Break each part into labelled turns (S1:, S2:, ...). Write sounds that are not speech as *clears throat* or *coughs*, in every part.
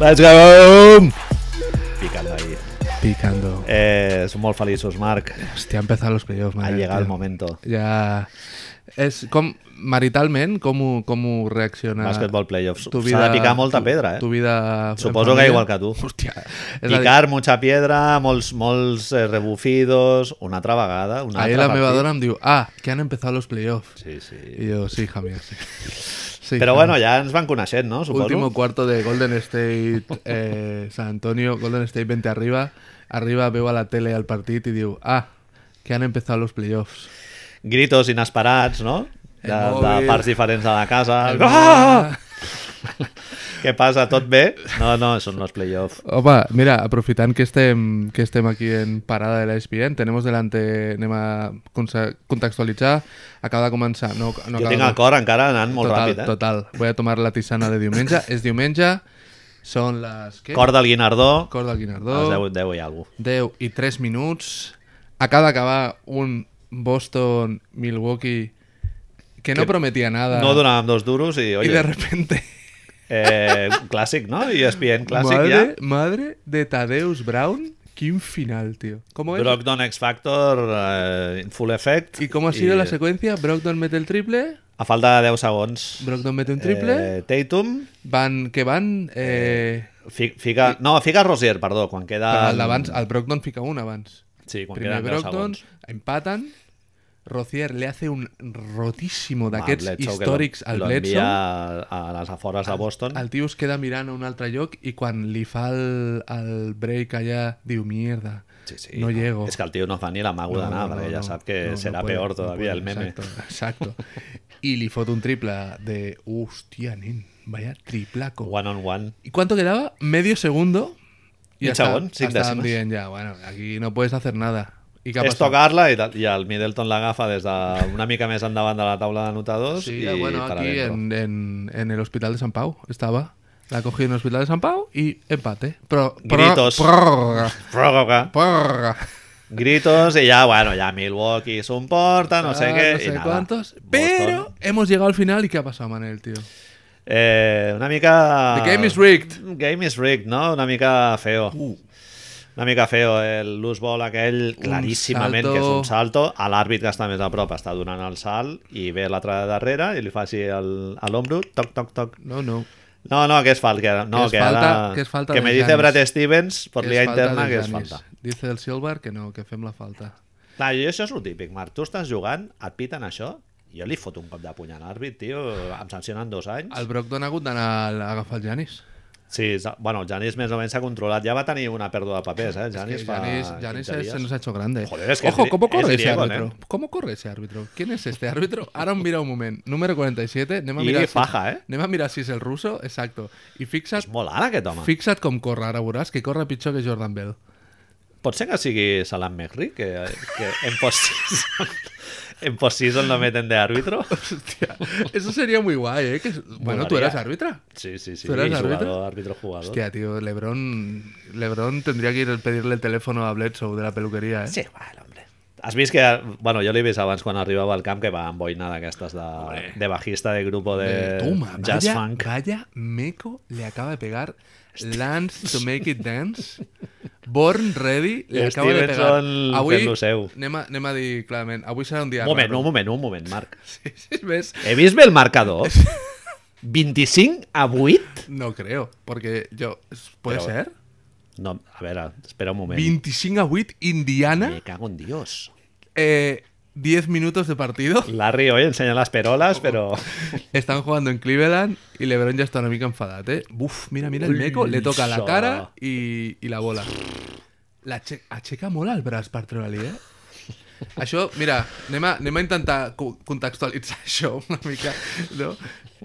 S1: Let's go!
S2: Picando ahí.
S3: Picando.
S2: Eh, som molt feliços, Marc.
S3: Hòstia, han empezado los playoffs,
S2: Ha
S3: madre.
S2: llegat el
S3: tio.
S2: moment.
S3: Ja... És com, maritalment, com ho, com ho reacciona...
S2: Basketball playoffs. S'ha de picar molta
S3: tu-
S2: pedra, eh?
S3: Tu vida... en
S2: Suposo que
S3: família.
S2: igual que tu.
S3: Hòstia. És a dir,
S2: Picar mucha piedra, molts, molts eh, rebufidos, una altra vegada, una
S3: Ahir
S2: altra
S3: la meva
S2: partida.
S3: dona em diu, ah, que han empezado los playoffs.
S2: Sí, sí.
S3: I jo, sí, Javier, sí. sí
S2: Però
S3: Javier".
S2: bueno, ja ens van coneixent, no? Suposo.
S3: Último cuarto de Golden State, eh, San Antonio, Golden State 20 arriba. Arriba veo a la tele al partido y digo, ah, que han empezado los playoffs.
S2: Gritos inesperats, no? De,
S3: El
S2: de
S3: mòbil.
S2: parts diferents de la casa.
S3: El
S2: Ah! Què passa? Tot bé? No, no, són los playoffs.
S3: Opa, mira, aprofitan que estén que estem aquí en parada de la ESPN, tenemos delante, anem a conse- contextualitzar, acaba de comenzar. No, no
S2: Jo
S3: acaba
S2: tinc
S3: de-
S2: el cor encara anant molt
S3: total,
S2: ràpid, eh?
S3: Total, voy a tomar la tisana de
S2: *laughs*
S3: diumenge. es diumenge, son las ¿qué?
S2: Cor del Guinardó,
S3: Cor del
S2: a
S3: Guinardó.
S2: les 10, 10 i alguna
S3: 10 i 3 minuts. Acaba d'acabar un Boston-Milwaukee que no
S2: Que
S3: prometia nada.
S2: No donàvem dos duros i,
S3: y
S2: oye,
S3: de repente,
S2: eh, clàssic, no? I ESPN clàssic
S3: madre,
S2: ja.
S3: madre de Tadeus Brown, quin final, tío. ¿Cómo es?
S2: Brogdon X Factor, eh, Full Effect.
S3: ¿Y cómo ha sido la secuencia? Brogdon mete el triple,
S2: A falta de 10 segons.
S3: Brogdon mete un triple,
S2: Eh, Tatum.
S3: van que van... Eh,
S2: fi- Fica, no, fica Rosier, perdó, quan
S3: però
S2: queda...
S3: el d'abans, el Brogdon fica un abans.
S2: Sí, quan
S3: Primer
S2: queden 10
S3: Brogdon,
S2: segons.
S3: empatan, Rocier le hace un rotísimo
S2: Amb
S3: d'aquests
S2: Bledsoe, que
S3: històrics al
S2: lo- lo envia
S3: Bledsoe.
S2: a, a les afores de Boston.
S3: el tio es queda mirant a un altre lloc i quan li fa el, el break allà diu, mierda,
S2: Sí, sí,
S3: no, llego.
S2: És que el tio no fa ni l'amago no, d'anar, no, perquè ja sap que no, serà no
S3: puede,
S2: peor
S3: no puede,
S2: todavía el meme.
S3: Exacto, exacto. Y li fot un triple de, hostia, nen, vaya triplaco.
S2: One on one.
S3: ¿Y cuánto quedaba? Medio segundo.
S2: Un
S3: Y hasta,
S2: chabón, sin
S3: estaban
S2: décimas.
S3: bien ya, bueno, aquí no puedes hacer nada. ¿Y qué ha
S2: És
S3: pasado?
S2: tocar-la i, tal, i el Middleton l'agafa des de una mica més endavant de la taula d'anotadors
S3: Sí,
S2: i
S3: bueno,
S2: per
S3: aquí
S2: adentro.
S3: en, en- en el hospital de San Pau estaba. La cogí en el hospital de San Pau y empate. Pro, pro-
S2: Gritos.
S3: prórroga,
S2: Pròrroga.
S3: prórroga.
S2: Gritos i ja, bueno, ja Milwaukee s'ho emporta, no sé
S3: Ah,
S2: què.
S3: no
S2: i
S3: sé
S2: nada.
S3: cuántos.
S2: Boston,
S3: Pero hemos llegado al final y ¿qué ha pasado, Manel, tío?
S2: Eh, una mica...
S3: The game is rigged. Uh.
S2: Game is rigged, no? Una mica feo. Una mica feo. eh, El loose ball aquell, claríssimament,
S3: salto.
S2: que és un salto. A l'àrbit que està més a prop està donant el salt i ve l'altre de darrere i li fa així el- a l'ombro, toc, toc, toc.
S3: No, no.
S2: No, no, que és falta. Que, no,
S3: Que és
S2: que,
S3: falta-
S2: ara,
S3: que és falta
S2: que
S3: de
S2: me dice
S3: Giannis.
S2: Brad Stevens per
S3: Que
S2: l'ia
S3: es falta
S2: interna
S3: de
S2: que és
S3: Giannis.
S2: falta.
S3: Dice el Silver que no, que fem la falta.
S2: Clar, i això és el típic, Marc. Tu estàs jugant, et piten això, jo li foto un cop de puny a l'àrbit, tio. Em sancionen dos anys.
S3: El Brogdon ha hagut d'anar a agafar el Janis.
S2: Sí, sa- bueno, el Janis més o menys s'ha controlat. Ja va tenir una pèrdua de papers, eh? El Janis,
S3: es que
S2: fa
S3: Giannis,
S2: 15
S3: Giannis
S2: dies.
S3: es- se nos ha hecho grande.
S2: Joder, es que
S3: Ojo,
S2: es-
S3: ¿cómo
S2: es
S3: corre ese
S2: griego,
S3: árbitro?
S2: ¿eh?
S3: ¿Cómo corre ese árbitro? ¿Quién es este árbitro? Ahora mira un momento. Número 47. Anem a
S2: I
S3: mirar si-
S2: faja, eh?
S3: anem a mirar si es el ruso. Exacto. Y fixa't,
S2: És molt alt, aquest home. Fic...
S3: fixa't com corre. Ara veuràs que corre pitjor que Jordan Bell. *laughs*
S2: Pot ser que sigui Salam Mehri, que, que en post-season *laughs* en post-season lo meten de árbitro.
S3: Hostia, eso sería muy guay, ¿eh? Que es- bueno, tú
S2: Molaría.
S3: eras árbitra.
S2: Sí, sí, sí.
S3: ¿Tú eres
S2: jugador,
S3: àrbitre?
S2: árbitro, jugador.
S3: Hostia, tío, Lebron, Lebron tendría que ir a pedirle el teléfono a Bledsoe de la peluquería, ¿eh?
S2: Sí, igual, hombre. Has vist que... Bueno, jo l'he vist abans quan arribava al camp que va amb boina d'aquestes de, de bajista de grup de,
S3: Eh, Toma,
S2: jazz
S3: vaya,
S2: funk. Este
S3: vaya meco le acaba de pegar Lance
S2: *laughs*
S3: to make it dance Born Ready
S2: I
S3: le acaba de pegar
S2: Stevenson fent lo seu.
S3: anem a, anem a dir clarament avui serà un dia
S2: Un moment,
S3: raro
S2: un moment, un moment, Marc.
S3: *laughs* Sí, sí, ves?
S2: He vist bé el marcador? 25 a 8?
S3: no creo porque yo puede
S2: Però-
S3: ser
S2: No, a veure, espera un moment.
S3: 25 a 8 Indiana
S2: Me cago en Dios.
S3: eh, 10 minutos de partido
S2: Larry hoy enseña las perolas, pero...
S3: están jugando en Cleveland y LeBron ya está una mica enfadat eh? Buf, mira, mira el meco le toca la
S2: Ulsa.
S3: cara i, i la bola la che aixeca molt el braç per treure-li, eh? Això, mira, anem a, anem a intentar co- contextualitzar *laughs* això una mica, no?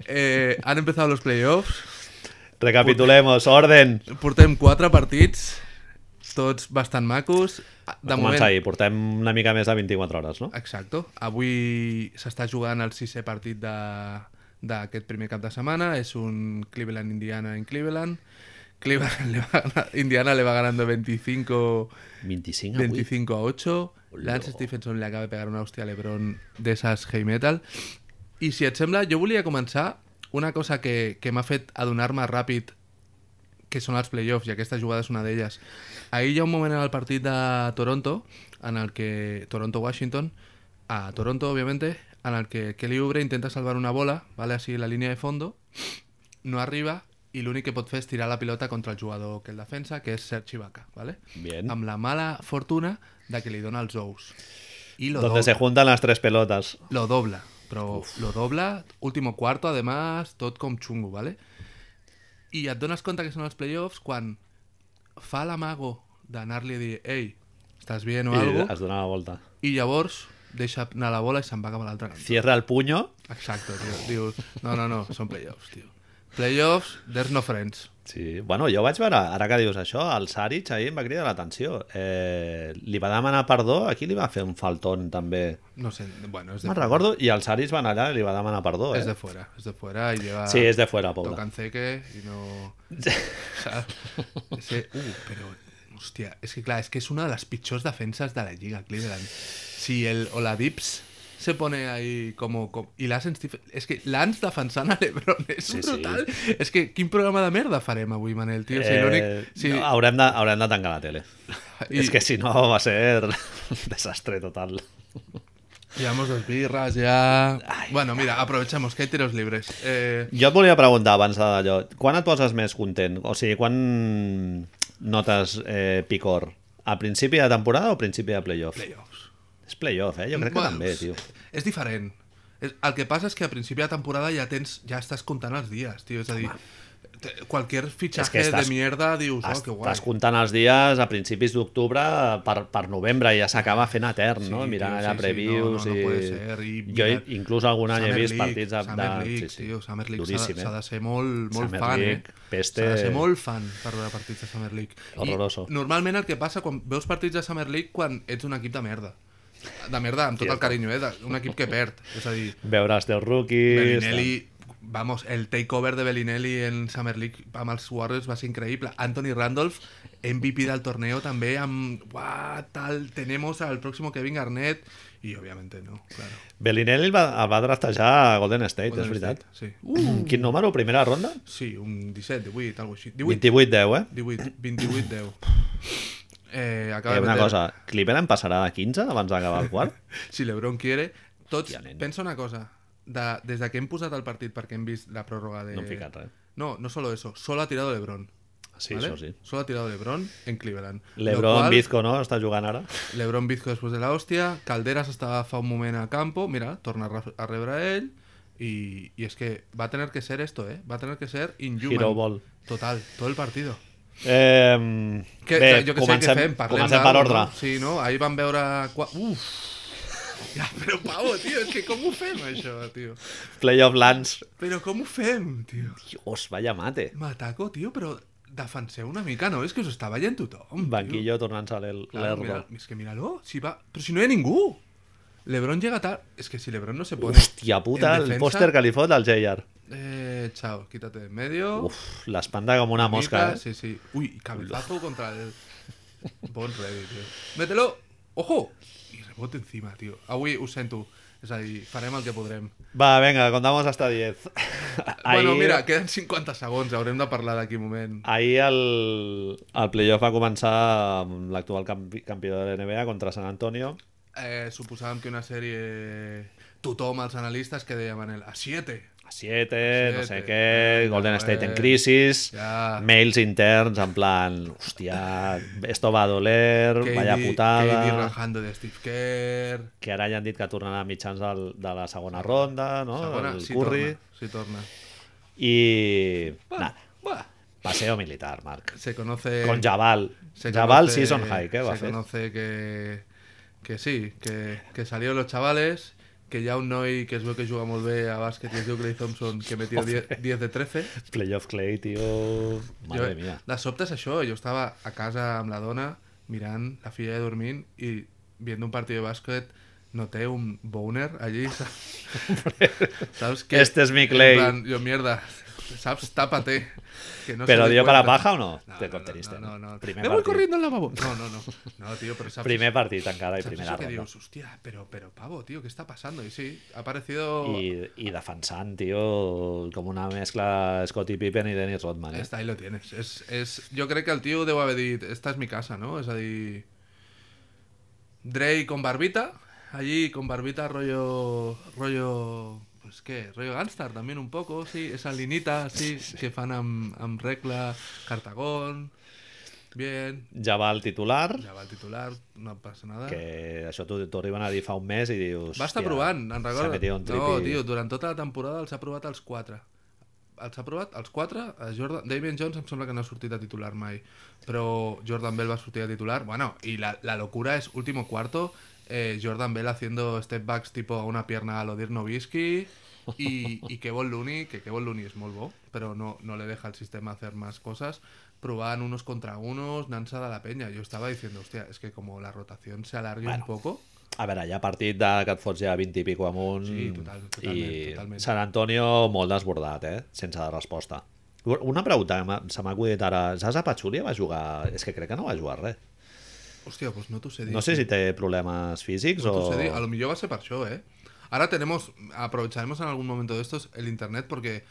S3: Eh, han empezado los playoffs,
S2: Recapitulemos, orden.
S3: portem quatre partits, tots bastant macos. De moment,
S2: Comença ahir, portem una mica més de 24 hores, no?
S3: Exacto. Avui s'està jugant el sisè partit de- d'aquest primer cap de setmana. És un Cleveland-Indiana en Cleveland. Cleveland *laughs* le va ganar- Indiana le va ganando 25,
S2: 25 a 8.
S3: 25 a 8. Lance Stephenson le acaba de pegar una hòstia a l'Ebron d'esas heavy metal. I si et sembla, jo volia començar una cosa que, que m'ha fet adonar-me ràpid que són els playoffs, i aquesta jugada és una d'elles. Ahir hi ha un moment en el partit de Toronto, en el que Toronto-Washington, a Toronto, obviamente, en el que Kelly Oubre intenta salvar una bola, ¿vale? Así en la línea de fondo, no arriba, i l'únic que pot fer és tirar la pilota contra el jugador que el defensa, que és Serge Ibaka, ¿vale?
S2: Bien.
S3: Amb la mala fortuna de que li dona els ous. I lo, dobla,
S2: Donde se juntan las tres pelotas.
S3: lo dobla, però lo dobla, último cuarto, además, tot com xungo, ¿vale? I et dones compte que són els playoffs quan fa l'amago d'anar-li a dir ei, estàs bien o
S2: y
S3: algo,
S2: has donado la vuelta.
S3: i llavors deixa anar la bola i se'n va cap a l'altra cantó.
S2: Cierra el puño.
S3: Exacto, tio. Dius, no, no, no, són playoffs, tio. Playoffs, there's no friends.
S2: Sí, bueno, jo vaig veure, ara que dius això, el Saric ahir em va cridar l'atenció. Eh, li va demanar perdó, aquí li va fer un faltón també.
S3: No sé, bueno, es de
S2: Me'n
S3: fuera.
S2: recordo, i el Saric va anar allà i li va demanar perdó, eh?
S3: Es de fuera, es de fuera y lleva...
S2: Sí, es de fuera, pobre.
S3: Tocan ceque y
S2: *laughs*
S3: no... ¿sabes? Ese- Uh, pero... Hostia, es que claro, es que es una de las pichos defensas de la Liga Cleveland. Si el Oladips se pone ahí como... com- y l'Ans... ens- Es que l'Ans defensant a l'Ebron és
S2: Sí, sí.
S3: brutal. És que quin programa de merda farem avui, Manel, tio? Si
S2: Eh,
S3: l'únic... Si...
S2: no, haurem, de, haurem de tancar la tele.
S3: I-
S2: I... És que si no va ser *laughs* un desastre total.
S3: Llevamos dos birras ya. bueno, mira, aprovechamos que hay tiros libres. Eh,
S2: Jo et volia preguntar abans d'allò, quan et poses més content? O sigui, quan notes eh, picor? A principi de temporada o principi de playoff?
S3: playoffs.
S2: És playoff, eh? Jo crec que
S3: Bueno,
S2: també, tio.
S3: És diferent. És- El que passa és que a principi de temporada ja tens ja estàs comptant els dies, tio. És a dir, te- qualquier
S2: És que
S3: fitxatge
S2: estàs-
S3: de mierda dius, oh, que guai.
S2: Estàs comptant els dies a principis d'octubre eh, per, per novembre i ja s'acaba fent etern, no?
S3: Sí,
S2: Mirant
S3: tio,
S2: allà
S3: sí, sí,
S2: previews
S3: no, no, no puede ser,
S2: i...
S3: i
S2: Jo
S3: mira-
S2: inclús algun any he
S3: Summer
S2: vist
S3: League,
S2: partits de...
S3: Summer
S2: de-
S3: League, tio, Summer League s'ha
S2: Duríssim,
S3: de- s'ha
S2: eh?
S3: de ser molt, molt
S2: Summer
S3: fan,
S2: League,
S3: eh?
S2: peste-
S3: S'ha de ser molt fan per veure partits de Summer League. I
S2: Horroroso.
S3: normalment el que passa quan veus partits de Summer League quan ets un equip de merda. De merda, amb tot el
S2: Cierto.
S3: carinyo, eh? de- Un equip que perd. És a dir,
S2: Veure els teus rookies...
S3: Bellinelli, vamos, el takeover de Bellinelli en Summer League amb els Warriors va ser increïble. Anthony Randolph, MVP del torneo també, amb... Uah, tal, tenemos al próximo Kevin Garnett. I, òbviament, no, claro.
S2: Bellinelli el va, el va draftejar a Golden State,
S3: Golden
S2: és veritat.
S3: State, sí.
S2: Uh. Quin número? Primera ronda?
S3: Sí, un 17, 18, alguna així. 18,
S2: 28-10, eh?
S3: 18, 28, 10. Eh, acaba
S2: Eh,
S3: de
S2: una
S3: meter-
S2: cosa, Cleveland passarà de 15 abans d'acabar el quart?
S3: Si l'Ebron quiere... Tots,
S2: Hòstia, nen.
S3: pensa una cosa, de, des de que hem posat el partit perquè hem vist la pròrroga de...
S2: No hem ficat res. Ah,
S3: No, no solo eso, solo ha tirado LeBron.
S2: Sí,
S3: ¿vale?
S2: això sí.
S3: Solo ha tirado LeBron en Cleveland.
S2: Lebron
S3: *laughs* Lo cual,
S2: Bizco, no? Està jugant ara?
S3: LeBron Bizco després de la hòstia, Calderas estava fa un moment al campo, mira, torna a re- a rebre ell, i, i és que va a tener que ser esto, eh? Va a tener que ser inhuman.
S2: Hero ball.
S3: Total, tot el partido.
S2: Eh,
S3: Que,
S2: bé,
S3: jo que
S2: comencem,
S3: sé, què fem? Parlem
S2: comencem per
S3: d'algo,
S2: ordre.
S3: No? Sí, no? Ahir vam veure... Qua...
S2: *laughs*
S3: Uf! Ja, però Pau, tio, és que com ho fem, això, tio?
S2: Playoff Lands.
S3: Però com ho fem, tio?
S2: Dios, vaya mate.
S3: M'ataco, tio, però defenseu una mica, no? És que us està veient tothom, tio.
S2: Banquillo tornant-se a l'er-
S3: Claro,
S2: l'erdo.
S3: mira- es que míralo, si va... Pero si no hay ningún. Lebron llega tarde. Es que si Lebron no se pone...
S2: Hòstia puta,
S3: en
S2: el
S3: defensa-
S2: pòster que li fot al JR.
S3: Eh, chao, quítate de en medio.
S2: Uf, l'espanta com una
S3: Mica,
S2: mosca, eh?
S3: Oh. Sí, sí. Uy, y cabezazo contra el... Bon ready, tío. Mételo. Ojo. Y rebote encima, tío. Ah, Avui ho sento. És a dir, farem el que podrem.
S2: Va, venga, contamos hasta 10.
S3: *laughs* Bueno,
S2: Ahir-
S3: mira, queden 50 segons. Haurem de parlar d'aquí un moment.
S2: Ahir el, el playoff va començar amb l'actual campi, campió de l'NBA contra San Antonio.
S3: Eh, suposàvem que una sèrie... Tothom, els analistes, que deia Manel, a 7.
S2: A 7, no sé
S3: Siete,
S2: què,
S3: eh,
S2: Golden
S3: no,
S2: State en
S3: eh,
S2: crisis,
S3: ja.
S2: mails interns en plan, hòstia, esto va a doler,
S3: KD
S2: vaya
S3: KD
S2: putada...
S3: rajando de Steve Kerr.
S2: que ara ja han dit que tornarà a mitjans del, de la segona ronda, no?
S3: Segona,
S2: Ah, el
S3: sí
S2: Curry.
S3: torna, sí torna.
S2: I... Nah,
S3: Buah.
S2: paseo militar, Marc.
S3: Se conoce...
S2: Con Jabal.
S3: se
S2: Jabal
S3: conoce-
S2: Season High, què va
S3: Se
S2: fer?
S3: conoce que, que sí, que, que salieron los chavales, que ya un noi que es veu que juga molt bé a bàsquet i es diu Clay Thompson, que metió 10, 10 de 13.
S2: Playoff Clay, tio... Madre
S3: jo,
S2: mía.
S3: De sobte és això, jo estava a casa amb la dona, mirant la filla de dormint i viendo un partit de bàsquet noté un
S2: *laughs*
S3: boner allí, saps? saps
S2: Este és mi Clay.
S3: En plan, jo, mierda, saps? Tápate. Que no se
S2: ¿Pero
S3: dé
S2: dio para
S3: cuenta.
S2: paja o no?
S3: No,
S2: Te
S3: no,
S2: conteniste,
S3: No, no,
S2: no?
S3: no. no.
S2: Primer
S3: Me voy
S2: partit.
S3: corriendo al lavabo. No, no, no. No, tío, pero sabes.
S2: Primer partido encara i primera
S3: eso que
S2: ronda.
S3: dius, hostia, pero, pero pavo, tío, ¿qué está pasando? Y sí, ha parecido
S2: I, I defensant, tio, com una mescla Scottie Pippen i Dennis Rodman. Eh?
S3: Està, ahí lo tienes. És, és... Jo crec que el tio deu haver dit esta és mi casa, no? És a dir... Dre con barbita, allí con barbita rollo... rollo... Pues què? Rollo gangster también un poco, sí. Esa linita, sí, que fan amb, amb regla, cartagón... Bien,
S2: Ja va el titular,
S3: ja va el titular, no passa nada.
S2: que això t'ho t'ho arriben a dir fa un mes i dius...
S3: Va estar
S2: "Hòstia,
S3: provant, en
S2: s'ha
S3: recordo.
S2: metido un
S3: No,
S2: tripi".
S3: tio, durant tota la temporada els ha provat els quatre. Els ha provat els quatre. eh, Jordan, Damien Jones em sembla que no ha sortit a titular mai, però Jordan Bell va sortir a titular. Bueno, y la, la locura es último cuarto, eh, Jordan Bell haciendo step backs tipo a una pierna a lo Dirk Nowitzki y, y Kevon Looney, que Kevon Looney es molt bo, però no, no le deja el sistema hacer más cosas, probaban unos contra unos, nansa de la peña. Yo estaba diciendo, hostia, es que como la rotación se alargue un poco...
S2: A veure, hi ha partit de, que et fots ja 20 i pico amunt
S3: Sí, total, totalment,
S2: i
S3: totalment.
S2: Sant Antonio molt desbordat, eh? sense de resposta. Una pregunta, que m'ha- se m'ha acudit ara. Zaza Pachulia va jugar... És que crec que no va jugar res.
S3: Hostia, pues no t'ho sé dir.
S2: No sé si té problemes físics
S3: Pues
S2: o...
S3: tú se di- A lo mejor va a ser para show, ¿eh? Ahora tenemos, aprovecharemos en algún momento de estos el internet porque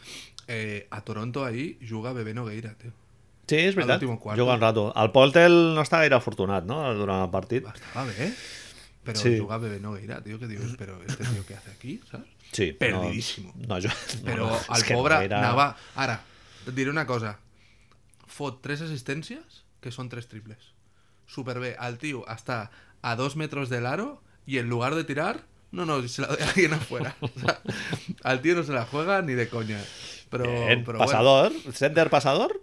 S3: eh, a Toronto ahí juga Bebé Nogueira, tío.
S2: Sí, és veritat.
S3: l'últim quart.
S2: Juga un rato. El Poltel no està gaire afortunat, no?, durant el partit.
S3: Bastaba, ¿eh? Pero
S2: Sí.
S3: juga Bebé Nogueira, tío, que digo, pero este tío que hace aquí, ¿sabes?
S2: Sí, no-
S3: Perdidísimo.
S2: No, ha jugat- no,
S3: Pero
S2: *laughs* no,
S3: al
S2: és que
S3: pobre
S2: no era-
S3: anava- Ahora, te diré una cosa. Fot tres asistencias que son tres triples. Super B, al tío hasta a dos metros del aro y en lugar de tirar, no, no, se la doy a alguien
S2: *laughs*
S3: afuera. O sea, al tío no se la juega ni de coña. Pero,
S2: Bien,
S3: pero bueno,
S2: passador, center passador.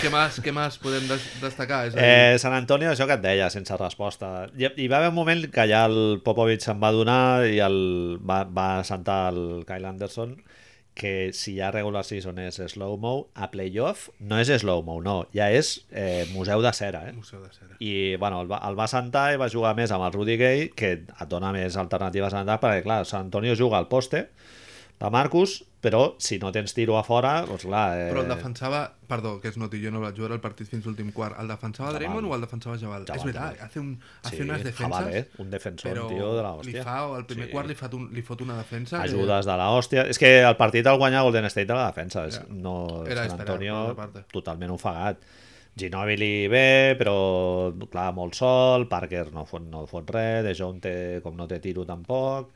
S3: ¿qué más, qué más pueden des- destacar? Es
S2: Eh, Sant Antonio, això que et deia, sense resposta. Hi, hi va haver un moment que ja el Popovic se'n va donar i el, va, va sentar el Kyle Anderson que si ja regular season és slow-mo, a playoff no és slow-mo, no, ja és eh, museu de cera, eh?
S3: Museo de Cera.
S2: i bueno, el va, el va sentar i va jugar més amb el Rudy Gay, que et dona més alternatives en atac, perquè clar, Sant Antonio juga al poste de Marcus, però si no tens tiro a fora, doncs clar... Eh,
S3: Però el defensava... Perdó, que es noti, jo no vaig jugar el partit fins l'últim quart. El defensava
S2: Jabal.
S3: Draymond o el defensava Jabal?
S2: Jabal,
S3: és veritat,
S2: Jabal.
S3: hace, un, hace unes defenses...
S2: Jabal, eh? Un defensor,
S3: però
S2: un tio de la
S3: li
S2: hòstia.
S3: fa, al primer quart li fot, un, li fot una defensa
S2: Ajudes de la hòstia. És que el partit el guanya Golden State a la defensa. És,
S3: Ja.
S2: no,
S3: Era
S2: Sant
S3: esperar,
S2: Antonio
S3: per una part.
S2: totalment ofegat. Ginobili bé, però clar, molt sol, Parker no fot, no fot res, De Jong té, com no té tiro tampoc,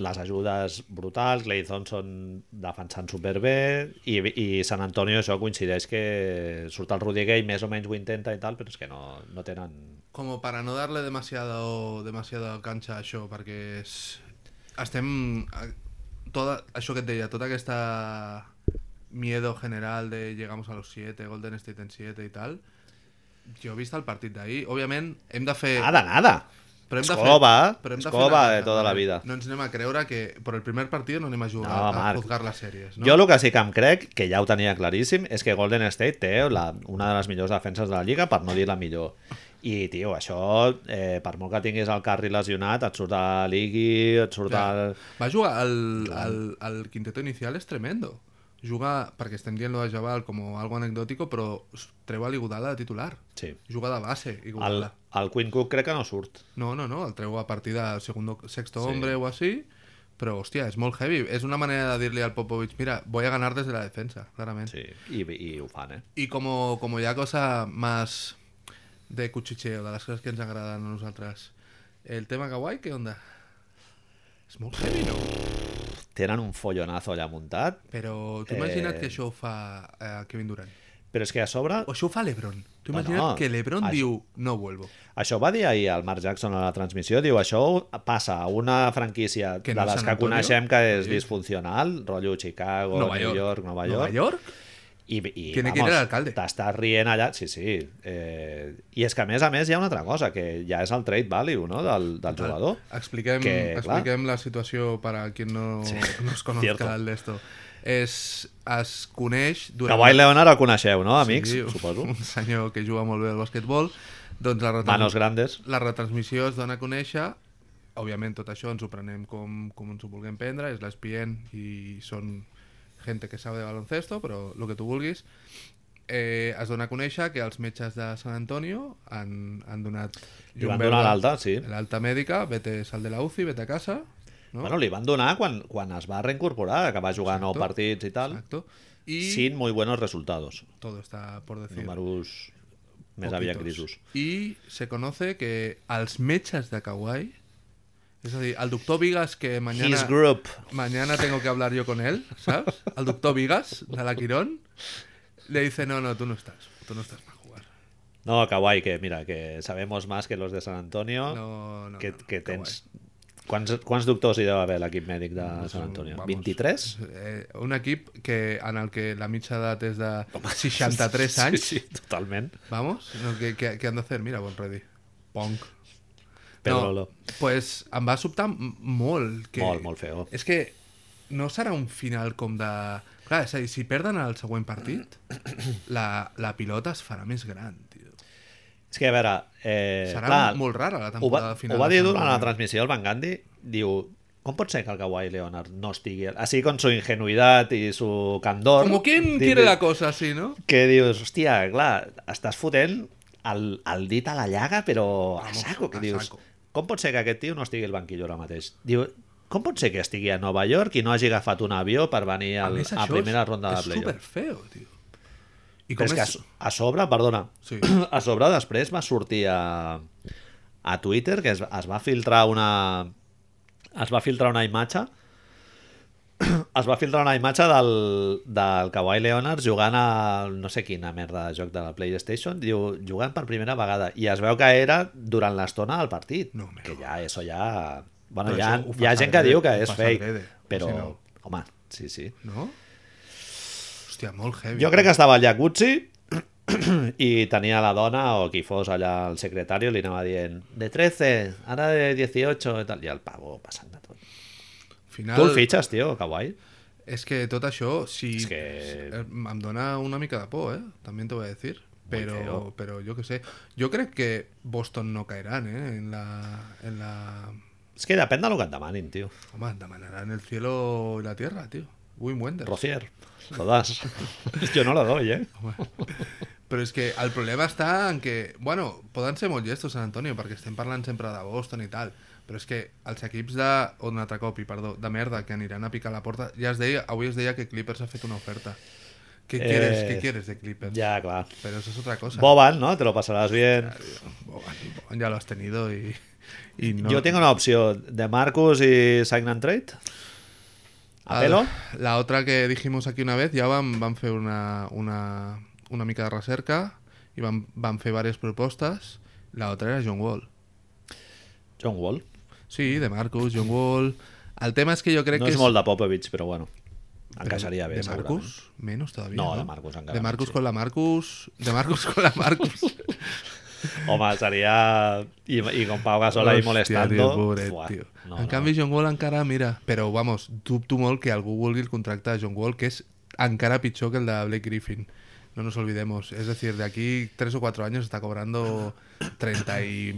S2: les ajudes brutals, Clay Thompson defensant superbé, i, i Sant Antonio això coincideix que surt el Rudy Gay, més o menys ho intenta i tal, però és que no, no tenen
S3: que, como para no darle demasiado, demasiado canxa a això perquè és, estem a- toda, això que et deia, tota aquesta miedo general de llegamos a los 7, Golden State en 7 i tal jo he vist el partit d'ahir òbviament hem de fer
S2: Ah, de nada.
S3: Però hem de
S2: Escova,
S3: fer, però hem de
S2: escova
S3: fer una
S2: de tota la vida.
S3: No ens anem a creure que per el primer partit no anem a jugar
S2: No,
S3: a
S2: Marc.
S3: juzgar les sèries. No?
S2: Jo el que sí que em crec, que ja ho tenia claríssim, és que Golden State té la, una de les millors defenses de la Lliga, per no dir la millor. I, tio, això, eh, per molt que tinguis el carri lesionat, et surt a l'Igui, et surt
S3: Clar.
S2: al...
S3: Va jugar al, al, al quinteto inicial és tremendo. Juga, perquè estem dient lo de Jabal com algo anecdòtico, però s- treu a l'Igudala de titular.
S2: Sí.
S3: Juga de base,
S2: El,
S3: Igudala.
S2: el Quinn Cook crec que no surt.
S3: No, no, no, el treu a partir del segundo, sexto
S2: Sí.
S3: hombre o així, però, hòstia, és molt heavy. És una manera de dir-li al Popovich, mira, voy a ganar des de la defensa, clarament.
S2: Sí, i, i ho fan, eh?
S3: Y como, como ya cosa más de cuchicheo, de las cosas que nos agradan a nosotras. El tema kawaii, ¿qué onda? Es muy heavy, ¿no?
S2: Tenen un follonazo allà muntat,
S3: Pero tú
S2: Eh.
S3: imagina't que això ho fa eh, Kevin Durant.
S2: però és que a sobre...
S3: O això ho fa Lebron. Tu
S2: No,
S3: imagina't
S2: no.
S3: que Lebron
S2: Això-
S3: diu, no vuelvo.
S2: Això ho va dir ahir el Mark Jackson a la transmissió, diu, això passa a una franquícia
S3: Que
S2: que
S3: no
S2: no de
S3: és
S2: les
S3: San
S2: que
S3: Antonio.
S2: coneixem que és
S3: Sí.
S2: disfuncional, rotllo Chicago,
S3: Nova
S2: New
S3: York.
S2: York, Nova York,
S3: Nova York?
S2: I, i
S3: Tiene que
S2: vamos,
S3: ir el alcalde.
S2: T'estàs rient allà, sí, sí. Eh, I és que, a més a més, hi ha una altra cosa, que ja és el trade value no? del, del jugador.
S3: Expliquem,
S2: Que,
S3: expliquem la situació per a quien no, *laughs* no es
S2: cierto.
S3: conozca el d'esto. És, es coneix durant...
S2: Kawhi Leonard el coneixeu, no, amics?
S3: Sí,
S2: Suposo.
S3: Un senyor que juga molt bé al basquetbol. Doncs la retorn...
S2: Manos grandes.
S3: la retransmissió es dona a conèixer òbviament tot això ens ho prenem com, com ens ho vulguem prendre, és l'ESPN i són gente que sabe de baloncesto, però el que tu vulguis, eh, es dona a conèixer que els metges de Sant Antonio han, han donat...
S2: Li van donar l'alta, sí.
S3: L'alta mèdica, vete, sal de la UCI, vete a casa... No?
S2: Bueno, li van donar quan, quan es va reincorporar, que va jugar nou
S3: Exacto.
S2: partits i tal,
S3: Exacto. I
S2: sin muy buenos resultados.
S3: todo está por decir.
S2: Números més
S3: poquitos.
S2: aviat grisos.
S3: I se conoce que els metges de Kauai, és a dir, el doctor Vigas que mañana...
S2: His group.
S3: Mañana tengo que hablar yo con él, ¿sabes? Al doctor Vigas, de la Quirón, le dice, no, no, tú no estás, tú no estás para jugar.
S2: No, Kawhi, que mira, que sabemos más que los de San Antonio,
S3: No, no,
S2: que,
S3: no, no,
S2: que
S3: Ah, que
S2: tens... Quants, quants doctors hi deu haver a l'equip mèdic de Sant Antonio?
S3: vamos.
S2: 23?
S3: Eh, un equip que, en el que la mitja edat és de 63 anys,
S2: Sí, sí, totalment.
S3: vamos, no, que, que, que han de fer? Mira, bon redi. Pong.
S2: Pedro Ló.
S3: pues em va sobtar m- molt. Que...
S2: Molt, molt feo.
S3: És que no serà un final com de... Clar, és a dir, si perden el següent partit, la, la pilota es farà més gran, tio.
S2: És que, a veure... Eh,
S3: Serà
S2: clar,
S3: molt rara la
S2: ho va,
S3: temporada final.
S2: ho va
S3: de
S2: dir
S3: Sant
S2: durant la
S3: Antonio.
S2: transmissió el Van Gandhi, diu... Com pot ser que el Kawhi Leonard no estigui... Así con su ingenuidad y su candor...
S3: Como quien
S2: diu-
S3: quiere
S2: diu-
S3: la cosa, sí, no?
S2: que dius, hòstia, clar, estàs fotent el, el dit a la llaga, però a
S3: Vamos,
S2: saco, que
S3: a
S2: dius,
S3: saco.
S2: com pot ser que aquest tio no estigui al banquillo ara mateix? Diu, com pot ser que estigui a Nova York i no hagi agafat un avió per venir al,
S3: més,
S2: a,
S3: això
S2: primera
S3: és-
S2: ronda de
S3: És
S2: playoff?
S3: superfeo, tio. I
S2: Però
S3: com
S2: és que a,
S3: és...
S2: so- a sobre, perdona,
S3: Sí.
S2: *clears throat* a sobre després va sortir a, a Twitter que es, es va filtrar una es va filtrar una imatge *clears throat* es va filtrar una imatge del, del Kawhi Leonard jugant a no sé quina merda de joc de la PlayStation diu, jugant per primera vegada i es veu que era durant l'estona del partit
S3: No me
S2: que ja, eso ja bueno,
S3: Però
S2: hi ha,
S3: això ho
S2: hi ha
S3: fas
S2: gent que
S3: adrede,
S2: diu que
S3: ho
S2: és
S3: fas
S2: fake
S3: adrede,
S2: però,
S3: si no.
S2: home, sí, sí
S3: No? Hòstia, molt heavy.
S2: jo crec que estava al jacuzzi i tenia la dona o qui fos allà el secretari li anava dient de 13, ara de 18 i tal, i el pavo passant de tot.
S3: Final...
S2: Tu el fitxes, tio, que guai.
S3: És que tot això, si...
S2: És que-
S3: eh, Em dona una mica de por, eh? També t'ho vull dir. Però,
S2: feo.
S3: però jo que sé. Jo crec que Boston no cairan, eh? En la... En la...
S2: És que depèn del que et demanin, tio.
S3: Home, demanaran el cielo y la tierra, tio. Wim Wenders.
S2: Rocier, lo das. *laughs* jo no la doy, eh?
S3: Però és que el problema està en que, bueno, poden ser molt llestos San Antonio, perquè estem parlant sempre de Boston i tal, però és que els equips de, o un altre cop, i perdó, de merda, que aniran a picar la porta, ja es deia, avui es deia que Clippers ha fet una oferta. Què
S2: Eh,
S3: quieres, què quieres de Clippers?
S2: Ja, clar.
S3: Però eso es otra cosa.
S2: Boban, ¿no? Te lo pasarás bien.
S3: Boban, Boban ya lo has tenido y, y no...
S2: Jo tinc una opció. De Marcus i Sign and Trade. A pelo.
S3: Al- La otra que dijimos aquí una vez, ya van, van fer una, una, una mica de recerca i van, van fer diverses propostes. La otra era John Wall.
S2: John Wall.
S3: Sí, de Marcus, John Wall... El tema és que jo crec
S2: No
S3: que...
S2: és molt de Popovich, però bueno.
S3: de-
S2: Encaixaria bé,
S3: de Marcus? Menos todavía,
S2: No,
S3: no?
S2: de Marcus encara
S3: De Marcus
S2: menys, sí.
S3: con la Marcus... De Marcus con la Marcus.
S2: *laughs* Home, seria... I, i com Pau Gasol ahí
S3: Hòstia,
S2: molestando...
S3: tio, pobret,
S2: Fuà,
S3: tio.
S2: no,
S3: en
S2: no.
S3: canvi, John Wall encara, mira... Però, vamos, dubto molt que algú vulgui el contracte de John Wall, que és encara pitjor que el de Blake Griffin. No nos olvidemos. Es decir, de aquí 3 o 4 años está cobrando 30 y...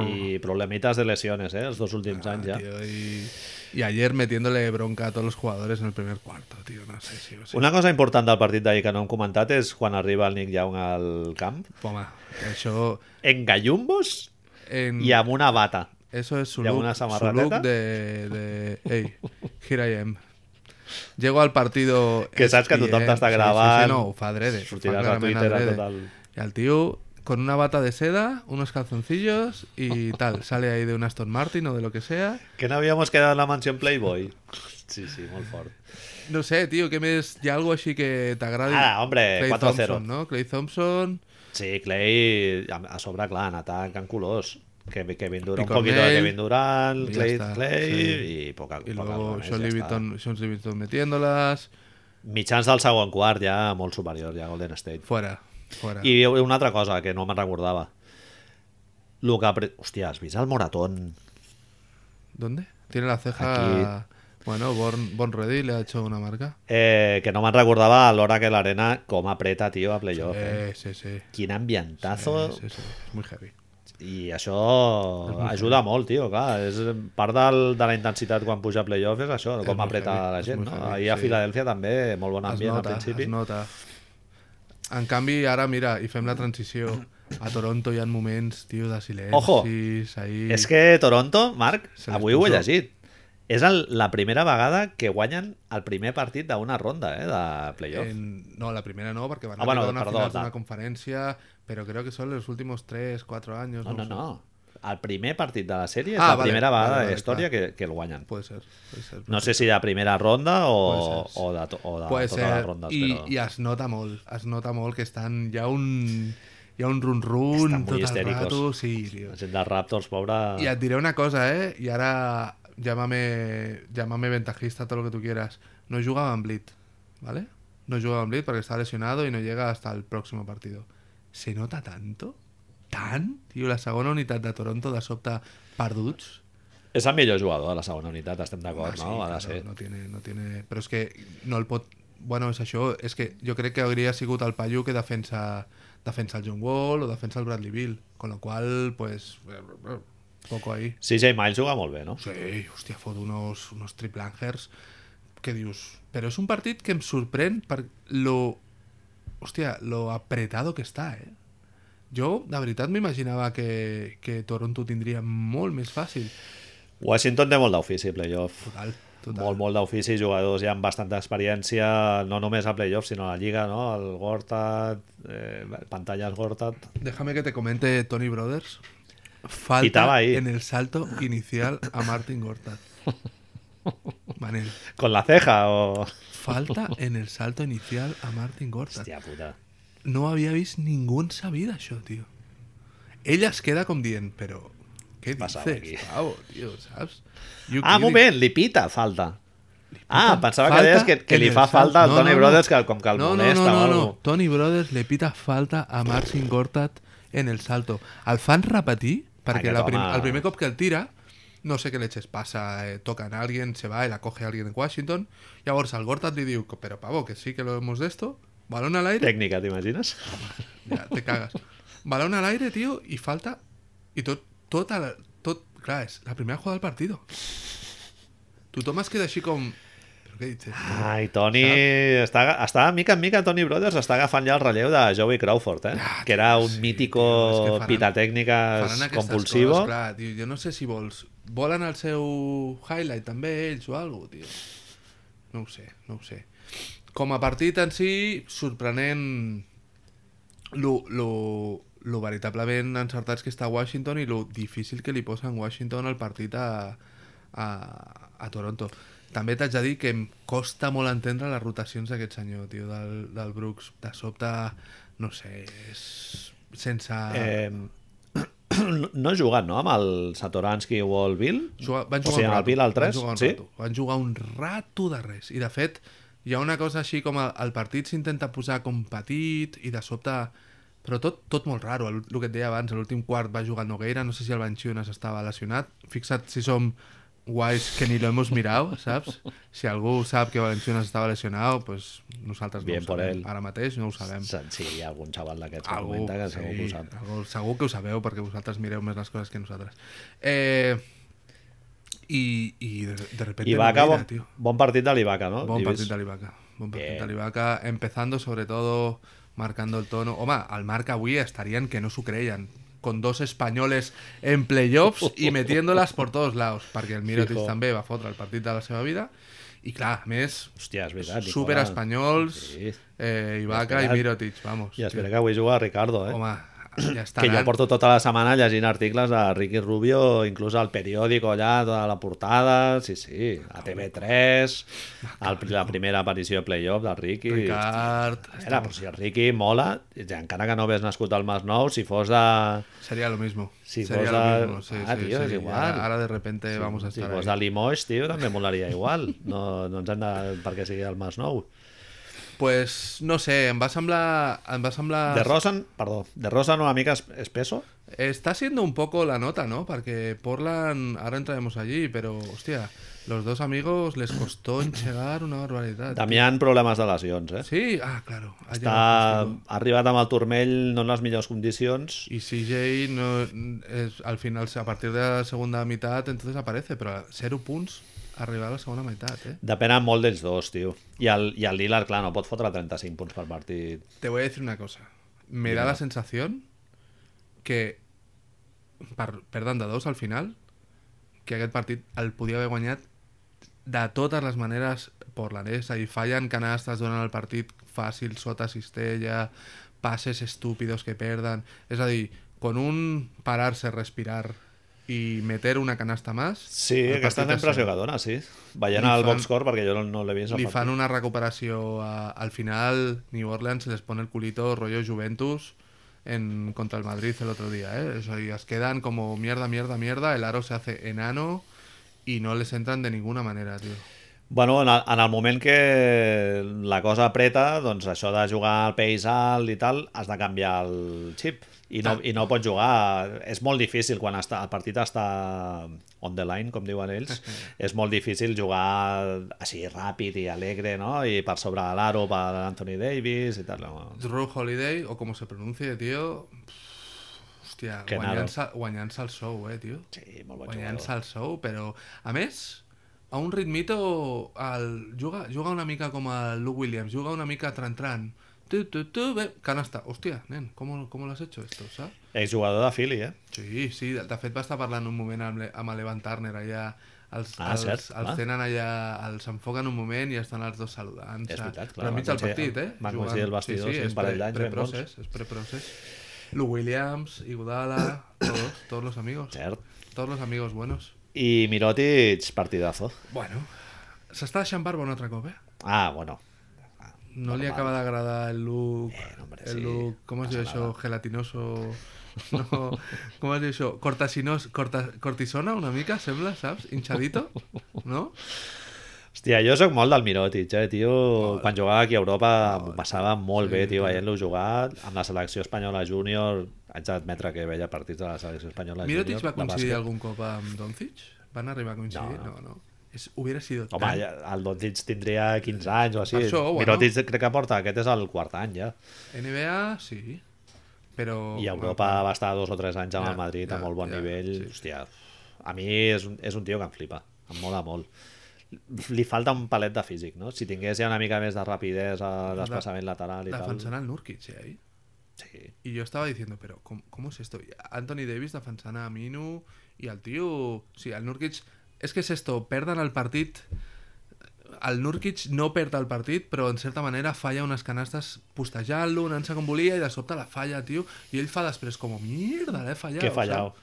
S2: I problemitas de lesiones, eh? Els dos últims
S3: Ah,
S2: anys ja.
S3: Tío, y, y ayer metiéndole bronca a todos los jugadores en el primer cuarto, tío. No sé si...
S2: Una cosa important del partit d'ahir que no hem comentat és quan arriba el Nick Young al camp,
S3: Home, això...
S2: en gallumbos
S3: En...
S2: i amb una bata.
S3: Eso es su
S2: ¿Y
S3: look,
S2: alguna
S3: su
S2: samarrateta?
S3: look de, de... Hey, here I am. Llego al partido...
S2: Que saps que tothom
S3: ESPN,
S2: t'està
S3: sí, Sí,
S2: gravant,
S3: sí, no, ho fa adrede. ho fa
S2: sortiràs a
S3: clarament
S2: Twitter a
S3: adrede.
S2: tot el-
S3: Y al tío con una bata de seda, unos calzoncillos y tal. Sale ahí de un Aston Martin o de lo que sea.
S2: Que no havíamos quedado en la mansión Playboy. Sí, sí, molt fort.
S3: No sé, tío, ¿qué més... Hi ha algo així que t'agradi?
S2: Ara, hombre,
S3: Clay
S2: 4-0.
S3: Thompson, no? Clay Thompson...
S2: Sí, Clay, a a sobre, clar, en atac, en colors. Que Kevin
S3: I
S2: Durant, un poquito de
S3: Cornell,
S2: Kevin Durant,
S3: i ja
S2: Clay,
S3: està,
S2: Clay
S3: sí.
S2: i poca,
S3: Y
S2: poca
S3: luego
S2: més,
S3: Sean
S2: ja està.
S3: Livingston, Sean Livingston metiéndolas...
S2: Mitjans del segon quart ja molt superior, ja Golden State.
S3: Fuera, fuera.
S2: I una altra cosa que no me'n recordava. Lo que... apre- Hòstia, has vist el moratón?
S3: ¿Dónde? Tiene la ceja. Bueno, Born, Born Ready le ha hecho una marca.
S2: Eh, que no me'n recordava a l'hora que l'arena com apreta, tio, a playoff. Eh?
S3: Eh, sí, sí.
S2: Quin ambientazo.
S3: Eh, sí, sí. Es muy heavy.
S2: I això ajuda molt, tio, clar. És part del, de la intensitat quan puja a playoff és això, com
S3: molt
S2: apreta
S3: heavy,
S2: la
S3: és
S2: gent,
S3: molt
S2: no?
S3: heavy,
S2: Ahir a
S3: sí.
S2: Filadèlfia també, molt bon
S3: Es
S2: ambient
S3: nota,
S2: al principi.
S3: es nota. En canvi, ara, mira, i fem la transició. A Toronto hi ha moments, tio, de silenci.
S2: Ojo!
S3: Ahir...
S2: És que Toronto, Marc,
S3: Se les
S2: avui ho he
S3: posó.
S2: llegit, és el, la primera vegada que guanyen el primer partit d'una ronda eh, de playoff.
S3: En- no, la primera no, porque van
S2: Ah,
S3: a
S2: bueno,
S3: bueno, una
S2: perdó,
S3: final de
S2: da.
S3: una conferencia, pero creo que son los últimos 3, 4 años.
S2: No, no,
S3: sé.
S2: no. El primer partit de la sèrie és
S3: Ah,
S2: la
S3: vale,
S2: primera vegada
S3: vale,
S2: de
S3: vale,
S2: la història
S3: clar.
S2: que, que el guanyen.
S3: Puede ser, puede ser.
S2: No sé si de primera ronda o,
S3: Puede ser.
S2: o de, to, o de
S3: puede
S2: totes les
S3: ser.
S2: rondes,
S3: y,
S2: però...
S3: y es nota molt, es nota molt que están ya un... ya un run-run
S2: Estan molt
S3: tot el
S2: histéricos.
S3: rato, sí, tio.
S2: La gent dels Raptors, pobra...
S3: Y et diré una cosa, eh? Y ahora llámame, llámame ventajista, todo lo que tú quieras. No jugaba Van Blit, ¿vale? No jugaba Van Blit porque está lesionado y no llega hasta el próximo partido. Se nota tanto? Tan? Tío, la segona unitat de Toronto de sobte perduts.
S2: És el millor jugador de la segona unitat, estem d'acord,
S3: Ah, sí,
S2: no? Ha
S3: claro,
S2: de ser.
S3: no tiene, no tiene... Però és que no el pot... Bueno, és això, és que jo crec que hauria sigut el paio que defensa, defensa el John Wall o defensa el Bradley Bill, con lo cual, pues, poco ahí.
S2: CJ Miles juga molt bé, no?
S3: Sí, hòstia, fot unos, unos triplangers que dius... Però és un partit que em sorprèn per lo... Hòstia, lo apretado que està, eh? Jo, de veritat, m'imaginava que, que Toronto ho tindria molt més fàcil.
S2: Washington té molt d'ofici, playoff.
S3: Total, total.
S2: Molt, molt d'ofici, jugadors ja amb bastanta experiència, no només a playoff, sinó a la Lliga, no? El Gortat, eh, pantalles Gortat...
S3: Déjame que te comente Tony Brothers.
S2: Quitaba
S3: Falta
S2: ahí.
S3: en el salto inicial a Martin Gortat. Manel,
S2: Con la ceja o...
S3: falta en el salto inicial a Martin Gortat.
S2: Hòstia puta.
S3: no havia vist ningú en sa vida, això, tio. Ell es queda com dient, però... Què
S2: passava aquí?
S3: dices, pavo, tio, saps? You
S2: Ah,
S3: kidding.
S2: un moment, li pita, falta. Ah, pensava que
S3: Falta
S2: deies que, que
S3: en
S2: li
S3: el
S2: fa
S3: salto.
S2: falta al
S3: No,
S2: Tony
S3: no, no.
S2: Brothers, que com que el
S3: no,
S2: molesta
S3: no, no,
S2: o
S3: no,
S2: alguna
S3: no. Tony Brothers le pita falta a Marcin Gortat en el salto. El fan repetir, perquè
S2: Aquest
S3: la prim
S2: home-
S3: el primer cop que el tira, no sé què leches passa, eh, toca en alguien, se va i la coge alguien en Washington, llavors el Gortat li diu, però pavo, que sí que lo hemos de esto, balón al aire,
S2: Tècnica, t'imagines?
S3: ja, te cagas. Balón al aire, tío, y falta. Y tot, tota la, tot, clar, és la primera jugada del partido. Tothom es queda així com... Però què dices?
S2: Ai, Tony... Està, està, mica en mica, Tony Brothers està agafant ja el relleu de Joey Crawford, eh?
S3: Ah,
S2: que era un
S3: sí,
S2: mítico
S3: tio, és que faran-
S2: pitatècniques
S3: Faran aquestes
S2: compulsivo.
S3: coses, clar, tio, jo no sé si vols... Volen el seu highlight també ells o alguna cosa, tio. No ho sé, no ho sé. Com a partit en si, sorprenent lo, lo, lo veritablement encertats que està Washington i lo difícil que li posa en Washington el partit a, a, a Toronto. També t'haig de dir que em costa molt entendre les rotacions d'aquest senyor, tio, del, del Brooks. De sobte, no sé, és sense...
S2: Eh, *clears throat* no ha jugat, no?, amb el Satoransky o el Bill?
S3: Juga, van
S2: O
S3: jugar un
S2: sigui, en el
S3: rato,
S2: Bill al
S3: van
S2: 3,
S3: jugar un
S2: sí?
S3: rato, van jugar un rato de res. I de fet, hi ha una cosa així com el, el partit s'intenta posar com petit i de sobte... Però tot, tot molt raro, el, el que et deia abans, a l'últim quart va jugar Nogueira, no sé si el Banchiunas estava lesionat. Fixa't si som guais que ni lo hemos mirado, saps? Si algú sap que Valenciunas estava lesionat, pues nosaltres
S2: Bien
S3: no ho
S2: por
S3: sabem.
S2: él.
S3: Ara mateix no ho sabem.
S2: Se'n- Sí, hi ha algun xaval d'aquests que comenta que segur que ho sap.
S3: Algú, segur que ho sabeu, perquè vosaltres mireu més les coses que nosaltres. Eh, I, i de, de repente...
S2: Ibaka,
S3: Nogueira,
S2: bon,
S3: tio.
S2: bon partit de l'Ibaka, no?
S3: Bon
S2: He
S3: partit
S2: vist-
S3: de l'Ibaka. Bon partit
S2: Bien.
S3: de l'Ibaka, empezando sobre todo marcando el tono. Home, al marca avui estarían que no s'ho creien con dos españoles en
S2: *laughs*
S3: playoffs y metiéndolas por todos lados, perquè el Mirotic
S2: Fijo.
S3: també va fotre el partit de la seva vida. I clar, a més,
S2: Hòstia, és veritat. Nicola.
S3: super espanyols,
S2: Sí.
S3: eh, Ibaka i
S2: esperat.
S3: Mirotic, vamos.
S2: I espera que avui juga Ricardo, eh?
S3: Home, ja està.
S2: que jo porto tota la setmana llegint articles de Ricky Rubio, inclús al periòdico allà, tota la portada, sí, sí, a TV3,
S3: Ah,
S2: el, la primera aparició de playoff del Ricky.
S3: Ricard...
S2: Era, pues, però si el Ricky mola, i encara que no hagués nascut al Masnou, si fos de,
S3: Sería lo mismo.
S2: Sí,
S3: Sería
S2: vos
S3: lo
S2: a-
S3: mismo. Sí,
S2: Ah,
S3: sí,
S2: tío,
S3: sí.
S2: es igual. pues
S3: Ahora, ahora de repente vamos a
S2: si
S3: estar
S2: fos
S3: ahí.
S2: de Limoges, tio, també molaria igual. No, no ens hem de... perquè sigui el Masnou.
S3: Pues no sé, em va semblar... Em va semblar...
S2: De Rosen, perdó, de Rosen una mica es- espeso,
S3: Está siendo un poco la nota, ¿no? Porque Portland... Ahora entraremos allí, pero, hostia... Los dos amigos les costó enxegar una barbaridad.
S2: També hi ha problemes de lesions, eh?
S3: Sí, ah, claro. ha
S2: Està,
S3: llegat castigo.
S2: ha arribat amb el turmell no en les millors condicions.
S3: Y CJ no, es, al final, a partir de la segunda mitad, entonces aparece, pero a cero punts arriba a la segunda mitad, ¿eh?
S2: Depenen molt d'ells dos, tio. I el, I el Lillard, clar, no pot fotre 35 punts per partit.
S3: Te voy a decir una cosa. Me da la sensación que per, perdant de dos al final, que aquest partit el podia haver guanyat de totes les maneres por la és a dir, fallen canastes durant el partit fàcil, sota cistella, passes estúpidos que perden... És a dir, con un pararse, respirar i meter una canasta más...
S2: Sí,
S3: el
S2: aquesta és la
S3: partit és
S2: impressió que dona, sí. Veient
S3: Li
S2: el
S3: fan-
S2: box score, perquè jo no, no l'he vist. el
S3: Li
S2: partit.
S3: fan una recuperació a- al final. New Orleans se les pone el culito rollo Juventus en, contra el Madrid el otro día. ¿eh? Eso, y las quedan como mierda, mierda, mierda. El aro se hace enano y no les entran de ninguna manera, tío.
S2: Bueno, en el, en el moment que la cosa apreta, doncs això de jugar al país alt i tal, has de canviar el xip. I no, i no pots jugar... És molt difícil quan està, el partit està on the line, com diuen ells. és molt difícil jugar així ràpid i alegre, no? I per sobre de l'aro per Anthony Davis i tal. No?
S3: Drew Holiday, o como se pronuncie, tío. Hostia,
S2: Que nada.
S3: guanyant-se guanyant-se el show, eh, tío.
S2: Sí, molt bon
S3: guanyant-se
S2: jugador.
S3: el sou, però a més a un ritmito el, juga, juga una mica com el Lou Williams juga una mica tran-tran tu, tu, tu, bé, canasta, hòstia, nen com, com l'has hecho esto, saps?
S2: Exjugador de Philly, eh?
S3: Sí, sí, de, de fet va estar parlant un moment amb, le- amb Evan Turner allà els,
S2: Ah,
S3: els,
S2: cert,
S3: els
S2: clar.
S3: tenen allà, els enfoquen un moment i estan els dos saludant
S2: És veritat, clar,
S3: Però enmig
S2: van
S3: del partit,
S2: coincidir-
S3: eh?
S2: van
S3: Jugant.
S2: coincidir al vestidor, sí, un
S3: és
S2: parell
S3: pre-
S2: d'anys ben bons.
S3: preprocés, és preprocés Lou Williams,
S2: *coughs*
S3: Iguodala, todos, todos los amigos
S2: Cert.
S3: todos los amigos buenos
S2: I Mirotic, partidazo.
S3: Bueno, s'està deixant barba un altre cop, eh?
S2: Ah, bueno.
S3: No li acaba d'agradar el look...
S2: Bueno, Eh, hombre,
S3: el
S2: sí,
S3: look... Com es diu això? Gelatinoso... No, com es diu això? Cortasinos, corta, cortisona una mica, sembla, saps? Hinchadito, no?
S2: Hòstia, jo sóc molt del Mirotic, eh, tio. Quan jugava aquí a Europa m'ho passava molt bé, tio, veient-lo jugar. Amb la selecció espanyola júnior, haig d'admetre que veia partits de la selecció espanyola
S3: Mirotic
S2: júnior.
S3: va
S2: de
S3: coincidir
S2: bàsquet.
S3: algun cop amb Doncic? Van arribar a coincidir?
S2: No,
S3: No, no. És, hubiera sido
S2: Home,
S3: tan...
S2: ja- el Doncic tindria 15 anys o així.
S3: Per això, bueno.
S2: Mirotic crec que porta, aquest és el quart any ja.
S3: NBA, sí. Però...
S2: I a Europa va estar dos o tres anys amb
S3: Oh, Ja,
S2: el Madrid a
S3: ja,
S2: molt bon
S3: ja,
S2: nivell.
S3: sí.
S2: Hòstia, a mi és un, és un tio que em flipa, em mola molt. Li falta un palet de físic, no? Si tingués ja una mica més de rapidesa, desplaçament lateral i tal.
S3: Defensant el Nurkic, eh? ahir.
S2: Sí.
S3: Y yo estaba diciendo, pero ¿cómo, cómo es esto? Y Anthony Davis defensant a Minu i el tio... Sí, el Nurkic... És que és esto, perden el partit... El Nurkic no perd el partit, però en certa manera falla unes canastes postejant-lo, anant-se com volia, i de sobte la falla, tio, i ell fa després com, "Oh, mierda, l'he fallat.
S2: Que he fallado.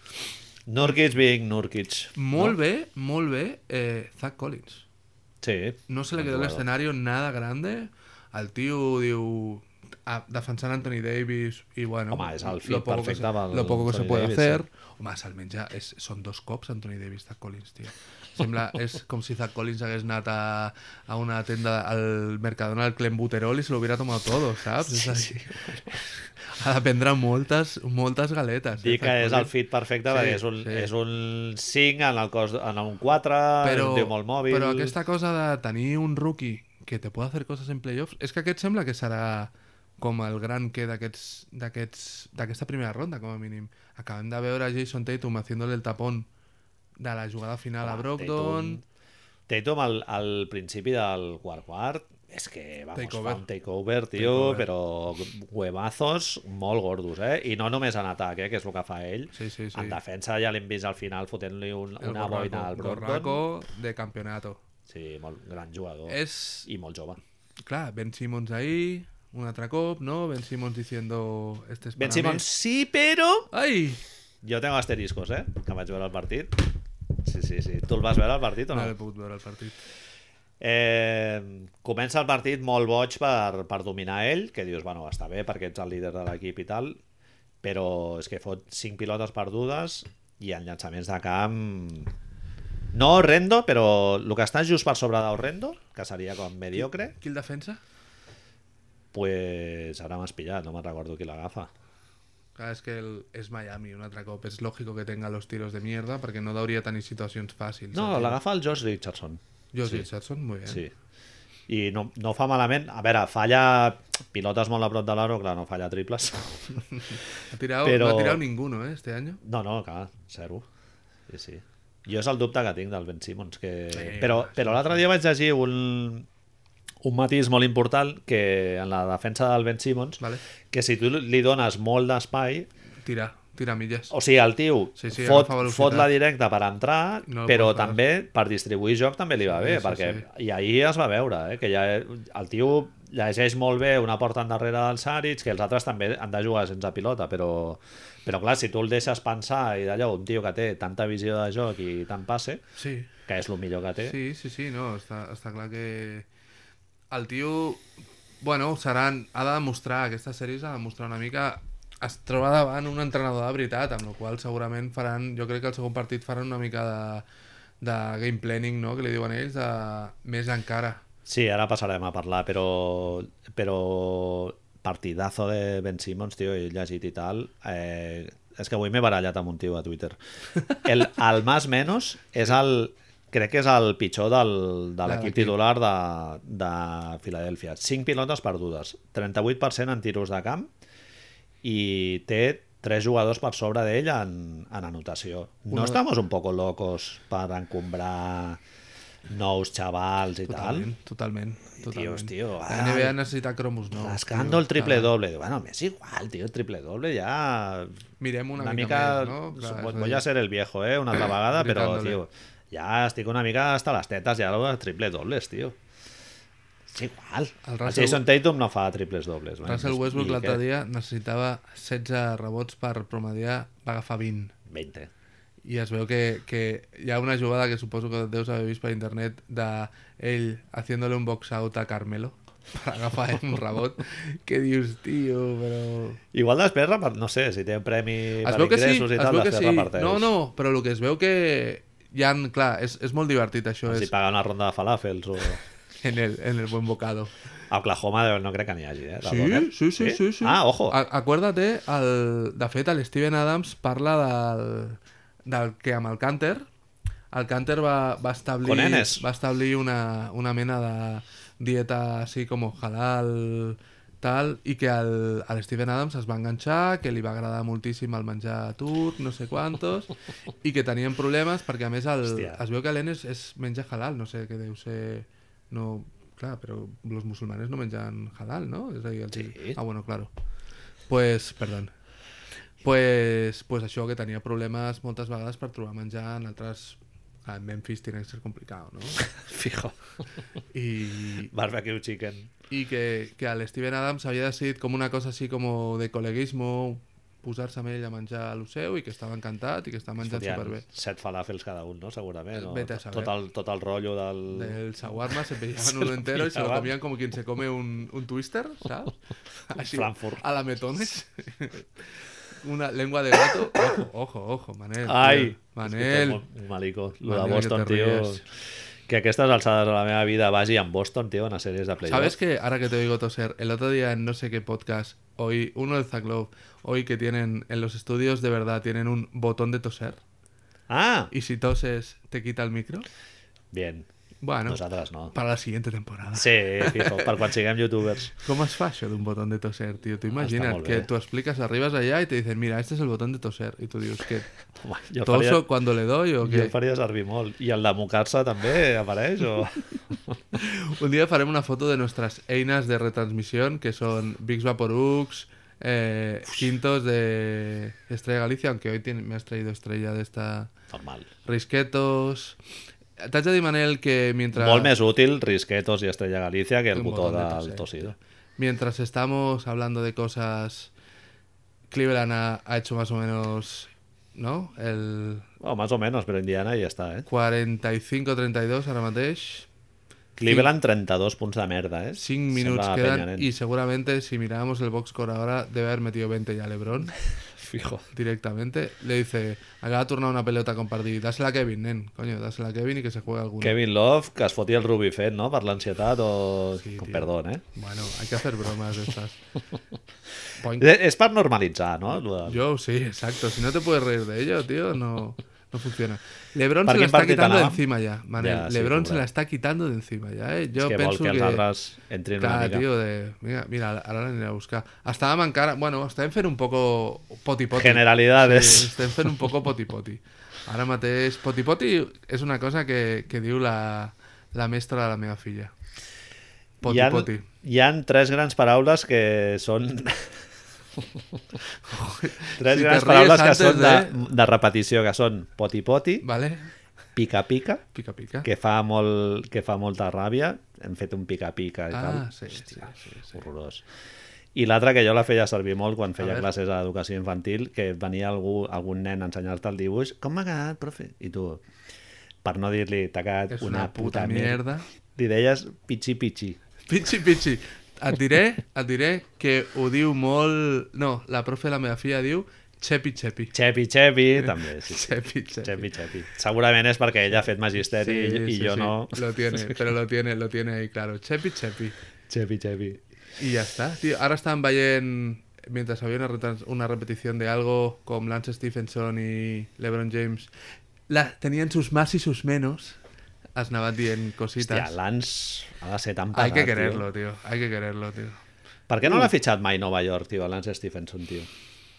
S2: Nurkic, Big Nurkic.
S3: Molt bé, molt bé, eh, Zach Collins.
S2: Sí.
S3: No se le
S2: Bon
S3: quedó el
S2: jugador.
S3: escenario nada grande. El tio diu a- defensant Anthony Davis i bueno,
S2: Home, és el fit
S3: lo poco que
S2: perfecte
S3: se,
S2: pel
S3: lo poco que se
S2: Anthony
S3: puede
S2: Davis,
S3: hacer. Home, se'l menja, és, són dos cops Anthony Davis de Collins, tio. Sembla, és com si Zach Collins hagués anat a, a una tenda al Mercadona al Clem Buterol i se lo hubiera tomado todo, saps? Sí, és a dir, ha de prendre moltes, moltes galetes. eh,
S2: Dir
S3: Zach
S2: que és el
S3: Collins.
S2: fit perfecte
S3: Sí,
S2: perquè és un,
S3: sí.
S2: és un 5 en, el cos, en un 4, però,
S3: però,
S2: un tio molt mòbil.
S3: però aquesta cosa de tenir un rookie que te pot fer coses en playoffs, és que aquest sembla que serà com el gran que d'aquests- d'aquests- d'aquesta primera ronda, com a mínim. Acabem de veure a Jason Tatum haciéndole el tapón de la jugada final a
S2: Home,
S3: Brogdon.
S2: Tatum al, al principi del quart quart és que, vamos,
S3: Takeover.
S2: fa un takeover, tio,
S3: Takeover.
S2: però huevazos molt gordos, eh? I no només en atac, eh, que és el que fa ell.
S3: Sí, sí, sí.
S2: En defensa ja l'hem vist al final fotent-li un,
S3: El
S2: una
S3: gorraco,
S2: boina al Brogdon.
S3: gorraco de campeonato.
S2: Sí, molt gran jugador.
S3: És,
S2: I molt jove.
S3: clar, Ben Simmons ahí, un altre cop, ¿no? Ben Simmons diciendo, este es para
S2: Ben
S3: mí".
S2: Simmons, sí, però...
S3: ¡Ay!
S2: Jo tengo asteriscos, eh? Que vaig veure el partit. Sí, sí, sí. Tu el vas veure el partit o
S3: No
S2: no?
S3: l'he pogut veure el partit.
S2: Eh, comença el partit molt boig per, per dominar ell, que dius, bueno, està bé perquè ets el líder de l'equip i tal, però és que fot 5 pilotes perdudes i en llançaments de camp... No horrendo, però el que està just per sobre d'horrendo, que seria com mediocre,
S3: Qui el defensa?
S2: pues ara m'has pillat, no me'n recordo qui l'agafa.
S3: Clar, és que el, és Miami un altre cop. És lògico que tenga los tiros de mierda perquè no hauria tenir situacions fàcils.
S2: No,
S3: saps?
S2: l'agafa el Josh Richardson.
S3: Josh
S2: sí.
S3: Richardson, muy bien.
S2: Sí. I no, no fa malament. A veure, falla pilotes molt a prop de l'aro, clar, no falla triples.
S3: *laughs* Ha tirado,
S2: Però-
S3: No ha tirado ninguno, ¿eh? Este año.
S2: No, no, clar, zero. Sí, sí. Jo és el dubte que tinc del Ben Simmons. Que...
S3: Sí,
S2: però
S3: clar,
S2: però l'altre dia vaig llegir un, un matís molt important que en la defensa del Ben Simmons,
S3: Vale.
S2: que si tu li dones molt d'espai,
S3: Tira, tira millas.
S2: o sigui, el tio
S3: Sí, sí,
S2: fot,
S3: agafa velocitat.
S2: fot la directa per entrar,
S3: No
S2: no
S3: el
S2: però
S3: pot parar.
S2: també per distribuir joc també li va
S3: Sí,
S2: bé,
S3: sí,
S2: perquè
S3: sí.
S2: i ahir es va veure, eh, que ja el tio llegeix molt bé una porta endarrere dels Saric, que els altres també han de jugar sense pilota, però, però clar, si tu el deixes pensar i d'allò, un tio que té tanta visió de joc i tant passe,
S3: Sí.
S2: que és el millor que té, sí.
S3: Sí, sí, sí, no, està, està clar que... El tio, bueno, seran, ha de demostrar, aquesta sèrie ha de demostrar una mica es troba davant un entrenador de veritat, amb la qual cosa segurament faran, jo crec que el segon partit faran una mica de, de game planning, no?, que li diuen ells, de més encara.
S2: sí, ara passarem a parlar, però, però partidazo de Ben Simmons, tio, he llegit i tal, eh, és que avui m'he barallat amb un tio a Twitter. El, el Más Menos és el crec que és el pitjor del, de
S3: De
S2: l'equip
S3: l'equip.
S2: titular de, de Filadèlfia. 5 pilotes perdudes, 38% en tiros de camp i té 3 jugadors per sobre d'ell en, en anotació. No
S3: Una-
S2: estamos un poco locos per encombrar nous xavals i tal?
S3: Totalment, totalment. totalment.
S2: tio,
S3: la
S2: ah,
S3: NBA necessita cromos nous.
S2: Rascando
S3: tio,
S2: el triple
S3: està-
S2: doble. Bueno, m'és igual, tio, el triple doble ja...
S3: Mirem una,
S2: una
S3: mica,
S2: mica...
S3: més, no? Clar,
S2: supo-
S3: és a
S2: Voy
S3: dir-
S2: a ser el viejo, eh, una altra vegada, però,
S3: Gritándole.
S2: tio, ja estic una mica hasta les tetes ja de triple dobles, tio. És igual.
S3: El
S2: El,
S3: Russell-
S2: Jason Tatum no fa triples dobles. Pues, bueno,
S3: Russell Westbrook
S2: i
S3: l'altre
S2: què?
S3: dia necessitava 16 rebots per promediar, va agafar 20.
S2: 20.
S3: I es veu que, que hi ha una jugada que suposo que deus haver vist per internet de ell haciéndole un box out a Carmelo *laughs* per agafar un rebot que dius, tio, però...
S2: Igual després, repart- no sé, si té premi
S3: Es
S2: per
S3: veu que sí,
S2: ingressos i
S3: es
S2: tal,
S3: veu que
S2: després
S3: sí.
S2: reparteix.
S3: No, no, però el que es veu que hi ha, clar, és, és molt divertit això, és
S2: Si paga una ronda de falafels o...
S3: *laughs* en el, en el buen bocado.
S2: A Oklahoma no crec que
S3: *laughs*
S2: n'hi hagi, eh? de
S3: Sí,
S2: dones.
S3: sí, sí, sí, sí.
S2: Ah, ojo.
S3: A acuérdate, el, de fet, el Steven Adams parla del, del que amb el Canter, el Canter va, va establir,
S2: Con Enes.
S3: va establir una, una mena de dieta així com halal, tal, i que el, el Steven Adams es va enganxar, que li va agradar moltíssim el menjar turc, no sé quantos, i que tenien problemes perquè, a més, el,
S2: Hòstia.
S3: es veu que l'Enes és menja halal, no sé què deu ser... No, clar, però els musulmanes no mengen halal, no? És a dir, el,
S2: Sí.
S3: Ah, bueno, claro. Pues, perdó. Pues, pues això, que tenia problemes moltes vegades per trobar menjar en altres... A Memphis tiene que ser complicat, no?
S2: Fijo.
S3: I,
S2: Barbecue chicken.
S3: i que, que el Steven Adams havia decidit com una cosa així com de col·leguisme posar-se amb ell a menjar el seu i que estava encantat i que estava menjant
S2: Fotien
S3: superbé.
S2: set falafels cada un, no? Segurament. No?
S3: Vete a saber.
S2: Tot el, tot el rotllo del...
S3: Del shawarma
S2: *laughs*
S3: se pillaban
S2: Se
S3: uno
S2: lo
S3: entero y se lo
S2: pillaban.
S3: comían como quien se come un, un twister,
S2: *laughs*
S3: ¿sabes? Así,
S2: Frankfurt.
S3: A la metones. *laughs* Una lengua de gato. Ojo, ojo, ojo, Manel. tío.
S2: Ai!
S3: Manel.
S2: És que és molt malico. Lo
S3: Manel,
S2: de Boston,
S3: que te
S2: tio...
S3: ríes.
S2: Que a aquestes alçades de la meva vida vagi amb Boston, tio, en les sèries de playoff.
S3: ¿Sabes que ahora que te oigo toser, el otro día en no sé qué podcast, hoy uno del Zaclov, hoy que tienen en los estudios de verdad tienen un botón de toser
S2: Ah!
S3: y si toses te quita el micro?
S2: Bien.
S3: Bueno,
S2: Nosaltres no.
S3: para la siguiente temporada.
S2: Sí, fijo, per quan siguem youtubers.
S3: ¿Cómo es facho de un botón de toser, tío? Te imaginas
S2: molt
S3: que
S2: bé.
S3: tú explicas arribas allá y te dicen, mira, este es el botón de toser. Y tú dices, ¿qué?
S2: Home, jo,
S3: ¿Toso
S2: faria,
S3: cuando le doy o
S2: jo
S3: qué?
S2: el faria servir molt. I el de mocar-se també apareix? O...
S3: Un día faremos una foto de nuestras einas de retransmisión, que son Vix Vaporux, eh, Quintos de Estrella Galicia, aunque hoy tiene- me has traído Estrella de esta...
S2: Normal.
S3: Risquetos... T'haig de dir, Manel, que mientras...
S2: Molt més útil Risquetos i Estrella Galícia que
S3: Un
S2: el botó
S3: botón de toser.
S2: del tosido.
S3: Mientras estamos hablando de cosas, Cleveland ha, ha hecho más o menos, ¿no? El
S2: Bueno, más o menos, però Indiana ja està, eh?
S3: 45-32 ara mateix.
S2: Cleveland 32 punts de merda, eh?
S3: 5 minutos
S2: Sembla eh?
S3: quedan
S2: penya, nen.
S3: y seguramente si mirábamos el box score ahora debe haber metido 20 ya LeBron.
S2: fijo.
S3: directamente, le dice, acaba de turnar una pelota compartida, dásela a Kevin, nen, coño, dásela a Kevin y que se juegue alguno.
S2: Kevin Love, que es fotia el Ruby Fett, no?, per l'ansietat o...
S3: Sí, tio.
S2: Perdó, eh?
S3: Bueno, hay que hacer bromas de
S2: *laughs*
S3: estas. Boing.
S2: Eh, És per normalitzar, no? Lo de-
S3: Yo sí, exacto. Si no te puedes reír de ello, tío, no, no funciona. Lebron
S2: ¿Para
S3: se la
S2: quién
S3: está
S2: partida
S3: quitando de
S2: anava?
S3: encima ya, Manel.
S2: Ja, sí,
S3: Lebron se
S2: pobre.
S3: la está quitando de encima ya, ¿eh? Yo
S2: és que vol
S3: pienso
S2: que els
S3: que...
S2: altres entrin una
S3: Clar,
S2: mica.
S3: tio, de... Mira, mira, ara l'aniré a buscar. Estàvem encara... Bueno, estem fent un poco poti-poti.
S2: Generalidades.
S3: Sí, estem fent un poco poti-poti. Ara mateix, poti-poti és una cosa que, que diu la, la mestra de la meva filla.
S2: hi, ha,
S3: Poti-poti.
S2: hi ha tres grans paraules que són...
S3: *laughs*
S2: tres
S3: Si te ríes
S2: grans paraules que
S3: antes
S2: són de,
S3: de-
S2: de repetició, que són poti-poti,
S3: Vale?
S2: pica-pica,
S3: Pica-pica.
S2: que fa, molt, que fa molta ràbia. Hem fet un pica-pica i tal.
S3: Ah, sí, sí, sí, sí.
S2: horrorós. I l'altre que jo la feia servir molt quan feia
S3: ver.
S2: classes d'educació infantil, que venia algú, algun nen a ensenyar-te el dibuix, com m'ha quedat, profe? I tu, per no dir-li, t'ha quedat
S3: És una, puta, mierda.
S2: Li deies pitxi pitxi.
S3: Pitxi, pitxi. Et diré, et diré que ho diu molt... No, la profe de la meva filla diu xepi, xepi.
S2: Xepi xepi, també,
S3: *laughs*
S2: sí. sí.
S3: Xepi, xepi.
S2: Xepi xepi. Segurament és perquè ella ha fet magisteri i, i jo no.
S3: Lo tiene, pero lo tiene, lo tiene ahí, claro. Chepi, chepi.
S2: Xepi xepi.
S3: Y ya está, tío. Ahora están Bayern, mientras había una, retrans- una repetición de algo con Lance Stephenson y LeBron James. La, tenían sus más y sus menos. Asnabat y en
S2: Hòstia,
S3: cositas.
S2: Lance ha de ser tan pagat,
S3: Hay que
S2: Tio.
S3: quererlo, tío. Hay que quererlo, tío.
S2: Per
S3: Mm.
S2: què no l'ha fitxat mai Nova York, tio, Lance Stephenson, tio?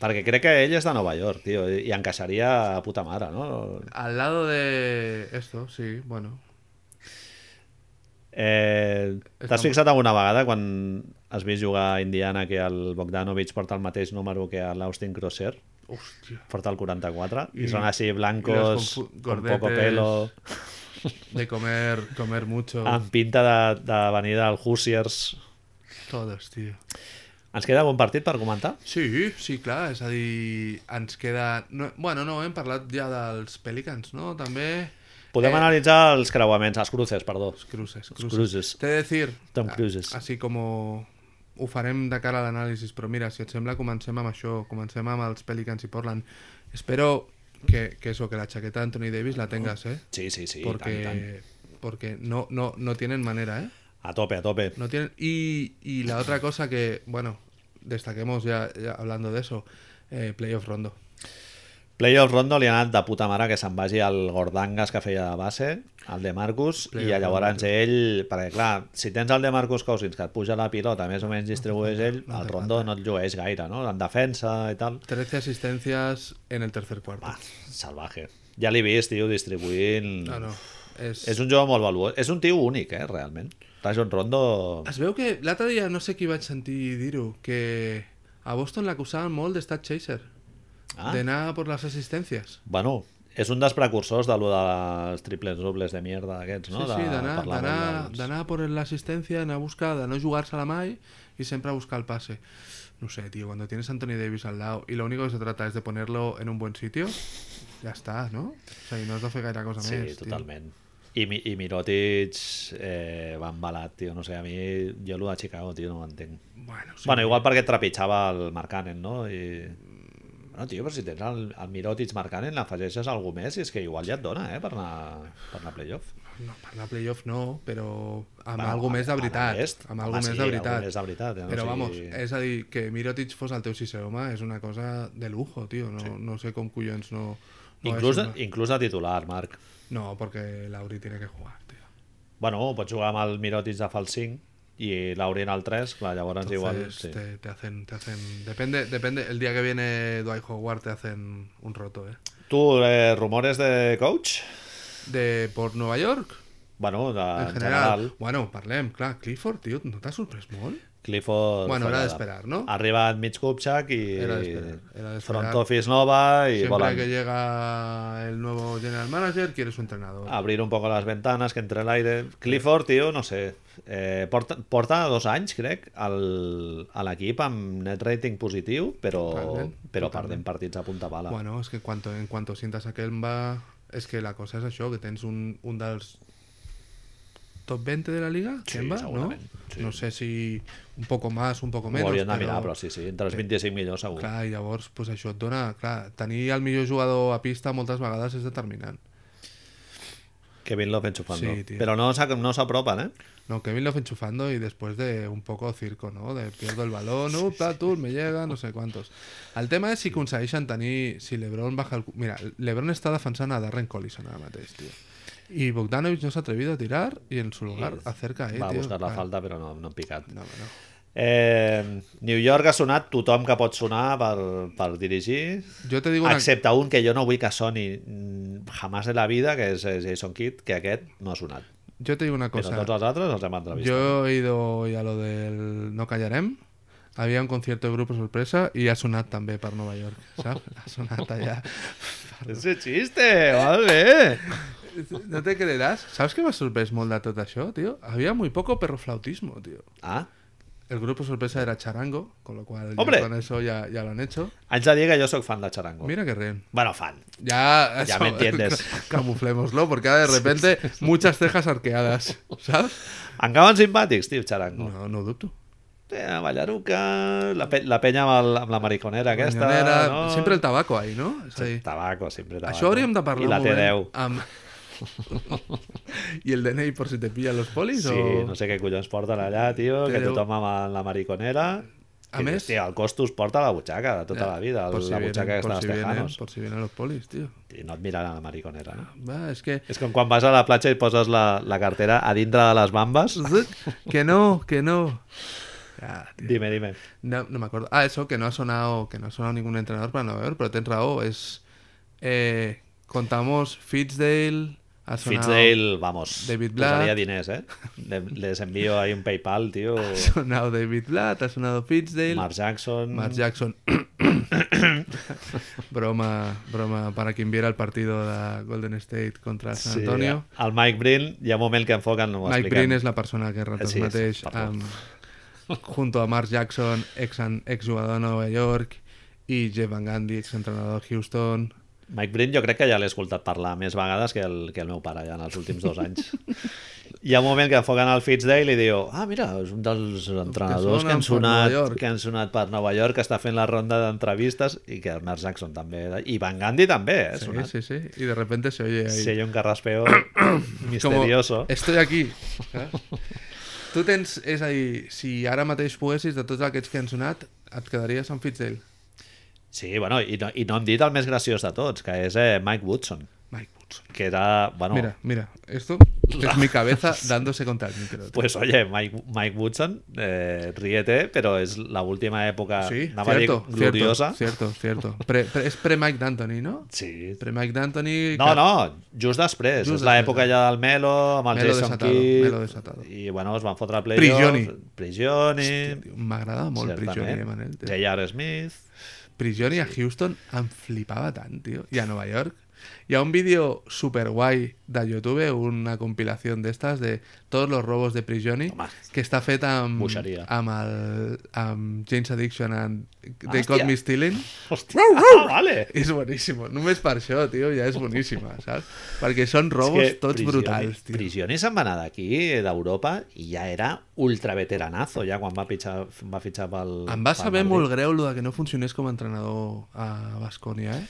S2: Perquè crec que ell és de Nova York, tio, i i encaixaria a puta mare, no?
S3: Al lado de esto, sí, bueno.
S2: Eh,
S3: Estan-
S2: T'has fixat alguna vegada quan has vist jugar a Indiana que el Bogdanovic porta el mateix número que l'Austin Crosser?
S3: Hostia.
S2: Porta el 44 i,
S3: I-
S2: són així
S3: i
S2: blancos,
S3: los confu-
S2: con
S3: gordetes.
S2: poco pelo,
S3: De comer, comer mucho.
S2: amb pinta de, de venir del Hoosiers.
S3: Todos, tío.
S2: Ens queda algun partit per comentar?
S3: Sí, sí, clar, és a dir, ens queda... No, bueno, no, hem parlat ja dels Pelicans, no? També... Eh.
S2: Podem analitzar els creuaments, els cruces, perdó.
S3: Els Cruces,
S2: Els
S3: Cruces.
S2: cruces.
S3: T'he de dir...
S2: Tom
S3: a-
S2: Cruises.
S3: Així com ho farem de cara a l'anàlisi, però mira, si et sembla, comencem amb això, comencem amb els Pelicans i Portland. Espero que, que eso, que la chaqueta d'Anthony Davis la tengas, eh?
S2: Sí, sí, sí,
S3: porque,
S2: Porque... tant, tant.
S3: porque no, no, no tienen manera, eh?
S2: A tope, a tope.
S3: No tienen... Y, y la otra cosa que, bueno, destaquemos ya, ya hablando de eso, eh, playoff rondo.
S2: Playoff Rondo li ha anat de puta mare que se'n vagi al Gordangas que feia de base, el de Marcus, i
S3: Playoff
S2: llavors ell, perquè clar, si tens el de Marcus Cousins que et puja la pilota, més o menys distribueix ell, el Rondo no et llueix gaire, no? En defensa i tal.
S3: 13 asistencias en el tercer cuarto.
S2: Ah, salvaje. Ja l'he vist, tio, distribuint...
S3: No, no. Es,
S2: És un jove molt valuós. És un tio únic, eh, realment. Rajon Rondo...
S3: Es veu que l'altre dia, no sé qui vaig sentir dir-ho, que a Boston l'acusaven molt de stat chaser,
S2: Ah.
S3: de nada por las asistencias.
S2: Bueno, és un dels precursors de lo dels triples dobles de mierda aquests, no?
S3: sí, sí, d'anar
S2: per la doncs.
S3: d'anar-
S2: bola dels-
S3: d'anar por l'assistència, anar a buscar, de no jugar-se-la mai i sempre a buscar el passe. No sé, tío, cuando tienes a Anthony Davis al lado y lo único que se trata es de ponerlo en un buen sitio, ya está, ¿no? O sea, y no has de fer gaire cosa
S2: Sí,
S3: més, tio.
S2: totalment. I, Mi- i Mirotic eh, va embalat, tio. No sé, a mi... Jo el de Chicago, tio, no ho entenc. Sí.
S3: Bueno, sí.
S2: Bueno, igual perquè trepitjava el Marcanen, no? I... No, tio, però si tens el, el Mirotic Marcanen, l'afegeixes a algú més i és que igual ja et dona, eh, per anar, per anar a playoff.
S3: No, parlar playoff no, però amb
S2: Bueno,
S3: algo més de
S2: a- a
S3: veritat.
S2: l'est,
S3: Amb
S2: home,
S3: algo
S2: sí,
S3: més de
S2: algú
S3: veritat.
S2: més de veritat, ja no
S3: però
S2: sigui-
S3: vamos, és a dir, que Mirotic fos el teu sisè home és una cosa de lujo, tio. No, no sé com collons no... no
S2: inclús,
S3: és una-
S2: inclús de titular, Marc.
S3: No, perquè Lauri tiene que jugar, tio.
S2: Bueno, pots jugar amb el Mirotic de fals 5 i l'Aurien al 3, clar, llavors Pues igual...
S3: Entonces,
S2: Sí.
S3: te, te hacen, te hacen... Depende, depende, el día que viene Dwight Howard te hacen un roto, ¿eh?
S2: Tu, eh, rumores de coach?
S3: De, por Nueva York,
S2: Bueno,
S3: en,
S2: de, Ah, en
S3: general.
S2: general...
S3: Bueno, parlem, clar, Clifford, tio, no t'ha sorprès molt?
S2: Clifford...
S3: Bueno, era
S2: fallada.
S3: d'esperar, no?
S2: Ha arribat mig Kupchak i
S3: Era d'esperar, era d'esperar.
S2: front office nova i
S3: Siempre
S2: volen
S3: que llega el nuevo general manager, quieres un entrenador.
S2: abrir un poco las ventanas, que entre el aire... Clifford, tio, no sé, eh, porta, porta dos anys, crec, al, a l'equip amb net rating positiu, però,
S3: Totalment,
S2: però
S3: totalment.
S2: perdent partits a punta pala.
S3: Bueno, és que cuanto, en cuanto sientas a Kemba, és que la cosa és això, que tens un, un dels top 20 de la liga,
S2: Sí,
S3: Kemba, no?
S2: segurament,
S3: No sé si un poco más, un poco
S2: Ho
S3: menys.
S2: hauríem de mirar, però sí, sí, entre els 25 millors segur.
S3: Clar, i llavors pues, això et dona... Clar, tenir el millor jugador a pista moltes vegades és determinant.
S2: Kevin Love enchufando.
S3: Sí, tío.
S2: Pero no, sa- no se apropan, ¿eh?
S3: No, Kevin Love enchufando y después de un poco circo, ¿no? De pierdo el balón, no, tú, me llega, no sé cuántos. El tema és si aconsegueixen tenir... Si LeBron baja el... cu- Mira, LeBron està defensant a Darren Collison ara mateix, tio. I Bogdanovic no s'ha atrevit a tirar i en su lugar acerca a ell,
S2: Va a
S3: tio.
S2: buscar la
S3: Ah,
S2: falta, però no, no han picat.
S3: No, no.
S2: Eh, New York ha sonat tothom que pot sonar per, per dirigir,
S3: Jo te digo una...
S2: excepte un que jo no vull que soni mm, jamás de la vida, que és eh, Jason Kidd, que aquest no ha sonat.
S3: Jo te digo una cosa.
S2: Però tots els altres els hem entrevistat. *laughs*
S3: Yo he ido hoy a lo del No Callarem. Había un concierto de grupo sorpresa y ha sonat també per Nova York, *laughs* saps? Ha sonat allà.
S2: Ese chiste, vale.
S3: No te creeràs? Saps què m'ha sorprès molt de tot això, tio? Havia muy poco perroflautismo, tio.
S2: Ah,
S3: El grupo sorpresa era Charango, con lo cual ya
S2: Hombre.
S3: con eso ya, ya lo han hecho.
S2: haig de dir que jo sóc fan de Charango.
S3: Mira que reen.
S2: Bueno, fan.
S3: Ya,
S2: Ya
S3: *laughs*
S2: me entiendes.
S3: Camuflémoslo, porque
S2: *laughs*
S3: ahora de repente muchas cejas arqueadas, ¿sabes?
S2: Encara simpàtics, tio, Charango.
S3: No, no ho dubto.
S2: Eh, Ballaruca, la, pe la penya amb, el, amb la mariconera aquesta.
S3: Mañanera,
S2: no?
S3: Siempre el tabaco ahí, ¿no? És a dir,
S2: Tabaco, sempre tabaco.
S3: Això hauríem de parlar eh?
S2: I la
S3: un moment
S2: T10.
S3: amb... *laughs* I el DNI per si te pillen los polis?
S2: Sí,
S3: o...
S2: no sé què collons porten allà, tio, que
S3: T10.
S2: tothom amb la mariconera...
S3: A
S2: Que,
S3: més-
S2: Tio, el costos porta a la butxaca de tota la vida,
S3: Eh, Por si
S2: la butxaca que
S3: vienen,
S2: està
S3: por si
S2: als tejanos.
S3: vienen, por si vienen los polis, tío.
S2: I no et miren a la mariconera, no?
S3: Va, es que...
S2: És com quan vas a la platja i poses la, la cartera a dintre de les bambes.
S3: Que no, que no. Ya, tío.
S2: Dime, dime.
S3: No, no me acuerdo. Ah, eso, que no ha sonado, que no ha sonado ningún entrenador para Nueva York, pero ten Rao es... eh, contamos Fitzdale, ha sonado...
S2: Fitzdale, vamos,
S3: David Blatt.
S2: posaria diners, eh? Le- Les envío ahí un Paypal, tio.
S3: *laughs* Ha sonado David Blatt, ha sonado Fitzdale...
S2: Mark Jackson.
S3: Mark Jackson. broma, broma para quien viera el partido de Golden State contra San Antonio.
S2: Sí, el Mike Brin, hi ha un moment que enfoquen, no ho
S3: Mike
S2: expliquem.
S3: Breen es la persona que ratos
S2: Sí, sí,
S3: mateix,
S2: perdó.
S3: amb- junto a Mark Jackson, ex, ex jugador de Nueva York, y Jeff Van Gundy, ex entrenador de Houston.
S2: Mike Brin jo crec que ja l'he escoltat parlar més vegades que el, que el meu pare ja en els últims dos
S3: *laughs*
S2: anys. Hi ha un moment que enfoquen el Fitzdale i diu ah, mira, és un dels entrenadors que,
S3: sonen
S2: han
S3: per
S2: sonat,
S3: Nova York."
S2: que han sonat per Nova York, que està fent la ronda d'entrevistes i que el Mark Jackson també, i Van Gandhi també, eh,
S3: Sí,
S2: sonat. Sí,
S3: sí, sí. Y de repente se oye ahí.
S2: sí. Si hi ha un
S3: *coughs*
S2: carraspeo misterioso.
S3: Como, estoy aquí. saps?
S2: *laughs*
S3: Tu tens, és a dir, si ara mateix poguessis, de tots aquests que han sonat, et quedaries amb Fitzdale.
S2: Sí, bueno, i no, i no hem dit el més graciós de tots, que és eh, Mike Woodson,
S3: Mike Woodson.
S2: que era, bueno,
S3: Mira, mira,
S2: *laughs*
S3: esto es mi cabeza dándose contra el micro. tío.
S2: Pues oye, Mike, Mike Woodson, eh, ríete, pero es la última época
S3: sí,
S2: anava a dir
S3: cierto,
S2: ah, gloriosa.
S3: cierto, cierto, cierto. Pre- pre- es pre-Mike D'Antoni, ¿no?
S2: Sí.
S3: Pre-Mike D'Antoni...
S2: No, no, just després.
S3: Just
S2: Just és
S3: després,
S2: la
S3: eh.
S2: època ja del Melo, amb el
S3: Melo
S2: Jason
S3: desatado,
S2: Kidd.
S3: Melo desatado.
S2: I bueno, es van fotre a playoff.
S3: Prigioni.
S2: Prigioni.
S3: M'agrada molt
S2: certament.
S3: Prigioni, eh, Manel. tio.
S2: J.R. Smith.
S3: Prigioni a Houston em flipava tant, tio. I a Nova York. Hi ha un vídeo super guai de YouTube, una compilación de estas de todos los robos de Prigioni,
S2: Home.
S3: que està fet amb,
S2: Boixeria.
S3: amb, el, amb James Addiction and They
S2: Hòstia.
S3: Caught Me Stealing.
S2: Hòstia, ah, vale.
S3: És boníssim. Només per això, tio, ja és boníssima, saps? Perquè són robos
S2: És que
S3: tots
S2: Prigioni-
S3: brutals, tio.
S2: Prigioni se'n va anar d'aquí, d'Europa, i ja era ultraveteranazo, ja quan va pitjar, va fitxar pel...
S3: Em va
S2: pel
S3: saber
S2: Madrid.
S3: molt greu lo de que no funcionés com a entrenador a Bascònia, eh?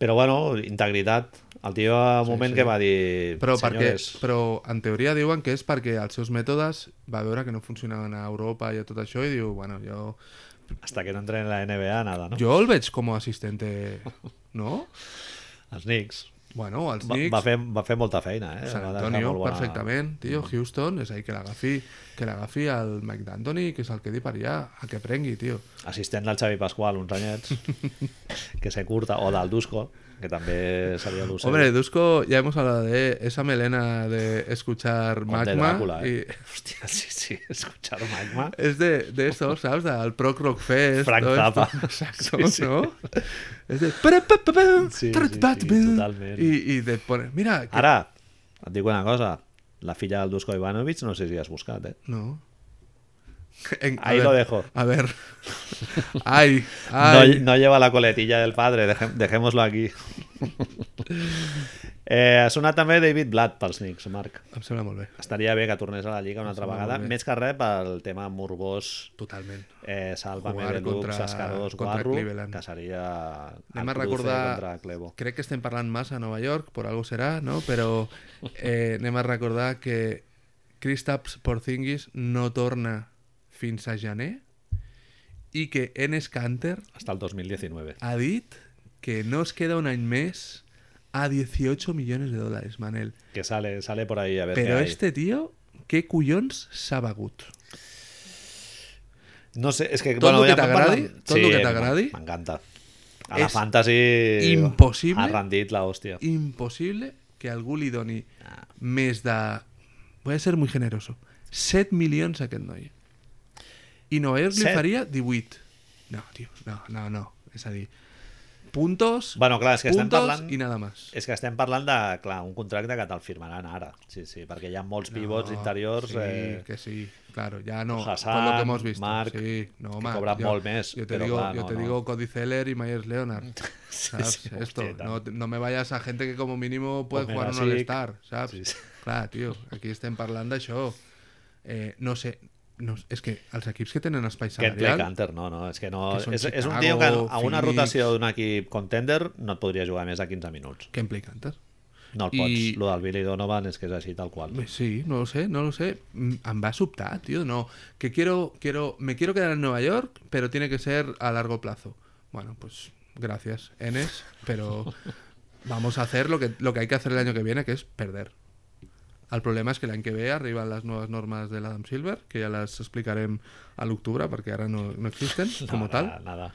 S2: Però bueno, integritat. El tio, al
S3: sí.
S2: moment sí. que va dir...
S3: Però, perquè,
S2: "Senyores,
S3: però en teoria diuen que és perquè els seus mètodes va veure que no funcionaven a Europa i a tot això i diu, bueno, jo...
S2: Hasta que no entren en la NBA, nada, no? Jo...
S3: Jo el veig com a assistente, no?
S2: Els Knicks.
S3: Bueno, els
S2: Va,
S3: Knicks,
S2: va, fer, va fer molta feina, eh?
S3: San
S2: Va deixar
S3: Antonio,
S2: molt bona- Mm.
S3: perfectament, tio, Houston, és a dir, que l'agafi que l'agafi el Mike D'Antoni, que se'l quedi per allà, a que prengui, tio.
S2: Assistent del Xavi Pasqual, uns
S3: *laughs*
S2: anyets, que se curta, o del Dusko, que també seria l'ús.
S3: Hombre, Dusko, ya hemos hablado de esa melena de escuchar
S2: de
S3: Magma.
S2: Drácula, eh?
S3: y
S2: Hòstia, *laughs* sí, sí, escuchar Magma.
S3: es de, de eso, ¿sabes? Al Proc Rock Fest.
S2: Frank
S3: todo esto.
S2: Zappa.
S3: *laughs* Exacto,
S2: Sí, sí.
S3: ¿no? Es de. "Para, pa, pa, pa,
S2: Sí,
S3: tru,
S2: sí,
S3: pa,
S2: sí,
S3: pa".
S2: totalmente.
S3: Y, y de poner. Mira. que-
S2: Ara, et dic una cosa, la filla del Dusko Ivanovic, no sé si has buscat, eh?
S3: No. *laughs* En- a
S2: Ahí
S3: ver,
S2: lo dejo.
S3: A ver. *laughs* Ay,
S2: No,
S3: ay. *laughs*
S2: no lleva la coletilla del padre, deje- dejémoslo aquí. Eh, ha sonat també David Blatt pels Knicks, Marc.
S3: Em sembla molt bé.
S2: Estaria bé que tornés a la Lliga una altra
S3: sembla
S2: vegada,
S3: molt bé.
S2: més que res pel tema morbós
S3: Totalment.
S2: eh, Salvame
S3: Jugar
S2: de Lux,
S3: contra-
S2: Escarós,
S3: contra
S2: Guarro,
S3: Cleveland.
S2: que seria
S3: Anem a
S2: el cruce
S3: recordar-
S2: contra Clevo.
S3: Crec que estem parlant massa a Nova York, per algo serà, no?
S2: *laughs*
S3: Però eh, anem a recordar que Kristaps Porzingis no torna fins a gener i que Enes Kanter
S2: Hasta el 2019.
S3: ha dit que no es queda un any més a 18 millones de dòlars, Manel.
S2: Que sale, sale por ahí a ver
S3: Però
S2: qué hay.
S3: este tio, què collons s'ha begut?
S2: No sé, és que...
S3: Tot lo que
S2: en
S3: t'agradi,
S2: parlem.
S3: tot lo que t'agradi.
S2: M'encanta. A la
S3: És
S2: fantasy...
S3: impossible.
S2: Ha rendit la hòstia.
S3: Impossible que algú li doni més de... Voy a ser muy generoso. 7 milions a aquest noi. I Nova York li
S2: Set?
S3: faria 18. No, tio, no, no, no. És a dir, puntos,
S2: Bueno, clar, és que estem
S3: puntos
S2: parlant-
S3: i nada más.
S2: És que estem parlant de, clar, un contracte que te'l firmaran ara. Sí, sí, perquè hi ha molts pivots interiors...
S3: Sí,
S2: eh,
S3: que sí, claro, ya no.
S2: Hassan,
S3: con lo que hemos visto.
S2: Marc,
S3: sí, no,
S2: que
S3: Marc,
S2: cobran
S3: yo-
S2: molt més,
S3: Yo te
S2: pero
S3: digo,
S2: clar,
S3: yo
S2: no,
S3: te
S2: no.
S3: digo Cody Zeller y Myers Leonard.
S2: *laughs* Sí,
S3: ¿sabes?
S2: sí,
S3: Esto,
S2: hostia,
S3: no, no me vayas a gente que como mínimo puede
S2: Homera
S3: jugar un
S2: Sick.
S3: All-Star, ¿sabes?
S2: Sí, sí.
S3: Clar, tio, aquí estem parlant d'això. Eh, no sé, no, és que els equips que tenen espai
S2: Kent Clay
S3: salarial...
S2: Canter, no, no, és que no...
S3: Que són
S2: És, és un tio
S3: Chicago,
S2: que a una
S3: Phoenix.
S2: rotació d'un equip contender no et podria jugar més a 15 minuts.
S3: Ken Play Canter.
S2: No el
S3: I-
S2: pots. I... Lo del Billy Donovan és que és així tal qual.
S3: Bé, Sí, no lo sé, no lo sé. Mm, Em va sobtar, tío. No, que quiero, quiero, me quiero quedar en Nueva York, pero tiene que ser a largo plazo. Bueno, pues gracias, Enes, pero vamos a hacer lo que, lo que hay que hacer el año que viene, que es perder. El problema és que l'any que ve arriben les noves normes de l'Adam Silver, que ja les explicarem a l'octubre, perquè ara no, no existen com a
S2: Nada,
S3: tal.
S2: Nada.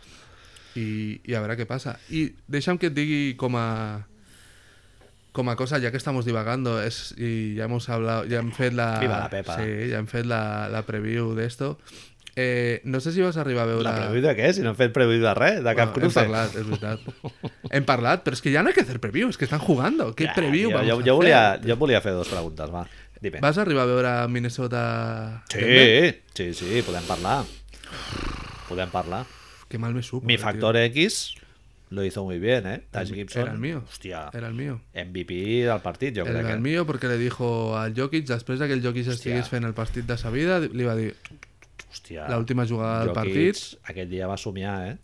S3: I, i a veure què passa. I deixa'm que et digui com a com a cosa, ja que estamos divagando es, i ja hemos hablado, ja hem fet la...
S2: Viva la Pepa.
S3: Sí, ja hem fet la, la preview d'esto. Eh, no sé si vas arribar a veure...
S2: La preview de què? Si no hem fet preview de res, de cap
S3: hem
S2: cruce.
S3: parlat, és veritat. hem parlat, però és que ja no hay que hacer preview, és que estan jugando. Què
S2: Ja,
S3: preview
S2: jo,
S3: vamos
S2: jo,
S3: a
S2: jo,
S3: hacer?
S2: volia, jo volia fer dues preguntes, va. Dime.
S3: Vas arribar a veure Minnesota... Denver?
S2: Sí, sí, sí, podem parlar. Podem parlar.
S3: Que mal me supo.
S2: Mi
S3: eh, tío.
S2: factor X lo hizo muy bien, ¿eh? Taj Gibson.
S3: Era el mío.
S2: Hostia.
S3: Era el mío.
S2: MVP del partit, jo
S3: El,
S2: crec.
S3: el
S2: que...
S3: mío perquè li dijo al Jokic, després de que el Jokic estigués fent el partit de sa vida, li va dir
S2: Hòstia.
S3: l'última jugada del
S2: Jokic,
S3: partit.
S2: Aquest dia va somiar, eh?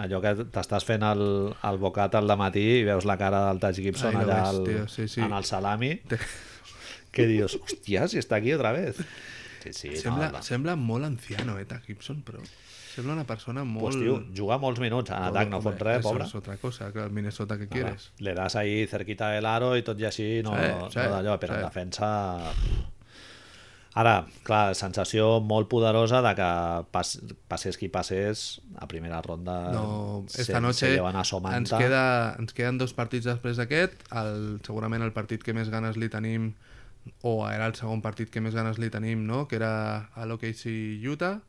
S2: Allò que t'estàs fent el, el bocat al matí i veus la cara del Taj Gibson
S3: Ai, lo
S2: allà
S3: ves,
S2: al,
S3: tio, sí, sí.
S2: en el salami,
S3: Te...
S2: que dius, hòstia, si està aquí otra vez. Sí, sí,
S3: *laughs* Sembla,
S2: no, la-
S3: sembla molt anciano, eh, Taj Gibson, però sembla una persona molt...
S2: Pues, tio, jugar molts minuts en atac no fot
S3: Hombre,
S2: res,
S3: eso
S2: pobre.
S3: es otra cosa, claro, el Minnesota que quieres.
S2: Pues, Le das ahí cerquita del aro i tot i així no,
S3: Sí,
S2: sí,
S3: sí,
S2: no d'allò, però
S3: sí.
S2: en defensa... Ara, clar, sensació molt poderosa de que pas, passés qui passés a primera ronda
S3: No,
S2: eh, se-
S3: esta
S2: se
S3: noche
S2: llevan a
S3: ens,
S2: Somanta.
S3: queda, ens queden dos partits després d'aquest. El, segurament el partit que més ganes li tenim, o era el segon partit que més ganes li tenim, no? que era a l'OKC Utah.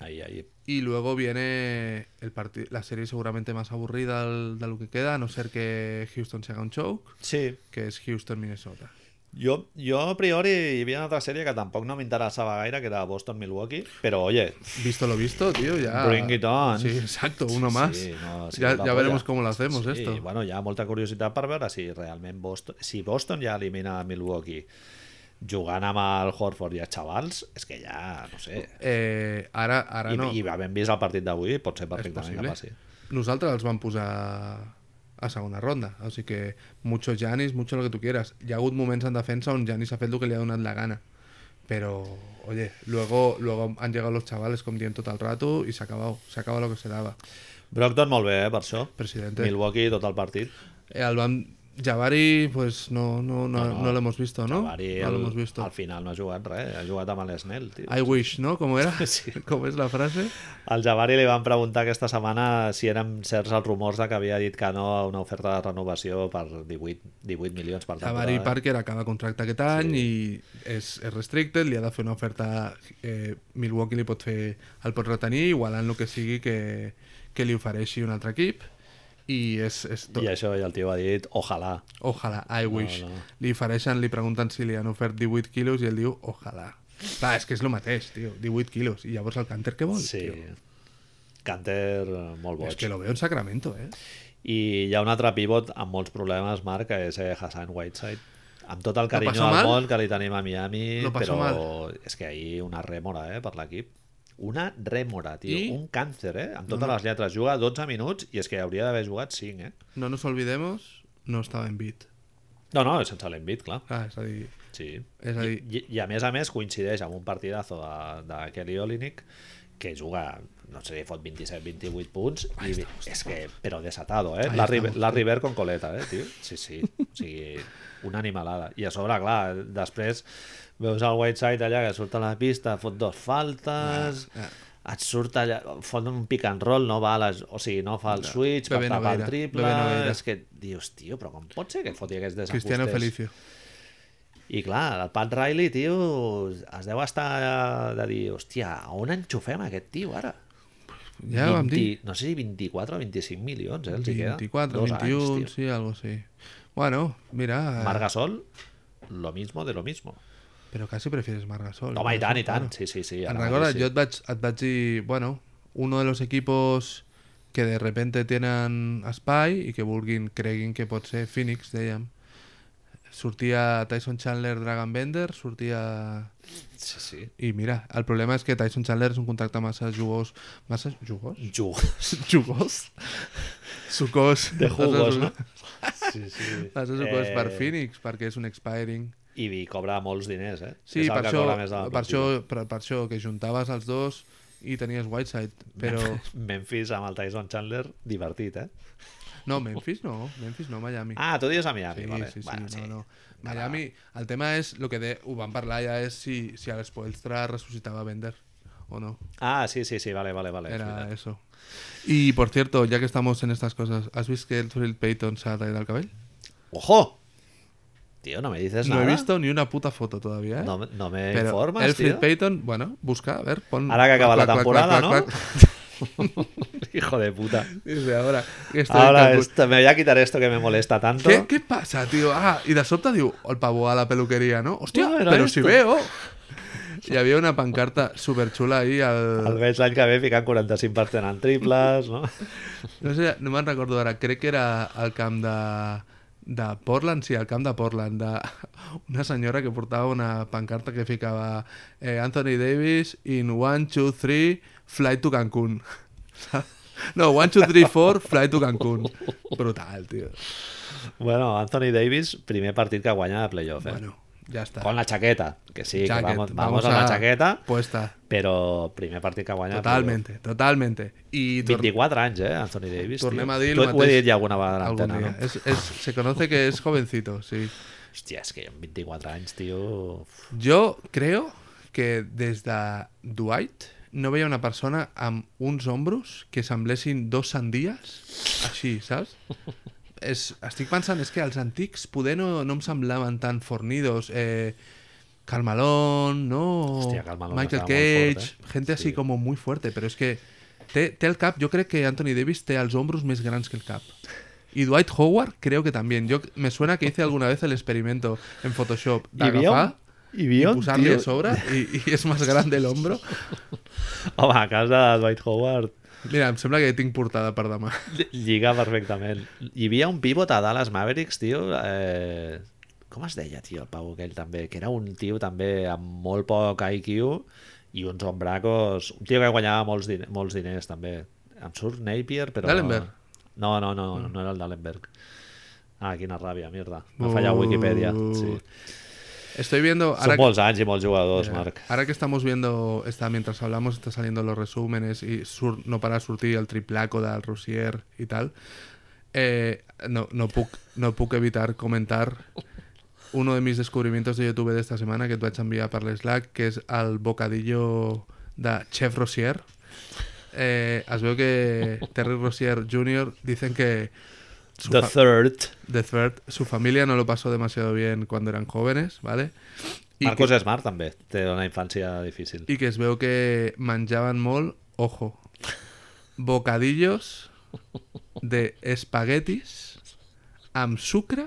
S2: Ahí, ahí.
S3: Y luego viene el parti- la serie seguramente más aburrida al- de lo que queda, a no ser que Houston se haga un choke,
S2: Sí,
S3: que es Houston-Minnesota.
S2: Jo, jo a priori hi havia una altra sèrie que tampoc no m'interessava gaire, que era Boston-Milwaukee, però oye,
S3: Visto lo visto, tío, ya.
S2: Bring it on.
S3: Sí, exacto, uno más.
S2: Sí, no, sí,
S3: ya
S2: la
S3: ya
S2: polla.
S3: veremos cómo lo hacemos
S2: sí,
S3: esto.
S2: Bueno, hi ha molta curiositat per veure si realment Boston, si Boston ja elimina Milwaukee jugant amb el Horford i els xavals, és que ja, no sé,
S3: Eh, ara, ara
S2: i,
S3: no.
S2: i havent vist el partit d'avui pot ser
S3: és
S2: perfectament que
S3: possible.
S2: passi.
S3: Nosaltres els vam posar a segona ronda, o sigui que mucho Janis, mucho lo que tú quieras. Hi ha hagut moments en defensa on Janis ha fet el que li ha donat la gana. Però, oye, luego, luego han llegado los chavales com dient tot el rato i s'ha acabat, s'ha acabat lo que se daba.
S2: Brockton molt bé, eh, per això.
S3: Presidente.
S2: Milwaukee tot el partit.
S3: Eh, al Bam Jabari, pues no, no, no, no, lo hemos visto, ¿no?
S2: Jabari
S3: no lo
S2: al-
S3: hemos visto.
S2: al final no ha jugat res, ha jugat amb l'Snell, tio.
S3: I wish, ¿no? ¿Cómo era?
S2: *laughs* Sí.
S3: ¿Cómo es la frase?
S2: Al Jabari li van preguntar aquesta setmana si eren certs els rumors de que havia dit que no a una oferta de renovació per 18, 18 milions per temporada.
S3: Jabari Parker acaba contracte aquest any i és, és restricted, li ha de fer una oferta eh, Milwaukee li pot fer el pot retenir, igualant el que sigui que, que li ofereixi un altre equip i és, és tot.
S2: I això, i el tio ha dit, ojalà.
S3: Ojalà, I wish.
S2: no.
S3: Li ofereixen, li pregunten si li han ofert 18 quilos i ell diu, ojalà. Clar, és que és el mateix, tio, 18 quilos. I llavors el Canter què vol,
S2: Sí.
S3: tio?
S2: Canter, eh, molt boig.
S3: És que lo veo en Sacramento, eh?
S2: I hi ha un altre pivot amb molts problemes, Marc, que és eh, Hassan Whiteside. Amb tot el carinyo
S3: pasó
S2: del
S3: mal?
S2: món que li tenim a Miami,
S3: Lo pasó
S2: però
S3: mal.
S2: és que ahir una rèmora eh, per l'equip. Una rèmora, tio.
S3: I? Mm.
S2: Un càncer, eh? Amb totes les lletres. Juga 12 minuts i és que hauria d'haver jugat 5, eh?
S3: No nos olvidemos, no estava en bit.
S2: No, no, sense l'envit, clar.
S3: Ah, és a dir,
S2: Sí.
S3: és a dir
S2: I, I a més a més coincideix amb un partidazo de, de Kelly Olynyk que juga, no sé, fot 27-28 punts i és que, però desatado, eh?
S3: Ahí
S2: Larry,
S3: estamos.
S2: Larry Bird con coleta, eh, tio? Sí, sí, o sigui, una animalada. I a sobre, clar, després veus el Whiteside allà que surt a la pista, fot dos faltes,
S3: Ah,
S2: et surt allà, fot un pick and roll, no va a les, o sigui, no fa el switch, per
S3: Bebe
S2: tapar el
S3: Nogueira,
S2: triple,
S3: Bebe Nogueira.
S2: és que dius, tio, però com pot ser que foti aquests desajustes?
S3: Cristiano Felicio.
S2: I clar, el Pat Riley, tio, es deu estar eh, de dir, hòstia, a on enxufem aquest tio ara?
S3: Ja vam dir
S2: No sé si 24 o 25 milions, eh, els hi queda.
S3: 24,
S2: Dos
S3: 21,
S2: Anys,
S3: sí, algo así. Bueno, mira,
S2: tio. Marc Gasol, lo mismo de lo mismo.
S3: però quasi prefieres Margasol.
S2: Home, i tant, i tant. Sí, sí, sí.
S3: En
S2: ara
S3: recorda,
S2: mateix
S3: yo et vaig- et vaig dir, bueno, uno de los equipos que de repente tienen espai y que vulguin, creguin que pot ser Phoenix, dèiem. Sortia Tyson Chandler, Dragon Bender, sortia...
S2: Sí, sí.
S3: I mira, el problema és que Tyson Chandler és un contracte massa jugós... Massa jugós? *laughs*
S2: sí. Jug... *laughs*
S3: Jugós? Sucós.
S2: De jugos, no?
S3: Massa
S2: Sí, sí.
S3: Massa sucós per
S2: Eh,
S3: Phoenix, perquè és un expiring.
S2: I vi cobra molts diners, eh?
S3: Sí,
S2: És el
S3: per
S2: que
S3: això,
S2: cobra més de la
S3: per, això,
S2: plantilla.
S3: per, per això, que juntaves els dos i tenies Whiteside, però...
S2: *laughs* Memphis amb el Tyson Chandler, divertit, eh?
S3: No, Memphis no, Memphis no, Miami.
S2: Ah, tu dius a Miami,
S3: sí,
S2: vale.
S3: sí, sí,
S2: bueno, sí.
S3: no, no. Miami, el tema és, lo que de, ho vam parlar ja, és si, si el Spoelstra ressuscitava Bender o no.
S2: Ah, sí, sí, sí, vale, vale, vale. és veritat.
S3: Era eso. Y, por cierto, ya que estamos en estas cosas, ¿has visto que el Phil Payton se ha traído el cabello?
S2: ¡Ojo! Tío, no me dices
S3: No
S2: Pues nada.
S3: he visto ni una puta foto todavía, ¿eh?
S2: No, me- no me
S3: Pero
S2: informas,
S3: Elfrid
S2: tío.
S3: Payton, bueno, busca, a ver, pon...
S2: Ahora que acaba la
S3: clac, clac,
S2: temporada,
S3: clac,
S2: ¿no?
S3: clac, clac.
S2: *laughs* Hijo de puta.
S3: Dice, ahora... que *laughs* estoy
S2: Ahora
S3: en Cancún.
S2: esto- me voy a quitar esto que me molesta tanto.
S3: ¿Qué, ¿Qué pasa, tío? Ah, y de sobte diu, el pavo a la peluquería, ¿no? Hostia,
S2: No, era
S3: pero si
S2: esto.
S3: veo... Y había una pancarta súper chula ahí al...
S2: El veig l'any que ve ficant 45% en triples,
S3: *laughs*
S2: no?
S3: No sé, no me'n recordo ara, crec que era al camp de, de Portland, sí, al camp de Portland, de *laughs* una senyora que portava una pancarta que ficava eh, Anthony Davis in 1, 2, 3, fly to Cancún. *laughs* No, 1, 2, 3, 4, fly to
S2: *laughs*
S3: Cancún. Brutal, tio.
S2: Bueno, Anthony Davis, primer partit que guanya de playoff, eh?
S3: Bueno, ja està.
S2: Con la chaqueta, que sí, que
S3: Jacket,
S2: vamos, vamos a la chaqueta, pues
S3: Puesta.
S2: però primer partit que guanya de
S3: Totalmente, totalmente. I
S2: playoff.
S3: tor-
S2: 24 anys, eh, Anthony Davis.
S3: Tornem
S2: tio.
S3: a dir el
S2: T'ho he- Ho he
S3: mateix
S2: dit ja alguna vegada a
S3: algun
S2: l'antena,
S3: dia.
S2: no?
S3: És, és, se conoce que es jovencito, sí.
S2: Hòstia, és que amb 24 anys, tio...
S3: Yo creo que des de Dwight no veia una persona amb uns ombros que semblessin dos sandies, així, saps? És, estic pensant, és que els antics poder no, no em semblaven tan fornidos. Eh, Carmelón, no...
S2: Hòstia, Karl Malone
S3: Michael
S2: estava
S3: Cage,
S2: molt fort, eh?
S3: gente así
S2: Sí.
S3: como muy fuerte, pero es que té, té el cap, jo crec que Anthony Davis té els ombros més grans que el cap. Y Dwight Howard creo que también. Yo me suena que hice alguna vez el experimento en Photoshop de
S2: Hi havia un-
S3: agafar
S2: hi
S3: y
S2: havia un
S3: posarle
S2: tio-
S3: sobra y, y es más grande el hombro.
S2: Home, a cas de Dwight Howard
S3: Mira, em sembla que tinc portada per demà.
S2: lli- lliga perfectament. Hi havia un pivot a Dallas Mavericks, tio, eh... Com es deia, tio, el Pau aquell també? Que era un tio també amb molt poc IQ i uns ombracos... Un tio que guanyava molts, din molts diners, també. Em surt Napier, però...
S3: Dallenberg?
S2: No, no, no, no, no era el Dallenberg. Ah, quina ràbia, mierda. M'ha fallat Wikipedia. Sí.
S3: Estoy viendo...
S2: Són
S3: Ahora, que-
S2: molts anys i molts jugadors, Marc.
S3: ahora que estamos viendo, está, mientras hablamos, está saliendo los resúmenes y sur- no para de sortir el triplaco del Rosier y tal. Eh, no, no, puc, no puc evitar comentar uno de mis descubrimientos de YouTube de esta semana que tú has enviado para el Slack, que es al bocadillo de Chef Rosier. Eh, es veu que Terry Rosier Jr. dicen que su
S2: The
S3: fa-
S2: Third.
S3: The Third, su familia no lo pasó demasiado bien cuando eran jóvenes, ¿vale? Y que-
S2: Marcos Smart també té una infància difícil.
S3: y que es veo que manchaban mol, ojo, bocadillos de espaguetis amb sucre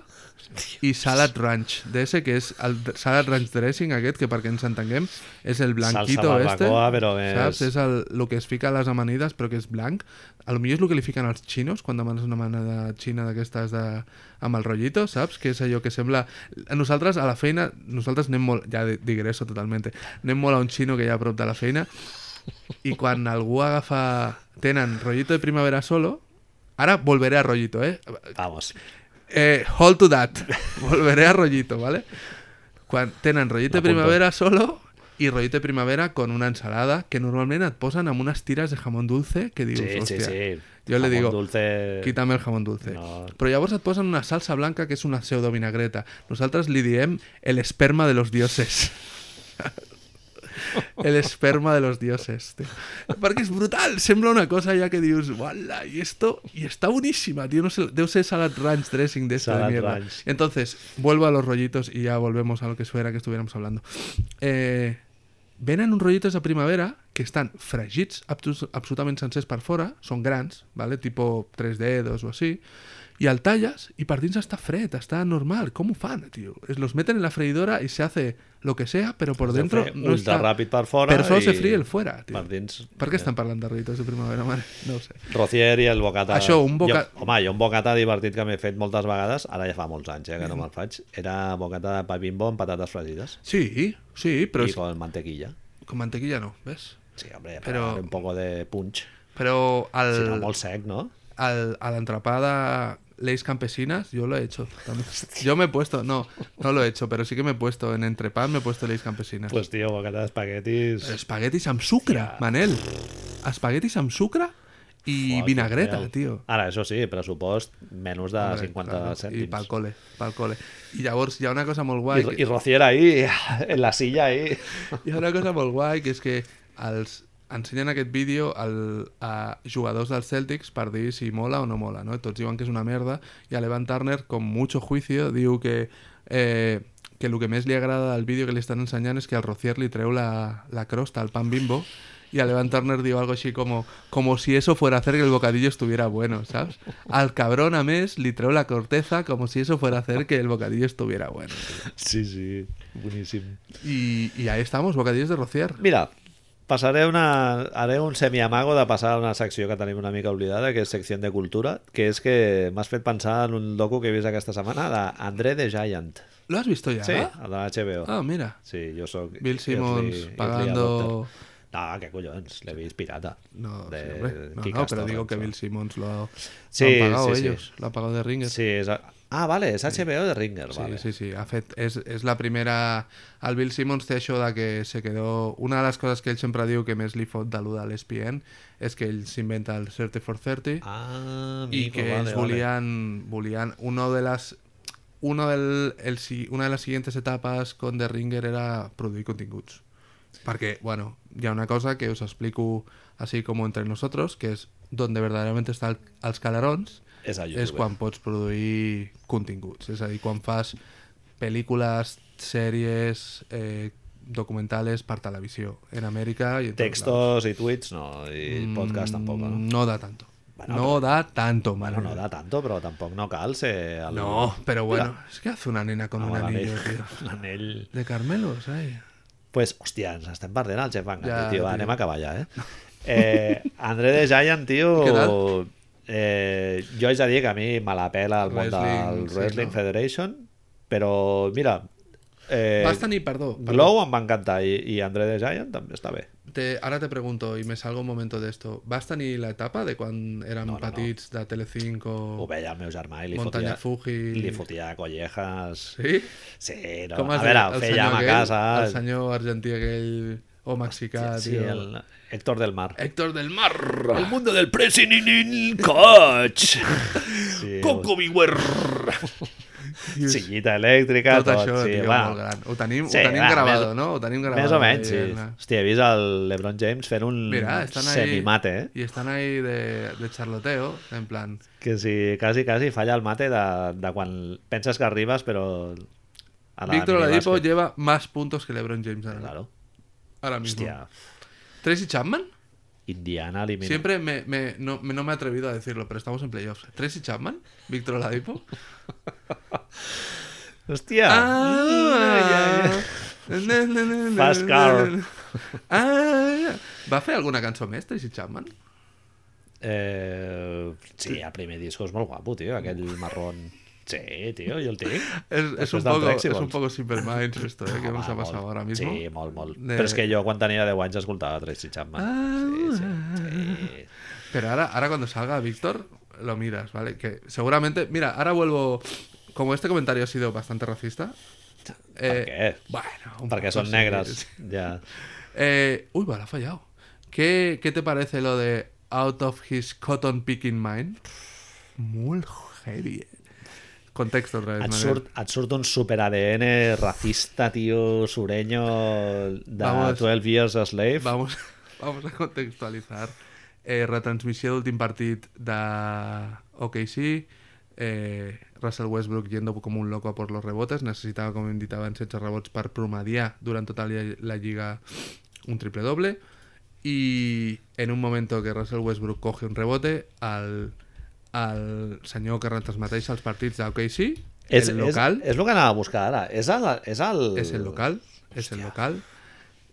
S3: i salad ranch, d'ese que és el d- salad ranch dressing aquest, que perquè ens entenguem és el blanquito
S2: Salsa
S3: este,
S2: barbacoa, però és-
S3: saps? És el, el que es fica a les amanides però que és blanc. A lo millor és el que li fiquen als xinos quan demanes una amanida xina d'aquestes de, amb el rotllito, saps? Que és allò que sembla... A Nosaltres a la feina, nosaltres anem molt... Ja di- digreso totalment. Anem molt a un xino que hi ha a prop de la feina i quan algú agafa... Tenen rollito de primavera solo... Ara volveré a rollito, eh?
S2: Vamos.
S3: Eh, hold to that. *laughs* Volveré a rollito, ¿vale? Quan tenen rollito de
S2: M'apunto.
S3: primavera solo i rollito de primavera con una ensalada que normalment et posen amb unes tires de jamón dulce que dius,
S2: Sí, sí,
S3: hòstia,
S2: sí.
S3: jo le
S2: Jamón
S3: digo,
S2: Dulce...
S3: quítame el jamón dulce.
S2: No.
S3: Però llavors et posen una salsa blanca que és una pseudo-vinagreta. Nosaltres li diem el esperma de los dioses. *laughs* El esperma de los dioses, tio. Perquè és brutal, sembla una cosa ja que dius, uala, i esto, i està boníssima, tio, no sé, deu ser salad ranch dressing de esta de
S2: Salad
S3: mierda.
S2: ranch.
S3: Entonces, vuelvo a los rollitos y ya volvemos a lo que fuera que estuviéramos hablando. Eh, venen uns rollitos de primavera que estan fregits abs- absolutament sencers per fora, són grans, vale? tipo 3 dedos o així, i el talles i per dins està fred, està normal. Com ho fan, tio? Es los meten en la freidora i se hace lo que sea, però por
S2: Se
S3: dentro
S2: fe
S3: no
S2: ultra
S3: està...
S2: ràpid per fora
S3: Però solo
S2: i-
S3: se fríe el fuera, tio.
S2: Per dins...
S3: Per què estan parlant de rollitos de primavera, mare? No ho sé.
S2: Rocier i el bocata.
S3: Això, un boca-
S2: Jo, home, jo un bocata divertit que m'he fet moltes vegades, ara ja fa molts anys eh, que no me'l faig, era bocata de pa bimbo amb patates fregides
S3: Sí, sí, però
S2: i
S3: és...
S2: con mantequilla.
S3: com mantequilla no, ves?
S2: Sí, hombre,
S3: Però- Eh.
S2: però... un poco de punch.
S3: Però al,
S2: Si no, molt sec, no?
S3: al, a la entrapada Leis Campesinas, yo lo he hecho. también. Yo me he puesto, no, no lo he hecho, pero sí que me he puesto en entrepán, me he puesto Leis Campesinas.
S2: Pues, tio, bocata d'espaguetis...
S3: Però espaguetis amb sucre, Manel. Espaguetis amb sucre i
S2: Fuck,
S3: vinagreta,
S2: Déu.
S3: tio.
S2: Ara, això sí, pressupost menys de
S3: Hombre,
S2: 50
S3: clar, I pel
S2: Ah, cèntims.
S3: cole, pel cole. I llavors hi ha una cosa molt
S2: I,
S3: guai...
S2: I, I Rocier ahí, en la silla ahí.
S3: Hi ha una cosa molt guai, que és que els ensenyen aquest vídeo al, a jugadors dels Celtics per dir si mola o no mola, no? Tots diuen que és una merda, i a Evan Turner, con mucho juicio, diu que... Eh, que el que més li agrada del vídeo que li estan ensenyant és que al Rocier li treu la, la crosta al pan bimbo i a Evan Turner diu algo així como como si eso fuera a hacer que el bocadillo estuviera bueno, ¿sabes? Al cabrón a més li treu la corteza como si eso fuera a hacer que el bocadillo estuviera bueno.
S2: Sí, sí, boníssim.
S3: Y, y ahí estamos, bocadillos de Rocier.
S2: Mira, passaré una... Haré un semiamago de passar a una secció que tenim una mica oblidada, que és secció de cultura, que és que m'has fet pensar en un docu que he vist aquesta setmana d'André the Giant.
S3: ¿Lo has visto ya?
S2: Sí, el de l'HBO.
S3: Ah, mira.
S2: Sí, jo sóc...
S3: Bill
S2: early-
S3: Simmons
S2: early
S3: pagando-
S2: adopter. No, que collons, l'he vist pirata.
S3: No,
S2: De
S3: sí, hombre. no, no,
S2: Kick-Ass
S3: pero digo
S2: Torrents,
S3: que
S2: no?
S3: Bill Simmons lo, ha-
S2: Sí,
S3: lo han pagado
S2: sí, sí.
S3: ellos, lo ha pagado de Ringer. Sí,
S2: Sí, és... a- Ah, vale, és HBO de Ringer,
S3: sí,
S2: vale.
S3: sí, ha fet- és, és la primera... El Bill Simmons té això de que se quedó... Una de les coses que ell sempre diu que més li fot de E l'Uda a l'ESPN és que ell s'inventa el 30 for 30
S2: Ah,
S3: y
S2: amigo,
S3: que
S2: vale,
S3: ells
S2: vale.
S3: volían, volían uno de las uno del, el, si- una de las siguientes etapas con The Ringer era produir continguts perquè, bueno, hi ha una cosa que us explico així com entre nosotros que és on verdaderament està el, els calarons
S2: És a YouTube.
S3: és quan pots produir continguts és a dir, quan fas pel·lícules, sèries eh, documentales per televisió en Amèrica i en tots lados.
S2: Textos i tuits, no, i
S3: Mm,
S2: podcast tampoc, no?
S3: No da tanto.
S2: Bueno,
S3: no da tanto, mano.
S2: Bueno, no da tanto, però tampoc no cal ser... El...
S3: No, pero bueno, es que hace una nena con
S2: Amb
S3: un anillo,
S2: l'anell.
S3: tío.
S2: *laughs* L'anell...
S3: De Carmelos, ay.
S2: Pues, hòstia, ens estem perdent el Jeff Van Gundy,
S3: Ja,
S2: tio.
S3: tio.
S2: Va, anem a acabar ja,
S3: *laughs*
S2: eh? eh André de Giant, tio...
S3: I què
S2: Eh, jo haig de dir que a mi me la pela el món del
S3: Wrestling, sí,
S2: Wrestling
S3: no?
S2: Federation, però, mira... Eh,
S3: Basta ni perdó. perdó.
S2: Glow em va encantar i, i André the Giant també està bé.
S3: Te- ahora te pregunto, y me salgo un momento de esto. ¿Basta ni la etapa de cuando eran
S2: No, eh. no, no.
S3: patits de
S2: Ho
S3: Telecinco?
S2: veia el meu germà i li
S3: Oh. Montaña
S2: fotia,
S3: Fuji.
S2: li fotia collejas. Sí,
S3: ¿Sí?
S2: no.
S3: Com
S2: a
S3: es
S2: veure,
S3: deia?
S2: el
S3: El
S2: feia
S3: senyor
S2: a
S3: aquell,
S2: casa.
S3: El senyor argentí aquell, o mexicà,
S2: Sí,
S3: tio.
S2: el Héctor del Mar.
S3: Héctor del Mar.
S2: El mundo del pressing in el coach. Sí,
S3: Coco Beware.
S2: Sillita elèctrica,
S3: Tot
S2: tot.
S3: això,
S2: sí,
S3: tio,
S2: va.
S3: molt gran. Ho tenim,
S2: Sí,
S3: ho tenim
S2: va,
S3: gravado,
S2: més-
S3: no? Ho tenim gravado.
S2: Més o menys, sí.
S3: ahí en la-
S2: Hòstia, he vist el LeBron James fent un
S3: Mira, están ahí.
S2: semimate, eh?
S3: Y están ahí de, de charloteo, en plan.
S2: Que si quasi, quasi falla el mate de, de quan penses que arribes, però... a la
S3: Víctor Oladipo
S2: minibàsquet.
S3: lleva más puntos que LeBron James ahora,
S2: Claro.
S3: ahora mismo.
S2: Hòstia.
S3: ¿Tracy Chapman?
S2: Indiana elimina.
S3: Siempre me, me- no, me- no me he atrevido a decirlo, pero estamos en playoffs. ¿Tracy Chapman? ¿Víctor Oladipo?
S2: Hòstia! *laughs*
S3: Ah,
S2: Ai, ai, ai.
S3: na, na, na, na,
S2: Fast
S3: na,
S2: car.
S3: na, na. Ah, va fer alguna cançó més, Tracy Chapman?
S2: Eh, sí, el primer disco és molt guapo, tio, aquell marrón. Sí, tio, jo el tinc.
S3: Es, es,
S2: Després
S3: un,
S2: del
S3: poco, es
S2: Trexy
S3: un
S2: Balls.
S3: poco Simple Minds esto eh, que
S2: Home,
S3: nos ha pasado
S2: Ah, molt.
S3: ahora mismo.
S2: Sí, molt, molt.
S3: De-
S2: Però és que jo quan tenia 10 anys escoltava Tracy Chapman.
S3: Ah.
S2: Sí, sí, sí.
S3: Pero ahora, ahora cuando salga Víctor, lo miras, ¿vale? Que seguramente, mira, ahora vuelvo... Como este comentario ha sido bastante racista... eh,
S2: qué?
S3: Bueno, un
S2: Perquè
S3: poco
S2: són
S3: sí,
S2: negres.
S3: sí.
S2: Ja.
S3: *laughs* Eh, uy, vale, ha fallado. ¿Qué, qué te parece lo de Out of His Cotton Picking Mind? Muy heavy. eh. Contexto otra vez.
S2: Et
S3: Manel.
S2: surt, et surt un super ADN racista, tio, sureño de
S3: Vamos.
S2: 12 Years a Slave.
S3: Vamos, *laughs* vamos a contextualitzar. Eh, retransmissió d'últim partit de OKC, eh, Russell Westbrook yendo com un loco a por los rebotes, necessitava, com hem dit abans, 16 rebots per promediar durant tota la, la lliga un triple-doble, i en un moment que Russell Westbrook coge un rebote, el, el senyor que retransmeteix els partits d'OKC,
S2: és,
S3: el local,
S2: És, és el que anava a buscar ara. És el... És el,
S3: és el local, és el local.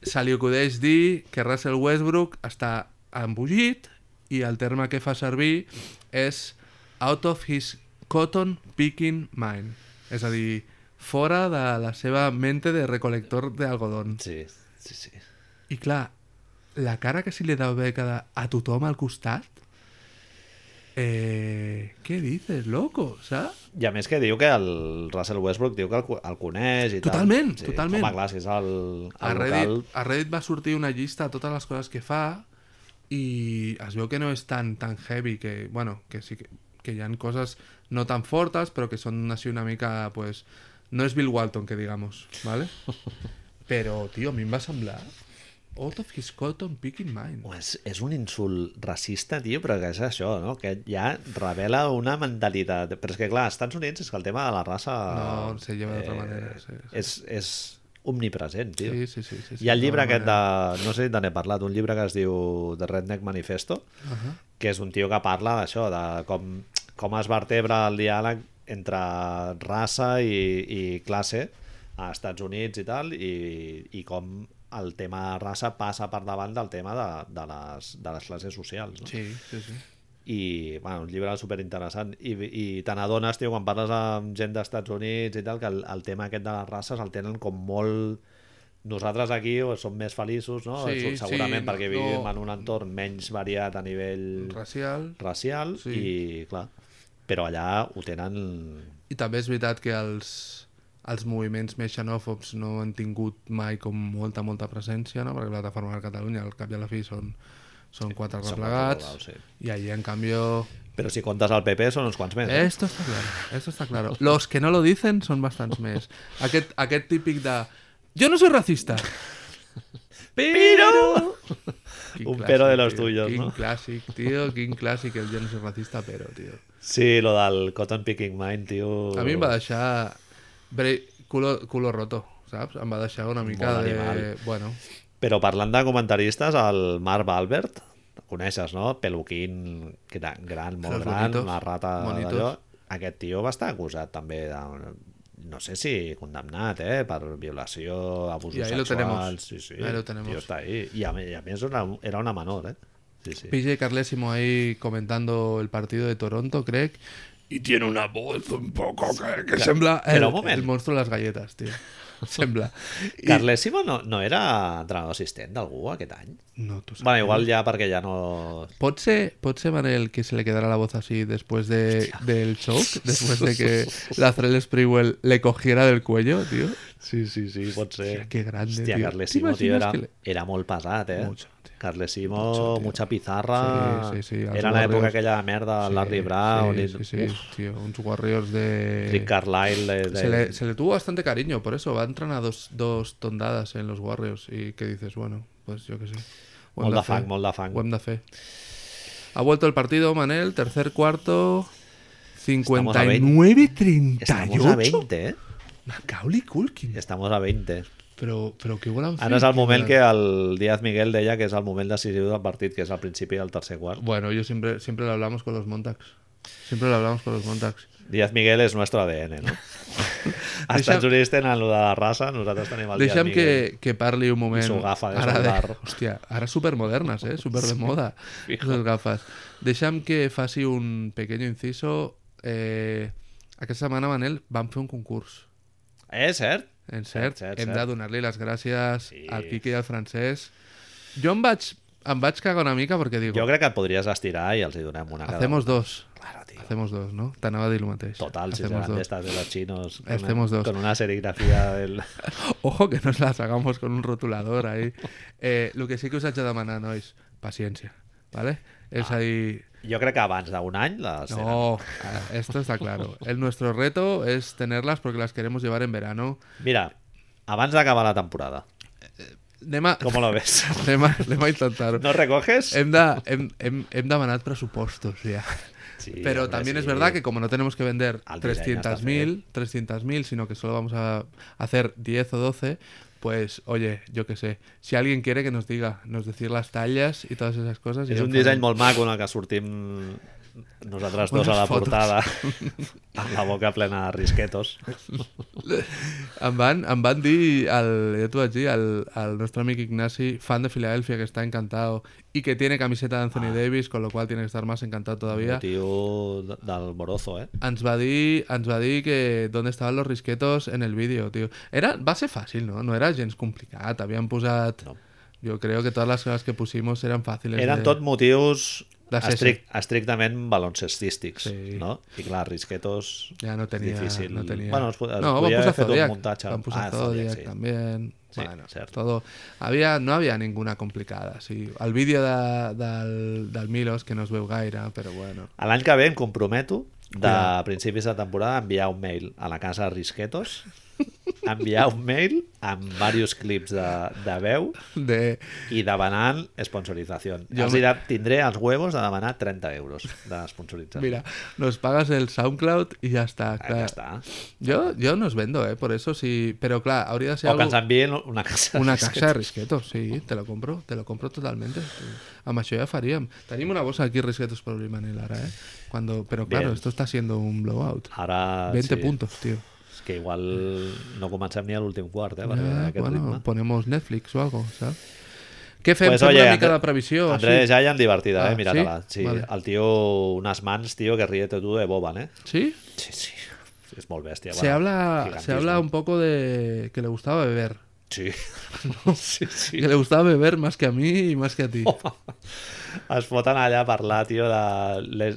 S3: Se li acudeix dir que Russell Westbrook està embullit i el terme que fa servir és out of his cotton picking mind. És a dir, fora de la seva mente de recolector d'algodon.
S2: Sí, sí, sí.
S3: I clar, la cara que se li deu haver cada a tothom al costat... Eh, què dices, loco, saps?
S2: I a més que diu que el Russell Westbrook diu que el, co- el coneix i
S3: Totalment,
S2: tal.
S3: totalment.
S2: Home, clar, si és el,
S3: a
S2: el
S3: Reddit,
S2: local...
S3: a Reddit va sortir una llista de totes les coses que fa i es veu que no és tan, tan heavy que, bueno, que sí que, que hi ha coses no tan fortes però que són així una mica pues, no és Bill Walton que digamos ¿vale?
S2: *laughs*
S3: però tio, a mi em va semblar out of his cotton picking mind
S2: Home, És, és un insult racista, tio, però que és això, no? Que ja revela una mentalitat. Però és que, clar, als Estats Units és que el tema de la raça... eh,
S3: No, se lleva d'altra manera, sí, sí.
S2: És, és omnipresent, tio.
S3: sí, sí, sí, sí, sí,
S2: Hi ha el llibre
S3: d'alguna
S2: aquest de... No sé si te n'he parlat, un llibre que es diu The Redneck Manifesto,
S3: manera. Ahà.
S2: que és un tio que parla d'això, de com, com es vertebra el diàleg entre raça i, i classe a Estats Units i tal, i, i com el tema raça passa per davant del tema de, de, les, de les classes socials. No?
S3: sí, sí, sí.
S2: i bueno, un llibre superinteressant i, i te n'adones, tio, quan parles amb gent d'Estats Units i tal, que el, el tema aquest de les races el tenen com molt nosaltres aquí o som més feliços no?
S3: Sí,
S2: segurament
S3: sí,
S2: perquè
S3: no-
S2: vivim en un entorn menys variat a nivell
S3: racial
S2: racial
S3: Sí.
S2: i clar però allà ho tenen
S3: I també és veritat que els, els moviments més xenòfobs no han tingut mai com molta, molta presència, no? perquè la plataforma de Catalunya, al cap i a la fi, són, són quatre
S2: són
S3: replegats,
S2: quatre globals,
S3: i allí, en canvi,
S2: però si comptes el PP són uns quants més eh?
S3: Esto está claro, esto está claro. Los que no lo dicen són bastants més. Aquest, aquest típic de... Jo no soy racista.
S2: però
S3: Quin
S2: Un pero de los
S3: tio.
S2: tuyos,
S3: quin
S2: no?
S3: clàssic, tio, quin clàssic, el jo no soy racista, però, tio.
S2: sí, lo del cotton picking mind tio
S3: A mi em va deixar bre- culo, culo roto, saps? Em va deixar una mica
S2: Molt
S3: de...
S2: animal.
S3: Bueno,
S2: Però parlant de comentaristes, el Marc Valbert, el coneixes, no? Peluquín, gran, gran
S3: Los
S2: molt gran,
S3: bonitos,
S2: una rata
S3: bonitos.
S2: d'allò. Aquest tio va estar acusat també de no sé si condemnat, eh, per violació,
S3: Y
S2: abusos
S3: ahí lo
S2: sexuals...
S3: tenemos.
S2: Sí, sí.
S3: Ahí lo
S2: el tio
S3: tenemos.
S2: està ahí. I a, mi- a més era, era una menor, eh? Sí, sí.
S3: PJ Carlésimo ahí comentando el partido de Toronto, Craig. Y tiene una voz un poco que, que sembla el,
S2: pero un moment.
S3: el monstruo de las galletas, tío. *laughs* Sembla. I-
S2: Carlesimo no, no era entrenador assistent d'algú aquest any?
S3: No, tú sabes.
S2: Bueno, igual ja perquè ja no...
S3: ¿Pot ser, pot ser, Manel, que se le quedara la voz así después de, del shock? Después de que la Threles Sprewell le cogiera del cuello, tío.
S2: Sí, sí, sí, pot ser.
S3: Hostia, qué grande,
S2: Hòstia,
S3: tío.
S2: Carlesimo,
S3: ¿Te
S2: tio,
S3: imaginas
S2: era,
S3: que le-
S2: era molt pesat, eh?
S3: Mucho, tío.
S2: Carlesimo,
S3: Mucho, tío.
S2: mucha pizarra.
S3: Sí, sí, sí, els
S2: Era l'època
S3: Warriors.
S2: aquella de merda, sí, Larry Brown...
S3: Sí,
S2: i-
S3: sí, sí,
S2: Uf,
S3: tío. Uns Warriors de...
S2: Rick Carlisle... De, de...
S3: Se le, se le tuvo bastante cariño, por eso va a entrenar dos, dos tondadas en los Warriors y que dices, bueno, pues yo qué sé. Ho hem
S2: Molt de
S3: fer.
S2: fang, molt de fang.
S3: Ho hem de fer. Ha vuelto el partido, Manel, tercer cuarto,
S2: a
S3: 59-38.
S2: Estamos a 20, eh?
S3: Macaulay Culkin.
S2: Estamos a 20.
S3: Però, però què volen fer?
S2: Ara és el
S3: Què
S2: moment
S3: volen-
S2: que el Díaz Miguel deia que és el moment decisiu del partit, que és al principi del tercer quart.
S3: Bueno, yo siempre, siempre lo hablamos con los Montax. Siempre lo hablamos con los Montax.
S2: Díaz Miguel és nostre ADN,
S3: *laughs*
S2: no? Als
S3: Deixa'm-
S2: Estats Units tenen el de la raça, nosaltres tenim el Díaz
S3: Deixa'm
S2: Miguel.
S3: que, que parli un moment.
S2: I s'ho agafa des
S3: ara
S2: del
S3: de,
S2: bar.
S3: *laughs* Hòstia, ara supermodernes, eh? Super de moda, les gafes. Deixa'm que faci un pequeño inciso. Eh, aquesta setmana, Manel, vam fer un concurs.
S2: Eh, cert?
S3: En cert,
S2: Cert, cert,
S3: hem de
S2: cert.
S3: donar-li les gràcies
S2: Sí.
S3: al Quique i al Francesc. Jo em vaig, em vaig cagar una mica perquè dic,
S2: Jo crec que et podries estirar i els hi donem una cada
S3: hacemos dos.
S2: Claro, tío.
S3: Hacemos dos, no? T'anava a dir el mateix.
S2: Total, si
S3: Hacemos
S2: serán de
S3: dos.
S2: estas de los chinos. con una-
S3: Hacemos dos.
S2: Con una serigrafía del... *laughs*
S3: *laughs* Ojo que nos las hagamos con un rotulador ahí. Eh, lo que sí que us haig de demanar, nois, paciència, ¿vale? És ah. a dir...
S2: Jo crec que abans d'un any les tenen.
S3: No, ah, esto está claro. El nuestro reto es tenerlas porque las queremos llevar en verano.
S2: Mira, abans d'acabar la temporada,
S3: Anem a,
S2: com lo
S3: *laughs*
S2: ves?
S3: anem a, anem a intentar-ho.
S2: ¿No recoges?
S3: Hem, de, hem, hem, hem demanat pressupostos, ja.
S2: Sí,
S3: Pero
S2: hombre,
S3: también
S2: sí.
S3: es verdad que como no tenemos que vender
S2: Al design hasta
S3: 300.000, 300.000, sino que solo vamos a hacer 10 o 12, pues oye, yo qué sé, si alguien quiere que nos diga, nos decir las tallas y todas esas cosas. y
S2: És
S3: ya
S2: un
S3: farem.
S2: disseny molt maco en el que sortim nosaltres dos
S3: Unes
S2: a la
S3: fotos.
S2: portada *laughs* amb la boca plena de risquetos.
S3: Em van, em van dir, el, ja t'ho vaig dir, el, el nostre amic Ignasi, fan de Filadelfia, que está encantado y que tiene camiseta de
S2: Ah.
S3: Anthony Davis, con lo cual tiene que estar más encantado todavía.
S2: Un tio de- del Borozo, eh?
S3: Ens va dir, ens va dir que dónde estaven los risquetos en el vídeo, tio. Era, va ser fàcil, no? No era gens complicat. Havien posat...
S2: No.
S3: Jo crec que totes les coses que pusimos eren fàcils.
S2: Eren tot motius
S3: De ser-
S2: estric, estrictament baloncestístics,
S3: Sí.
S2: no? I clar, risquetos...
S3: Ja no tenia...
S2: Difícil.
S3: No tenia...
S2: Bueno, es, po- es
S3: no, van
S2: podia haver
S3: posar
S2: fet
S3: Zodiac,
S2: un muntatge.
S3: Van posar
S2: Ah,
S3: Zodiac,
S2: Zodiac, sí.
S3: también.
S2: Sí,
S3: bueno,
S2: cert.
S3: todo. Había, no había ninguna complicada, sí. El vídeo de, del, del Milos, que no es veu gaire, però bueno. *laughs*
S2: A L'any que ve em comprometo de
S3: Cuidado.
S2: principis de temporada a enviar un mail a la casa de Risquetos enviar un mail amb diversos clips de, de veu
S3: De...
S2: i demanant sponsorització.
S3: Jo
S2: Jo els
S3: me-
S2: he de, tindré els huevos de demanar 30 euros de sponsorització.
S3: Mira, eh, nos pagas el SoundCloud i ja està.
S2: Ah,
S3: clar.
S2: ja està.
S3: Yo, yo no os vendo, ¿eh? Por eso sí. Pero claro, habría sido
S2: O que ens envien una casa. de
S3: una
S2: Risquetos.
S3: caja de risquetos, sí, te lo compro, te lo compro totalmente. A això ja faríem. Tenim una bolsa aquí risquetos por Manel ahora, ¿eh? Cuando, pero claro,
S2: Bien.
S3: esto está siendo un blowout.
S2: Ara,
S3: 20
S2: sí.
S3: puntos, tío.
S2: És que igual no comencem ni a l'últim quart, eh? Per
S3: Ya,
S2: aquest
S3: bueno,
S2: ritme.
S3: ponemos Netflix o algo, ¿sabes? ¿Qué fem?
S2: Pues
S3: Fem una mica de previsió,
S2: Andrés
S3: sí.
S2: Giant divertida,
S3: Ah,
S2: eh? Mira-te-la.
S3: sí?
S2: Sí?
S3: Vale.
S2: El tio, unes mans, tio, que ríete tu de Boban, eh?
S3: ¿Sí?
S2: Sí, sí. És molt bèstia.
S3: se, habla, se
S2: gigantisme.
S3: habla un poco de que le gustaba beber. *laughs*
S2: Sí. sí, sí.
S3: Que le gustaba beber más que a mí y más que a
S2: *laughs*
S3: ti.
S2: Es foten allà a parlar, tio, de les,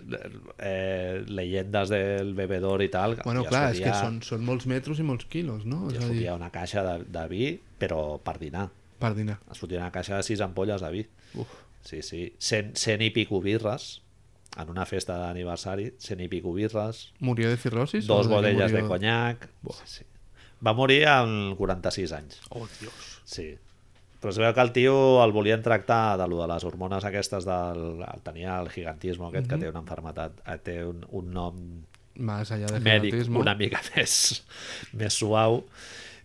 S2: eh, leyendes del bebedor i tal.
S3: Bueno,
S2: I es
S3: claro, es
S2: fotia-
S3: que son, son molts metros y molts kilos, ¿no?
S2: I
S3: Es
S2: es
S3: a dir,
S2: fotia una caixa de, de vi, però per dinar.
S3: per dinar.
S2: Es fotia una caixa de sis ampolles de vi.
S3: Uf.
S2: Sí, sí. Cent, cent i pico birres en una festa d'aniversari, cent i pico birres,
S3: ¿Murió de cirrosis?
S2: dos
S3: o de qué
S2: bodellas de
S3: murió?
S2: conyac... Sí, sí. Va morir amb 46 anys.
S3: Oh, Dios.
S2: Sí. Però es veu que el tio el volien tractar de, lo de les hormones aquestes del... El tenia el gigantisme aquest,
S3: Mhm.
S2: que té una enfermetat, eh, té un, un nom
S3: Más allá del
S2: mèdic
S3: gigantismo.
S2: una mica *laughs* més, més suau,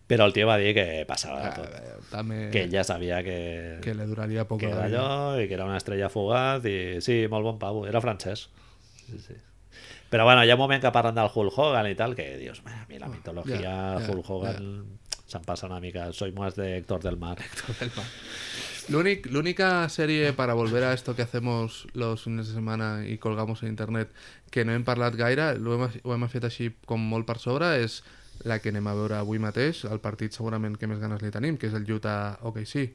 S2: però el tio va dir que passava de
S3: Ah,
S2: tot.
S3: eh, dame-
S2: Que ell ja sabia que,
S3: que le duraría poco.
S2: que
S3: la
S2: era
S3: vida.
S2: allò i que era una estrella fugaz i sí, molt bon pavo, era francès. Sí, sí. Però bueno, hi ha un moment que parlen del Hulk Hogan i tal, que dius, "Mira, a mi la mitologia
S3: Oh, ja, ja,
S2: Hulk Hogan se'n passa una mica. Soy más de Héctor del Mar.
S3: Lo únic- La única serie para volver a esto que hacemos los fines de semana y colgamos en internet que no hem parlat gaire, lo hem, ho hem fet així com molt per sobre, és la que anem a veure avui mateix, el partit segurament que més ganes li tenim, que és el Utah OKC.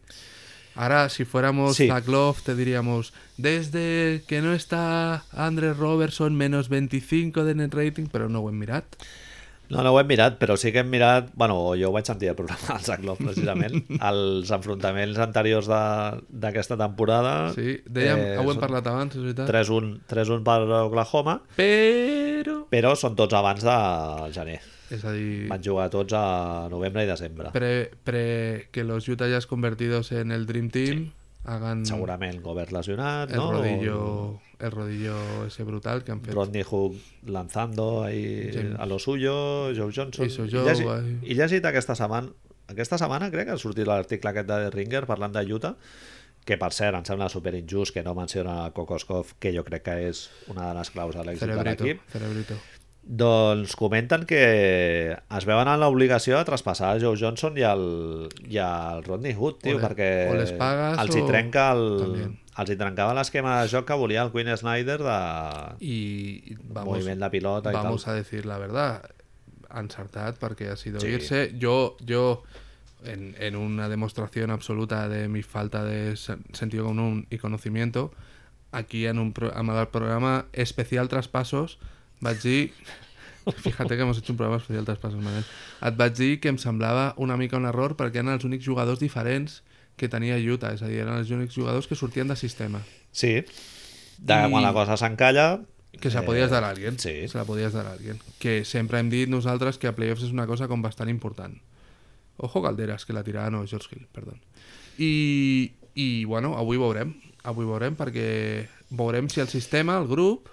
S3: Ahora, si fuéramos
S2: Sí.
S3: Zach Love, te diríamos, desde que no está Andrés Robertson, menos 25 de net rating, pero no ho hem mirat.
S2: No, no ho hem mirat, però sí que hem mirat... Bueno, o jo ho vaig sentir al programa del Zaglov,
S3: *laughs*
S2: precisament. els enfrontaments anteriors de- d'aquesta temporada.
S3: Sí, dèiem, eh, ho hem
S2: són
S3: parlat eh? abans, és veritat.
S2: 3-1 3-1 per Oklahoma,
S3: Però...
S2: però són tots abans de gener.
S3: És a dir,
S2: Van jugar tots a novembre i desembre.
S3: pre, pre que los Utah Jazz convertidos en el Dream Team hagan
S2: segurament Gobert lesionat,
S3: Mm. el
S2: no?
S3: rodillo el rodillo ese brutal que han fet.
S2: Rodney Hook lanzando ahí
S3: James.
S2: a lo suyo, Joe Johnson...
S3: Eso, Joe,
S2: I llegit,
S3: ahí.
S2: I llegit aquesta setmana, aquesta setmana crec que ha sortit l'article aquest de The Ringer parlant de Utah, que per cert em sembla super injust que no menciona Kokoskov, que jo crec que és una de les claus de l'èxit de
S3: Cerebrito,
S2: l'equip.
S3: cerebrito.
S2: Doncs comenten que es veuen en l'obligació de traspassar a Joe Johnson i al, i al Rodney Hood, tio,
S3: O le-
S2: perquè
S3: o les pagues
S2: els, hi
S3: o-
S2: trenca el,
S3: També.
S2: els hi trencava l'esquema de joc que volia el Quinn Snyder de
S3: Y vamos,
S2: moviment de pilota i
S3: vamos
S2: tal.
S3: a decir la verdad. Ansartad, porque ha sido
S2: Sí.
S3: irse. Yo, yo en, en una demostración absoluta de mi falta de sen- sentido común y conocimiento, aquí en un pro- en el programa especial Traspasos, vaig
S2: *laughs*
S3: dir- Fíjate que hemos hecho un programa especial Traspasos, Manel. Et vaig dir que em semblava una mica un error perquè eren els únics jugadors diferents que tenia Utah, és a dir, eren els únics jugadors que sortien de sistema.
S2: Sí, de
S3: I-
S2: quan la cosa s'encalla...
S3: Que se la
S2: eh,
S3: podies dar a alguien.
S2: sí.
S3: Se la podies dar a alguien. Que sempre hem dit nosaltres que a playoffs és una cosa com bastant important. Ojo Calderas, que la tirava, no, George Hill, perdó. I, I, bueno, avui veurem. Avui veurem perquè veurem si el sistema, el grup...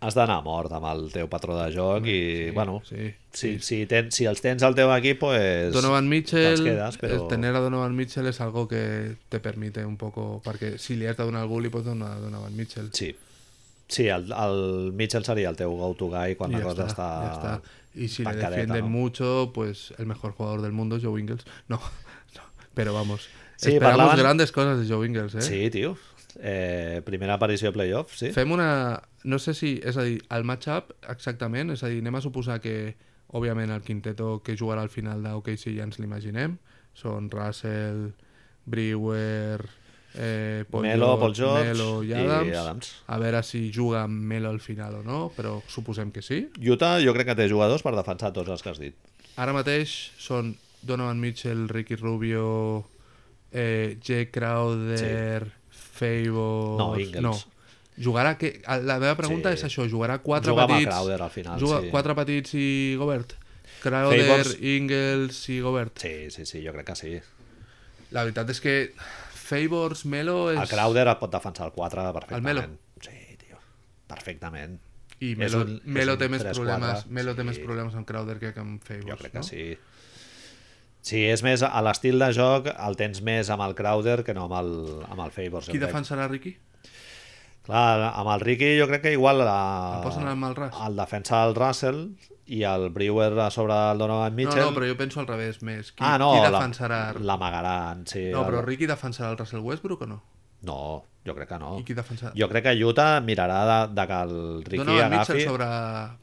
S2: has d'anar mort amb el teu patró de joc i,
S3: sí,
S2: bueno,
S3: sí,
S2: si, si, ten, si els tens al teu equip, pues,
S3: Donovan Mitchell,
S2: te'ls quedes, però...
S3: el tener a Donovan Mitchell es algo que te permite un poco... Perquè si li has de donar a algú, li pots donar a Donovan Mitchell.
S2: Sí, sí el, el Mitchell seria el teu go-to guy quan
S3: Y
S2: la cosa està...
S3: ya está. Y si le
S2: pancadeta,
S3: defienden
S2: ¿no?
S3: mucho, pues el mejor jugador del mundo es Joe Ingles. *laughs* No, no, pero vamos.
S2: Sí,
S3: esperamos
S2: parlaban-
S3: grandes cosas de Joe Ingles, ¿eh?
S2: Sí, tio. Eh, primera aparició a playoff, sí.
S3: Fem una... No sé si... És a dir, el matchup, exactament, és a dir, anem a suposar que, òbviament, el quinteto que jugarà al final d'OKC ja ens l'imaginem. Són Russell, Brewer, eh, Paul
S2: Melo,
S3: George,
S2: Paul George
S3: Melo i
S2: i
S3: Adams.
S2: Adams.
S3: A veure si juga amb Melo al final o no, però suposem que sí.
S2: Utah jo crec que té jugadors per defensar tots els que has dit.
S3: Ara mateix són Donovan Mitchell, Ricky Rubio, eh, Jay Crowder, Fable...
S2: No, Ingles.
S3: Jugarà que... La meva pregunta
S2: Sí.
S3: és això, jugarà quatre
S2: Juga amb el
S3: petits...
S2: Crowder al final,
S3: juga
S2: sí.
S3: quatre petits i Gobert. Crowder,
S2: Favors-
S3: Ingles i Gobert.
S2: Sí, sí, sí, jo crec que sí.
S3: La veritat és que Favors, Melo és...
S2: El Crowder et pot defensar el 4 perfectament.
S3: Melo.
S2: Sí, tio. Perfectament.
S3: I
S2: És
S3: Melo,
S2: un- és
S3: Melo
S2: un
S3: té més
S2: 3-4,
S3: problemes, Melo té
S2: sí.
S3: més problemes amb Crowder que amb Favors,
S2: Jo crec
S3: no?
S2: que sí. Sí, és més, a l'estil de joc el tens més amb el Crowder que no amb el, amb el Favors. jo
S3: Qui
S2: crec.
S3: defensarà Ricky?
S2: Clar, amb el Ricky jo crec que igual la,
S3: El posen amb el Russ?
S2: el defensa el Russell i el Brewer a sobre el Donovan Mitchell.
S3: No, no, però jo penso al revés, més. Qui,
S2: ah, no,
S3: qui
S2: la-
S3: defensarà
S2: L'amagaran, sí.
S3: No,
S2: el-
S3: però Ricky defensarà el Russell Westbrook o no?
S2: No, jo crec que no.
S3: I qui defensarà?
S2: Jo crec que Utah mirarà de, de que el Ricky
S3: Donovan
S2: agafi,
S3: Mitchell sobre...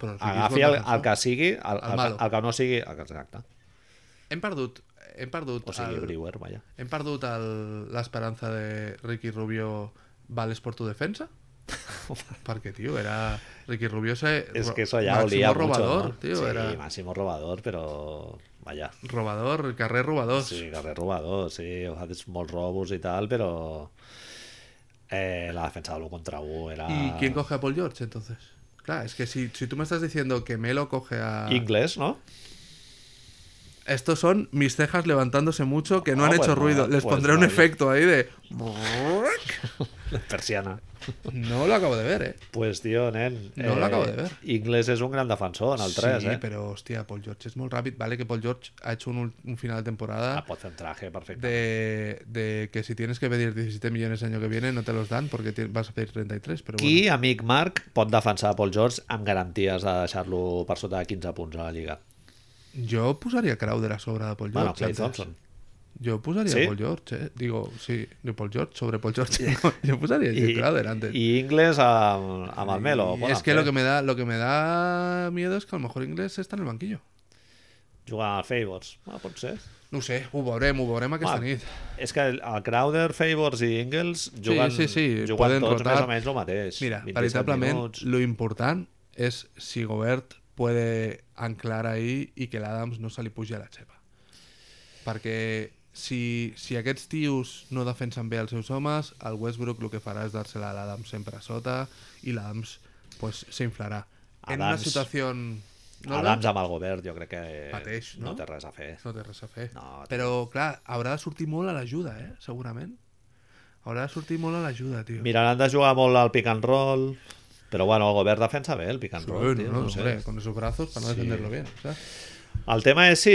S3: Però Ricky és
S2: agafi
S3: bon
S2: el, el,
S3: defensor.
S2: que sigui, el,
S3: El
S2: el,
S3: malo.
S2: el, que no sigui... Exacte.
S3: Hem perdut, hem perdut,
S2: O sigui,
S3: el,
S2: Brewer, vaja.
S3: hem perdut el, l'esperança de Ricky Rubio vales per tu
S2: *laughs*
S3: defensa? Perquè, tio, era... Ricky Rubio se...
S2: És
S3: ro-
S2: que eso ya
S3: máximo
S2: olía
S3: robador,
S2: mucho, ¿no?
S3: tio,
S2: sí,
S3: era...
S2: máximo robador, però... Vaja.
S3: Robador, carrer robador.
S2: Sí, carrer robador, sí, ha fet molts robos i tal, però eh, la defensa de l'1 contra 1 era...
S3: ¿Y quién coge a Paul George, entonces? Claro, es que si, si tú me estás diciendo que Melo coge a...
S2: Inglés, ¿no? *laughs*
S3: Estos son mis cejas levantándose mucho que no
S2: Ah,
S3: han
S2: pues
S3: hecho
S2: nada,
S3: ruido. Les
S2: pues
S3: pondré un
S2: vale.
S3: efecto ahí de.
S2: Persiana.
S3: No lo acabo de ver, eh.
S2: Pues, tio, nen...
S3: No l'acabo de ver.
S2: Inglés és un gran defensor en el 3,
S3: sí,
S2: eh?
S3: pero hostia, Paul George es muy rápido. Vale que Paul George ha hecho un, ul- un final de
S2: Ah,
S3: temporada
S2: pot fer un traje perfecte.
S3: de, de que si tienes que pedir 17 millones el año que viene no te los dan porque ti- vas a pedir 33. Pero
S2: Qui, amic Marc, pot defensar Paul George amb garanties de deixar-lo per sota de 15 punts a la Lliga?
S3: bueno, yo pusaría Crowder a sobra de Paul George.
S2: Bueno, Clay
S3: antes.
S2: Thompson.
S3: Yo pusaría
S2: ¿Sí?
S3: Paul George, eh. Digo, sí, de Paul George sobre Paul George.
S2: *laughs*
S3: *laughs* No, yo pusaría a Crowder antes.
S2: i Inglés amb, amb el Melo.
S3: Y
S2: Poden
S3: es que
S2: fer.
S3: lo que me da lo que me da miedo es que a lo mejor inglés está en el banquillo.
S2: Jugar al Favors. Ah, pot ser.
S3: No ho sé, ho veurem, ho veurem aquesta
S2: Ah,
S3: nit.
S2: És que el el Crowder, Favors i Ingles juguen,
S3: sí, sí,
S2: juguen
S3: poden
S2: tots
S3: rotar.
S2: més o menys el mateix.
S3: Mira,
S2: 27
S3: veritablement,
S2: pues, minuts.
S3: lo important és si Gobert puede anclar ahí i que l'Adams no se li pugi a la xepa. Perquè si, si aquests tios no defensen bé els seus homes, el Westbrook el que farà és dar-se-la a l'Adams sempre a sota i l'Adams pues, s'inflarà. En una
S2: Adams-
S3: situació... on-
S2: No,
S3: l'Adams
S2: Adams amb el govern jo crec que
S3: Pateix, no?
S2: no té res a fer.
S3: No té res a fer.
S2: No, té-
S3: Però, clar, haurà de sortir molt a l'ajuda, eh? Segurament. Haurà de sortir molt a l'ajuda, tio.
S2: Miraran de jugar molt al pick and roll, però bueno, el govern defensa bé el pick and roll,
S3: Bueno,
S2: tio,
S3: no,
S2: no ho
S3: hombre,
S2: sé.
S3: con esos brazos para no defenderlo bien. ¿sabes?
S2: El tema és si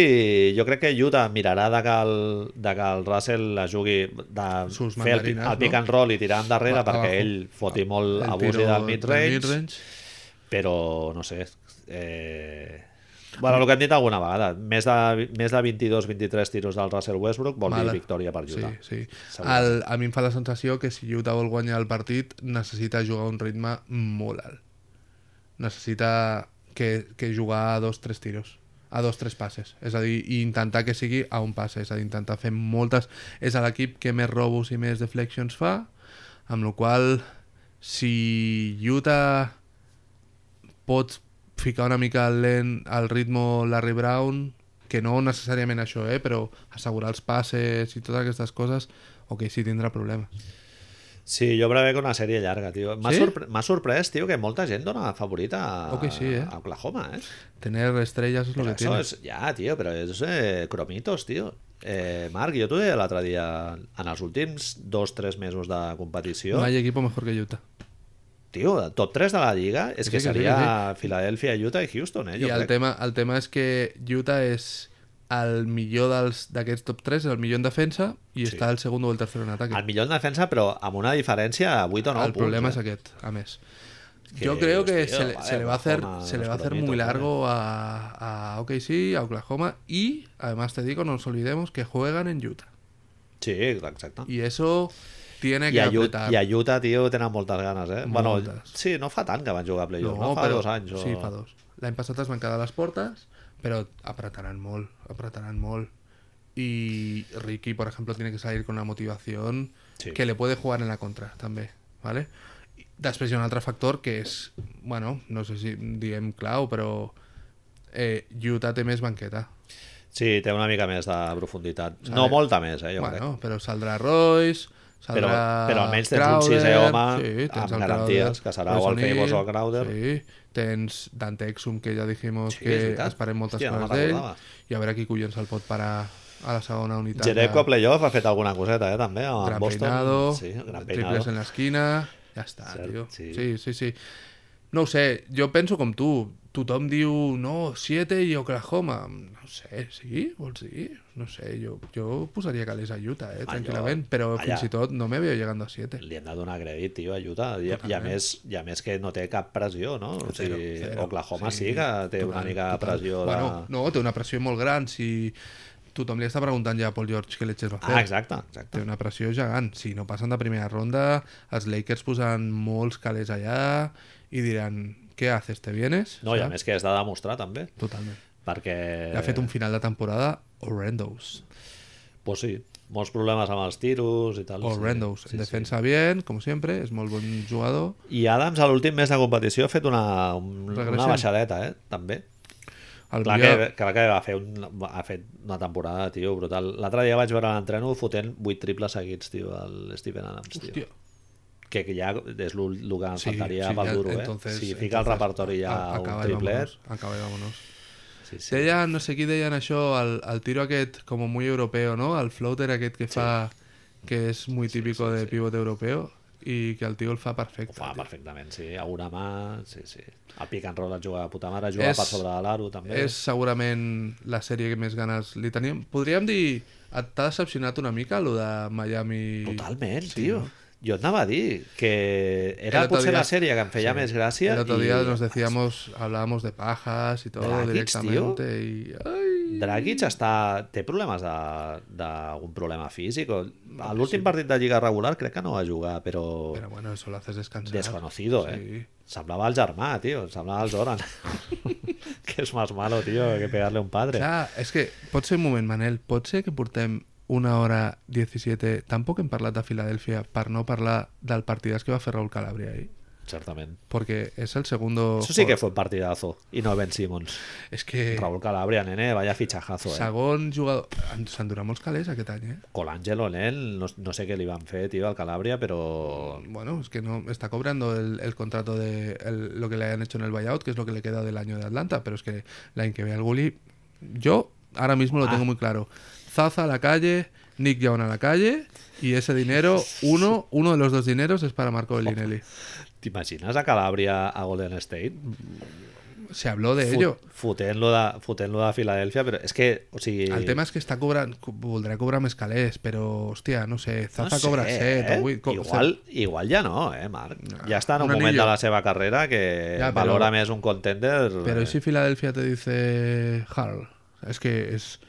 S2: jo crec que Utah mirarà de que el, de que el Russell la jugui de
S3: Sus
S2: fer el, pi-
S3: mandarines,
S2: el pick
S3: no?
S2: and roll i tirar endarrere
S3: Va-
S2: perquè
S3: abajo.
S2: ell foti molt
S3: El
S2: abusi
S3: tiro
S2: del mid-range,
S3: del mid-range.
S2: però no sé eh... Bueno, el que hem dit alguna vegada, més de, més de 22-23 tiros del Russell Westbrook vol
S3: Mala.
S2: dir victòria per Utah.
S3: Sí, sí.
S2: Segur.
S3: El, a mi em fa la sensació que si Utah vol guanyar el partit necessita jugar a un ritme molt alt. Necessita que, que jugar a dos, tres tiros a dos, tres passes, és a dir, i intentar que sigui a un passe, és a dir, intentar fer moltes és a l'equip que més robos i més deflections fa, amb la qual cosa, si Utah pot ficar una mica lent al ritme Larry Brown, que no necessàriament això, eh, però assegurar els passes i totes aquestes coses, ok, sí, tindrà problemes.
S2: Sí, jo prevec una sèrie llarga, tio. M'ha
S3: Sí?
S2: sorpre m'ha sorprès, tio, que molta gent dona favorita a,
S3: Ok, sí, eh?
S2: a Oklahoma, eh?
S3: Tener estrelles és el
S2: Però
S3: que
S2: això
S3: tienes.
S2: és, ja, tio, però és eh, cromitos, tio. Eh, Marc, jo t'ho deia l'altre dia, en els últims dos, tres mesos de competició,
S3: No hay equipo mejor que Utah.
S2: tio, top 3 de la Lliga és
S3: Sí,
S2: que
S3: que sí,
S2: seria Filadèlfia, Utah i Houston, eh?
S3: I
S2: Jo
S3: el
S2: crec.
S3: tema, el tema és que Utah és el millor dels- d'aquests top 3, el millor en defensa, i
S2: Sí.
S3: està el segon o el tercer en ataque.
S2: El millor en defensa, però amb una diferència de 8 o 9
S3: el
S2: punts.
S3: problema
S2: eh?
S3: es aquest, a més.
S2: Que,
S3: Yo creo que
S2: hostia,
S3: se, le,
S2: vale,
S3: se le va a hacer,
S2: Oklahoma,
S3: se le va a
S2: los
S3: hacer muy
S2: cromitos,
S3: largo a, a OKC, a Oklahoma y además te digo, no nos olvidemos que juegan en Utah.
S2: Sí, exacte.
S3: Y eso tiene
S2: I
S3: que
S2: a, Ut-
S3: apretar.
S2: I a Utah, tio, tenen moltes ganes, eh? Bueno,
S3: Moltes.
S2: sí, no fa tant que van jugar a playoff, no, fa
S3: però-
S2: dos anys. O...
S3: Sí, fa dos. L'any passat es van quedar a les portes, però apretaran molt, apretaran molt. Y Ricky, por ejemplo, tiene que salir con una motivación
S2: Sí.
S3: que le puede jugar en la contra, també, ¿vale? I Després hi ha un altre factor que és, bueno, no sé si en diem clau, però eh, Utah té més banqueta.
S2: Sí, té una mica més de profunditat.
S3: Sabe?
S2: No molta més, eh, jo crec.
S3: Bueno, però saldrà Royce,
S2: Però,
S3: saldrà
S2: però almenys tens un
S3: Crowder,
S2: sisè home
S3: tens
S2: amb
S3: el
S2: garanties,
S3: Crowder,
S2: que serà o el
S3: Royce
S2: Favors o el
S3: O'Neal,
S2: Crowder.
S3: Sí, tens Dante Exum, que ja dijimos
S2: Sí,
S3: que
S2: és veritat.
S3: esperem moltes
S2: Hòstia, no
S3: coses
S2: me'n
S3: d'ell,
S2: recordava.
S3: i a veure qui collons el pot parar a la segona unitat.
S2: Jereko a
S3: de...
S2: playoff ha fet alguna coseta, eh, també, amb
S3: Gran
S2: Boston.
S3: peinado,
S2: sí, gran
S3: triples
S2: peinado.
S3: en l'esquina, ja està,
S2: Cert,
S3: tio.
S2: sí.
S3: Sí. sí, sí, sí. No ho sé, jo penso com tu. Tothom diu, no, 7 i Oklahoma. No ho sé, sí? Vols dir? No sé, jo, jo posaria calés a Utah, eh,
S2: Ah,
S3: tranquil·lament,
S2: jo-
S3: però
S2: allà.
S3: fins i tot no me veo llegando a 7.
S2: Li hem de donar crèdit, tio, a Utah. I, i, a
S3: Totalment.
S2: més, I a més que no té cap pressió, no? O
S3: Zero,
S2: sigui,
S3: zero.
S2: Oklahoma sí, que té una
S3: total,
S2: mica de
S3: total.
S2: pressió de...
S3: Bueno, no, té una pressió molt gran. Si tothom li està preguntant ja a Paul George què l'Etxes va fer.
S2: Ah, exacte, exacte.
S3: Té una pressió gegant. Si no passen de primera ronda, els Lakers posaran molts calés allà i diran, què haces, te vienes?
S2: No, i a
S3: Saps?
S2: més que has de demostrar, també,
S3: Totalment.
S2: perquè...
S3: Eh... Ha fet un final de temporada horrendos.
S2: Pues sí, molts problemes amb els tiros i tal. sí.
S3: Horrendos.
S2: Sí,
S3: en
S2: sí.
S3: defensa bien, com sempre, és molt bon jugador.
S2: I Adams, a l'últim mes de competició, ha fet una, un- una
S3: Regressió.
S2: baixadeta, eh? també.
S3: El
S2: Clar
S3: millor-
S2: que, que, que va fer un, ha fet una temporada, tio, brutal. L'altre dia vaig veure l'entreno fotent 8 triples seguits, tio, el Steven Adams, tio.
S3: Hòstia.
S2: Que ja és l'ul- el que ens faltaria pel
S3: ja,
S2: duro, eh?
S3: entonces-
S2: si fica al
S3: entonces,
S2: repertori ja
S3: a-
S2: un
S3: acaba i
S2: triplet...
S3: vámonos, Acaba i vámonos.
S2: Sí, sí.
S3: Deien, no sé qui deien això, el, el tiro aquest com muy europeo, no? El floater aquest que fa... que és muy típico de pivot europeo i que el tio el fa perfecte.
S2: Ho fa
S3: tio.
S2: perfectament, sí. A una mà, sí, sí. El pick and roll el juga de puta mare, juga
S3: És-
S2: per sobre de l'aro, també.
S3: És segurament la sèrie que més ganes li teníem. Podríem dir, et t'ha decepcionat una mica, lo de Miami...
S2: Totalment,
S3: Sí,
S2: tio.
S3: no?
S2: Jo et anava a dir que era
S3: El otro
S2: potser
S3: día-
S2: la sèrie que em feia
S3: sí.
S2: més gràcia
S3: El otro día
S2: i
S3: nos decíamos, hablábamos de pajas y todo
S2: Dragic, tío.
S3: directamente y... ¡Ay!
S2: Dragic està... té problemes de- d'algun problema físic. o- A l'últim partit de Lliga regular crec que no va jugar, però
S3: Pero bueno, eso lo haces descansar.
S2: desconocido, eh?
S3: Sí.
S2: Semblava el germà, tio. Semblava el Zoran. que és más malo, tio, que pegarle un padre.
S3: Clar, és que pot ser un moment, Manel, pot ser que portem una hora 17, tampoc hem parlat de Filadèlfia per no parlar del partidàs que va fer Raúl Calabria ahir,
S2: Certament.
S3: perquè és el segundo...
S2: Eso sí que fue un partidazo. Y no Ben Simmons.
S3: És que
S2: Raúl Calabria, nene, vaya fichajazo, eh?
S3: segon jugador... en- S'endurà molts calés aquest any, eh?
S2: Colangelo en él, no, no sé qué le iban a hacer, tío, al Calabria, pero
S3: Bueno, es que no está cobrando el, el contrato de el- lo que le hayan hecho en el buyout, que es lo que le queda del año de Atlanta, pero es que la en que ve al Gulli, yo ahora mismo lo tengo muy claro. Zaza a la calle, Nick Young a la calle, y ese dinero, uno, uno de los dos dineros es para Marco Bellinelli.
S2: ¿Te imaginas a Calabria a Golden State?
S3: se habló de ello.
S2: Fotent-lo de, fotent de Filadèlfia, però és que, o sigui...
S3: El tema és que està cobrant, co- voldrà cobrar més calés, però, hòstia, no sé,
S2: no
S3: Zaza cobra
S2: sé,
S3: 7
S2: eh?
S3: o 8.
S2: Igual, igual ja no, eh, Marc? Ja està en un,
S3: un
S2: moment
S3: anillo.
S2: de la seva carrera que
S3: Ja, però-
S2: valora més un contender... eh,
S3: Pero ¿y si Filadelfia te dice Hall? Es que es...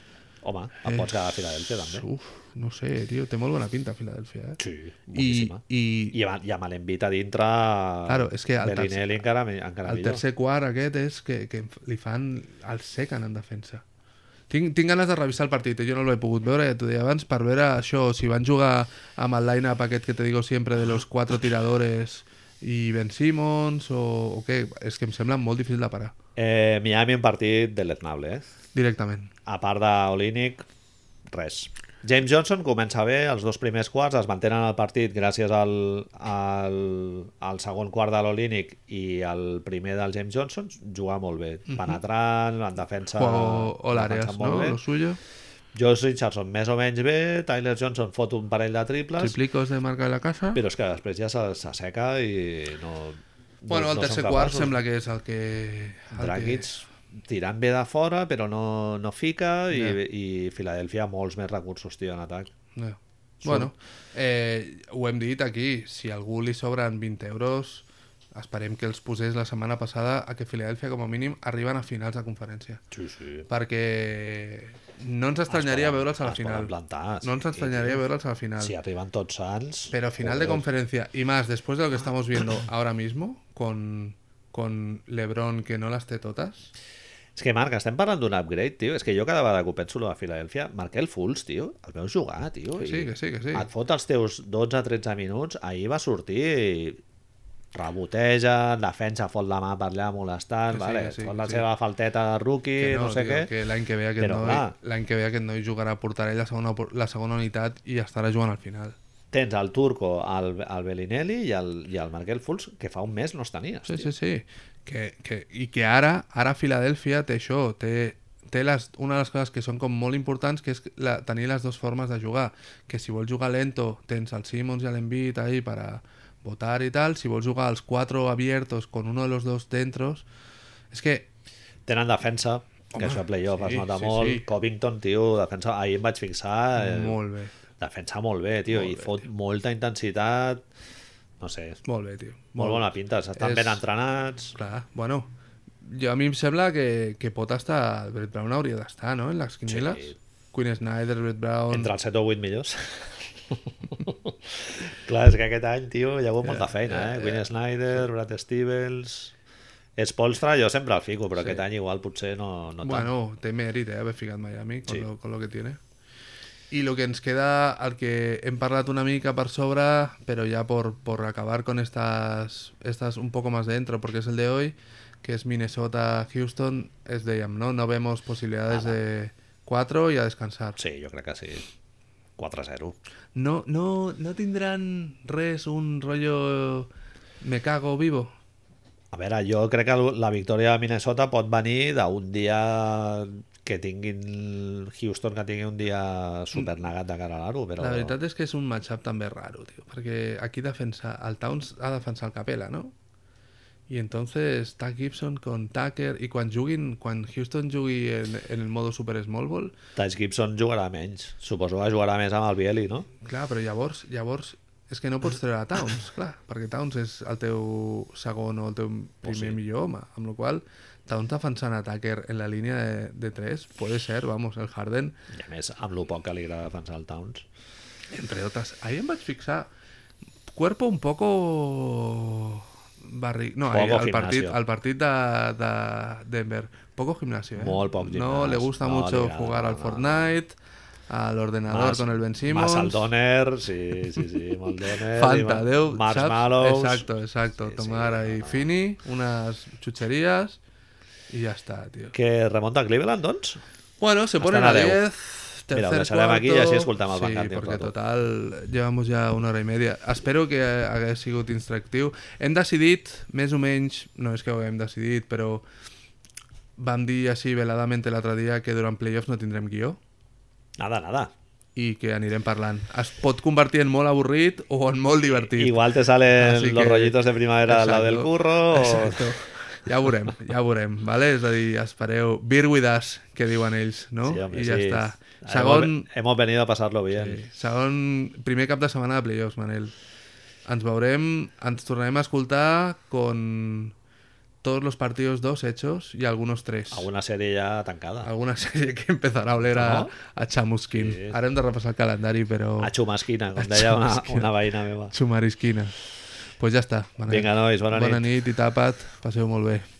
S2: Home, et pots quedar a Filadèlfia, també.
S3: Eh, Uf, no sé, tío, te mola una pinta Filadelfia, ¿eh?
S2: Sí,
S3: y,
S2: boníssima. I,
S3: y
S2: i, I, i amb l'envit a dintre...
S3: Claro, és que el tercer-
S2: Bellinelli encara, me- encara
S3: el
S2: millor.
S3: tercer quart aquest és que, que li fan el secen en defensa. Tinc, tinc ganes de revisar el partit, eh? jo no l'he pogut veure, ja t'ho deia abans, per veure això, si van jugar amb el line-up aquest que te digo siempre de los cuatro tiradores i Ben Simmons o, o què, és que em sembla molt difícil de parar,
S2: Eh, Miami, un partit deleznable, eh?
S3: directament.
S2: a part d'Olínic, res. James Johnson comença bé, els dos primers quarts es mantenen el partit gràcies al, al, al segon quart de l'Olínic i al primer del James Johnson, jugar molt bé,
S3: Mhm.
S2: penetrant, en defensa...
S3: O, o l'Àreas,
S2: defensant molt
S3: no?
S2: bé.
S3: Lo suyo.
S2: Josh Richardson més o menys bé, Tyler Johnson fot un parell de triples,
S3: Triplicos de marca de la casa.
S2: però és que després ja se- s'asseca i no... no-
S3: Bueno, el
S2: no
S3: tercer
S2: són
S3: quart
S2: capaços.
S3: sembla que és el que... El
S2: Dragic tirant bé de fora, però no, no fica, i, i Filadèlfia molts més recursos, tio, en atac.
S3: Que... Ja. Bueno, eh, ho hem dit aquí, si a algú li sobren 20 euros, esperem que els posés la setmana passada a que Filadèlfia, com a mínim, arriben a finals de conferència.
S2: Sí, sí.
S3: Perquè no ens estranyaria
S2: poden-
S3: veure'ls a la
S2: es poden
S3: final.
S2: plantar, sí,
S3: no ens estranyaria veure'ls a la final.
S2: Si arriben tots sants...
S3: Pero final de conferencia, y más después de lo que estamos viendo ahora mismo, con, con Lebron que no las tetotas.
S2: És que, Marc, estem parlant d'un upgrade, tio. És que jo cada vegada que ho penso, lo de Filadèlfia, Markel Fultz, tio, el veus jugar, tio.
S3: Que
S2: i
S3: sí, que sí, que sí.
S2: Et fot els teus 12-13 minuts, ahir va sortir i reboteja, defensa, fot la mà per allà
S3: Que
S2: molestant,
S3: sí,
S2: vale,
S3: que
S2: et
S3: sí,
S2: fot
S3: que
S2: la
S3: sí.
S2: seva falteta de rookie,
S3: que
S2: no, sé
S3: tio,
S2: què.
S3: Que l'any que ve aquest
S2: Però,
S3: noi,
S2: clar.
S3: l'any que ve aquest noi jugarà a Portarell la segona, opor- la segona unitat i estarà jugant al final.
S2: Tens el Turco, el, el Bellinelli i el, i el Markel Fultz, que fa un mes no els tenies,
S3: Sí,
S2: tio.
S3: sí, sí. Que, que, I que ara, ara Filadèlfia té això, té, té les, una de les coses que són com molt importants, que és la, tenir les dues formes de jugar. Que si vols jugar lento, tens el Simmons i l'Envit ahí per a votar i tal. Si vols jugar els quatre abiertos con uno de los dos dentros... És que
S2: Tenen defensa, que això a playoff
S3: sí,
S2: es nota
S3: sí,
S2: molt.
S3: sí.
S2: Covington, tio, defensa... Ahir em vaig fixar... Eh,
S3: molt bé,
S2: Defensa molt bé, tio,
S3: Molt
S2: i
S3: bé,
S2: fot molta intensitat. No sé, molt,
S3: molt bé, tio.
S2: bona pinta. Estan
S3: És-
S2: ben entrenats.
S3: Clar, bueno, jo a mi em sembla que, que pot estar... Brett Brown hauria d'estar, no?, en les quinieles.
S2: Sí.
S3: Quinn Snyder, Brett Brown...
S2: Entre els 7 o 8 millors. *laughs* Clar, és que aquest any, tio, hi ha hagut molta feina, eh? Quinn Snyder, Brad Stevens... Spolstra jo sempre el fico, però aquest any igual potser no, no tant.
S3: Bueno, té mèrit, eh, haver ficat Miami con,
S2: Sí.
S3: lo, con lo que tiene. I lo que ens queda, el que hem parlat una mica per sobre, però ja por, por acabar con estas, estas un poco más dentro, porque es el de hoy, que es Minnesota-Houston, es de ¿no? No vemos posibilidades de cuatro y a descansar.
S2: Sí, jo crec que sí. 4-0.
S3: No, no, no tindran res, un rollo me cago vivo.
S2: A veure, jo crec que la victòria de Minnesota pot venir d'un dia que tinguin Houston que tingui un dia supernegat de cara a l'aro, però...
S3: La veritat és que és un matchup també raro, tio, perquè aquí defensa, el Towns ha de defensar el Capela, no? I entonces Tack Gibson con Tucker i quan juguin, quan Houston jugui en, en el modo super small ball,
S2: Taj Gibson jugarà menys. Suposo que jugarà més amb el Bieli, no?
S3: clar, però llavors, llavors és que no pots treure a Towns, clar, perquè Towns és el teu segon o el teu primer
S2: sí.
S3: millor home, amb la qual cosa Towns defensant a Tucker en la línia de, de 3 puede ser, vamos, el Harden
S2: I a més, amb lo poc que li agrada defensar el Towns.
S3: Entre otras. Ahí en Batch Fixa, cuerpo un poco. Barri... No, ahí,
S2: Poco
S3: al, partit,
S2: gimnasio.
S3: al partit de, de Denver. Poco gimnasio, ¿eh?
S2: Molt poc
S3: No
S2: gimnàs.
S3: le gusta
S2: No, li
S3: mucho
S2: agrada,
S3: jugar
S2: no,
S3: al
S2: no, no.
S3: Fortnite, al ordenador con el Ben Simmons.
S2: Más al Donner, sí, sí, sí,
S3: *laughs*
S2: amb el Donner.
S3: Falta, Déu, saps?
S2: Marshmallows.
S3: Exacto, exacto.
S2: Sí, sí,
S3: Tomar
S2: no,
S3: ahí
S2: no.
S3: Fini, unas chucherías y ya está, tío.
S2: Que remonta a Cleveland, doncs?
S3: Bueno, se
S2: Hasta
S3: ponen
S2: la
S3: a
S2: deu.
S3: 10. Tercer,
S2: Mira, ho deixarem
S3: cuarto.
S2: aquí i així escoltem el
S3: sí,
S2: Bacardi un
S3: perquè
S2: rato.
S3: total, llevamos ja una hora i media. Espero que hagués sigut instructiu. Hem decidit, més o menys, no és que ho haguem decidit, però vam dir així veladament l'altre dia que durant playoffs no tindrem guió
S2: Nada, nada.
S3: i que anirem parlant. Es pot convertir en molt avorrit o en molt divertit.
S2: Igual te salen
S3: Así
S2: los
S3: que-
S2: rollitos de primavera al lado del
S3: Exacto.
S2: curro. O...
S3: Exacto. Ja ho veurem, ja ho veurem, vale? És a dir, espereu Beer With Us, que diuen ells, no?
S2: Sí, home,
S3: I ja
S2: sí.
S3: està.
S2: Hemos-
S3: Segon,
S2: Hemos venido a pasarlo bien.
S3: Sí. Segon, primer cap de setmana de playoffs, Manel. Ens veurem, ens tornarem a escoltar con todos los partidos dos hechos y algunos tres.
S2: Alguna sèrie ja tancada.
S3: Alguna sèrie que empezarà a oler a,
S2: No?
S3: a chamusquin.
S2: Sí.
S3: Ara hem de repassar el calendari, però...
S2: A xumasquina, com
S3: A
S2: deia una,
S3: xumasquina.
S2: una veïna meva.
S3: Xumarisquina. Doncs pues ja està. Manel.
S2: Vinga, nois, bona nit.
S3: Bona nit i tapa't. Passeu molt bé.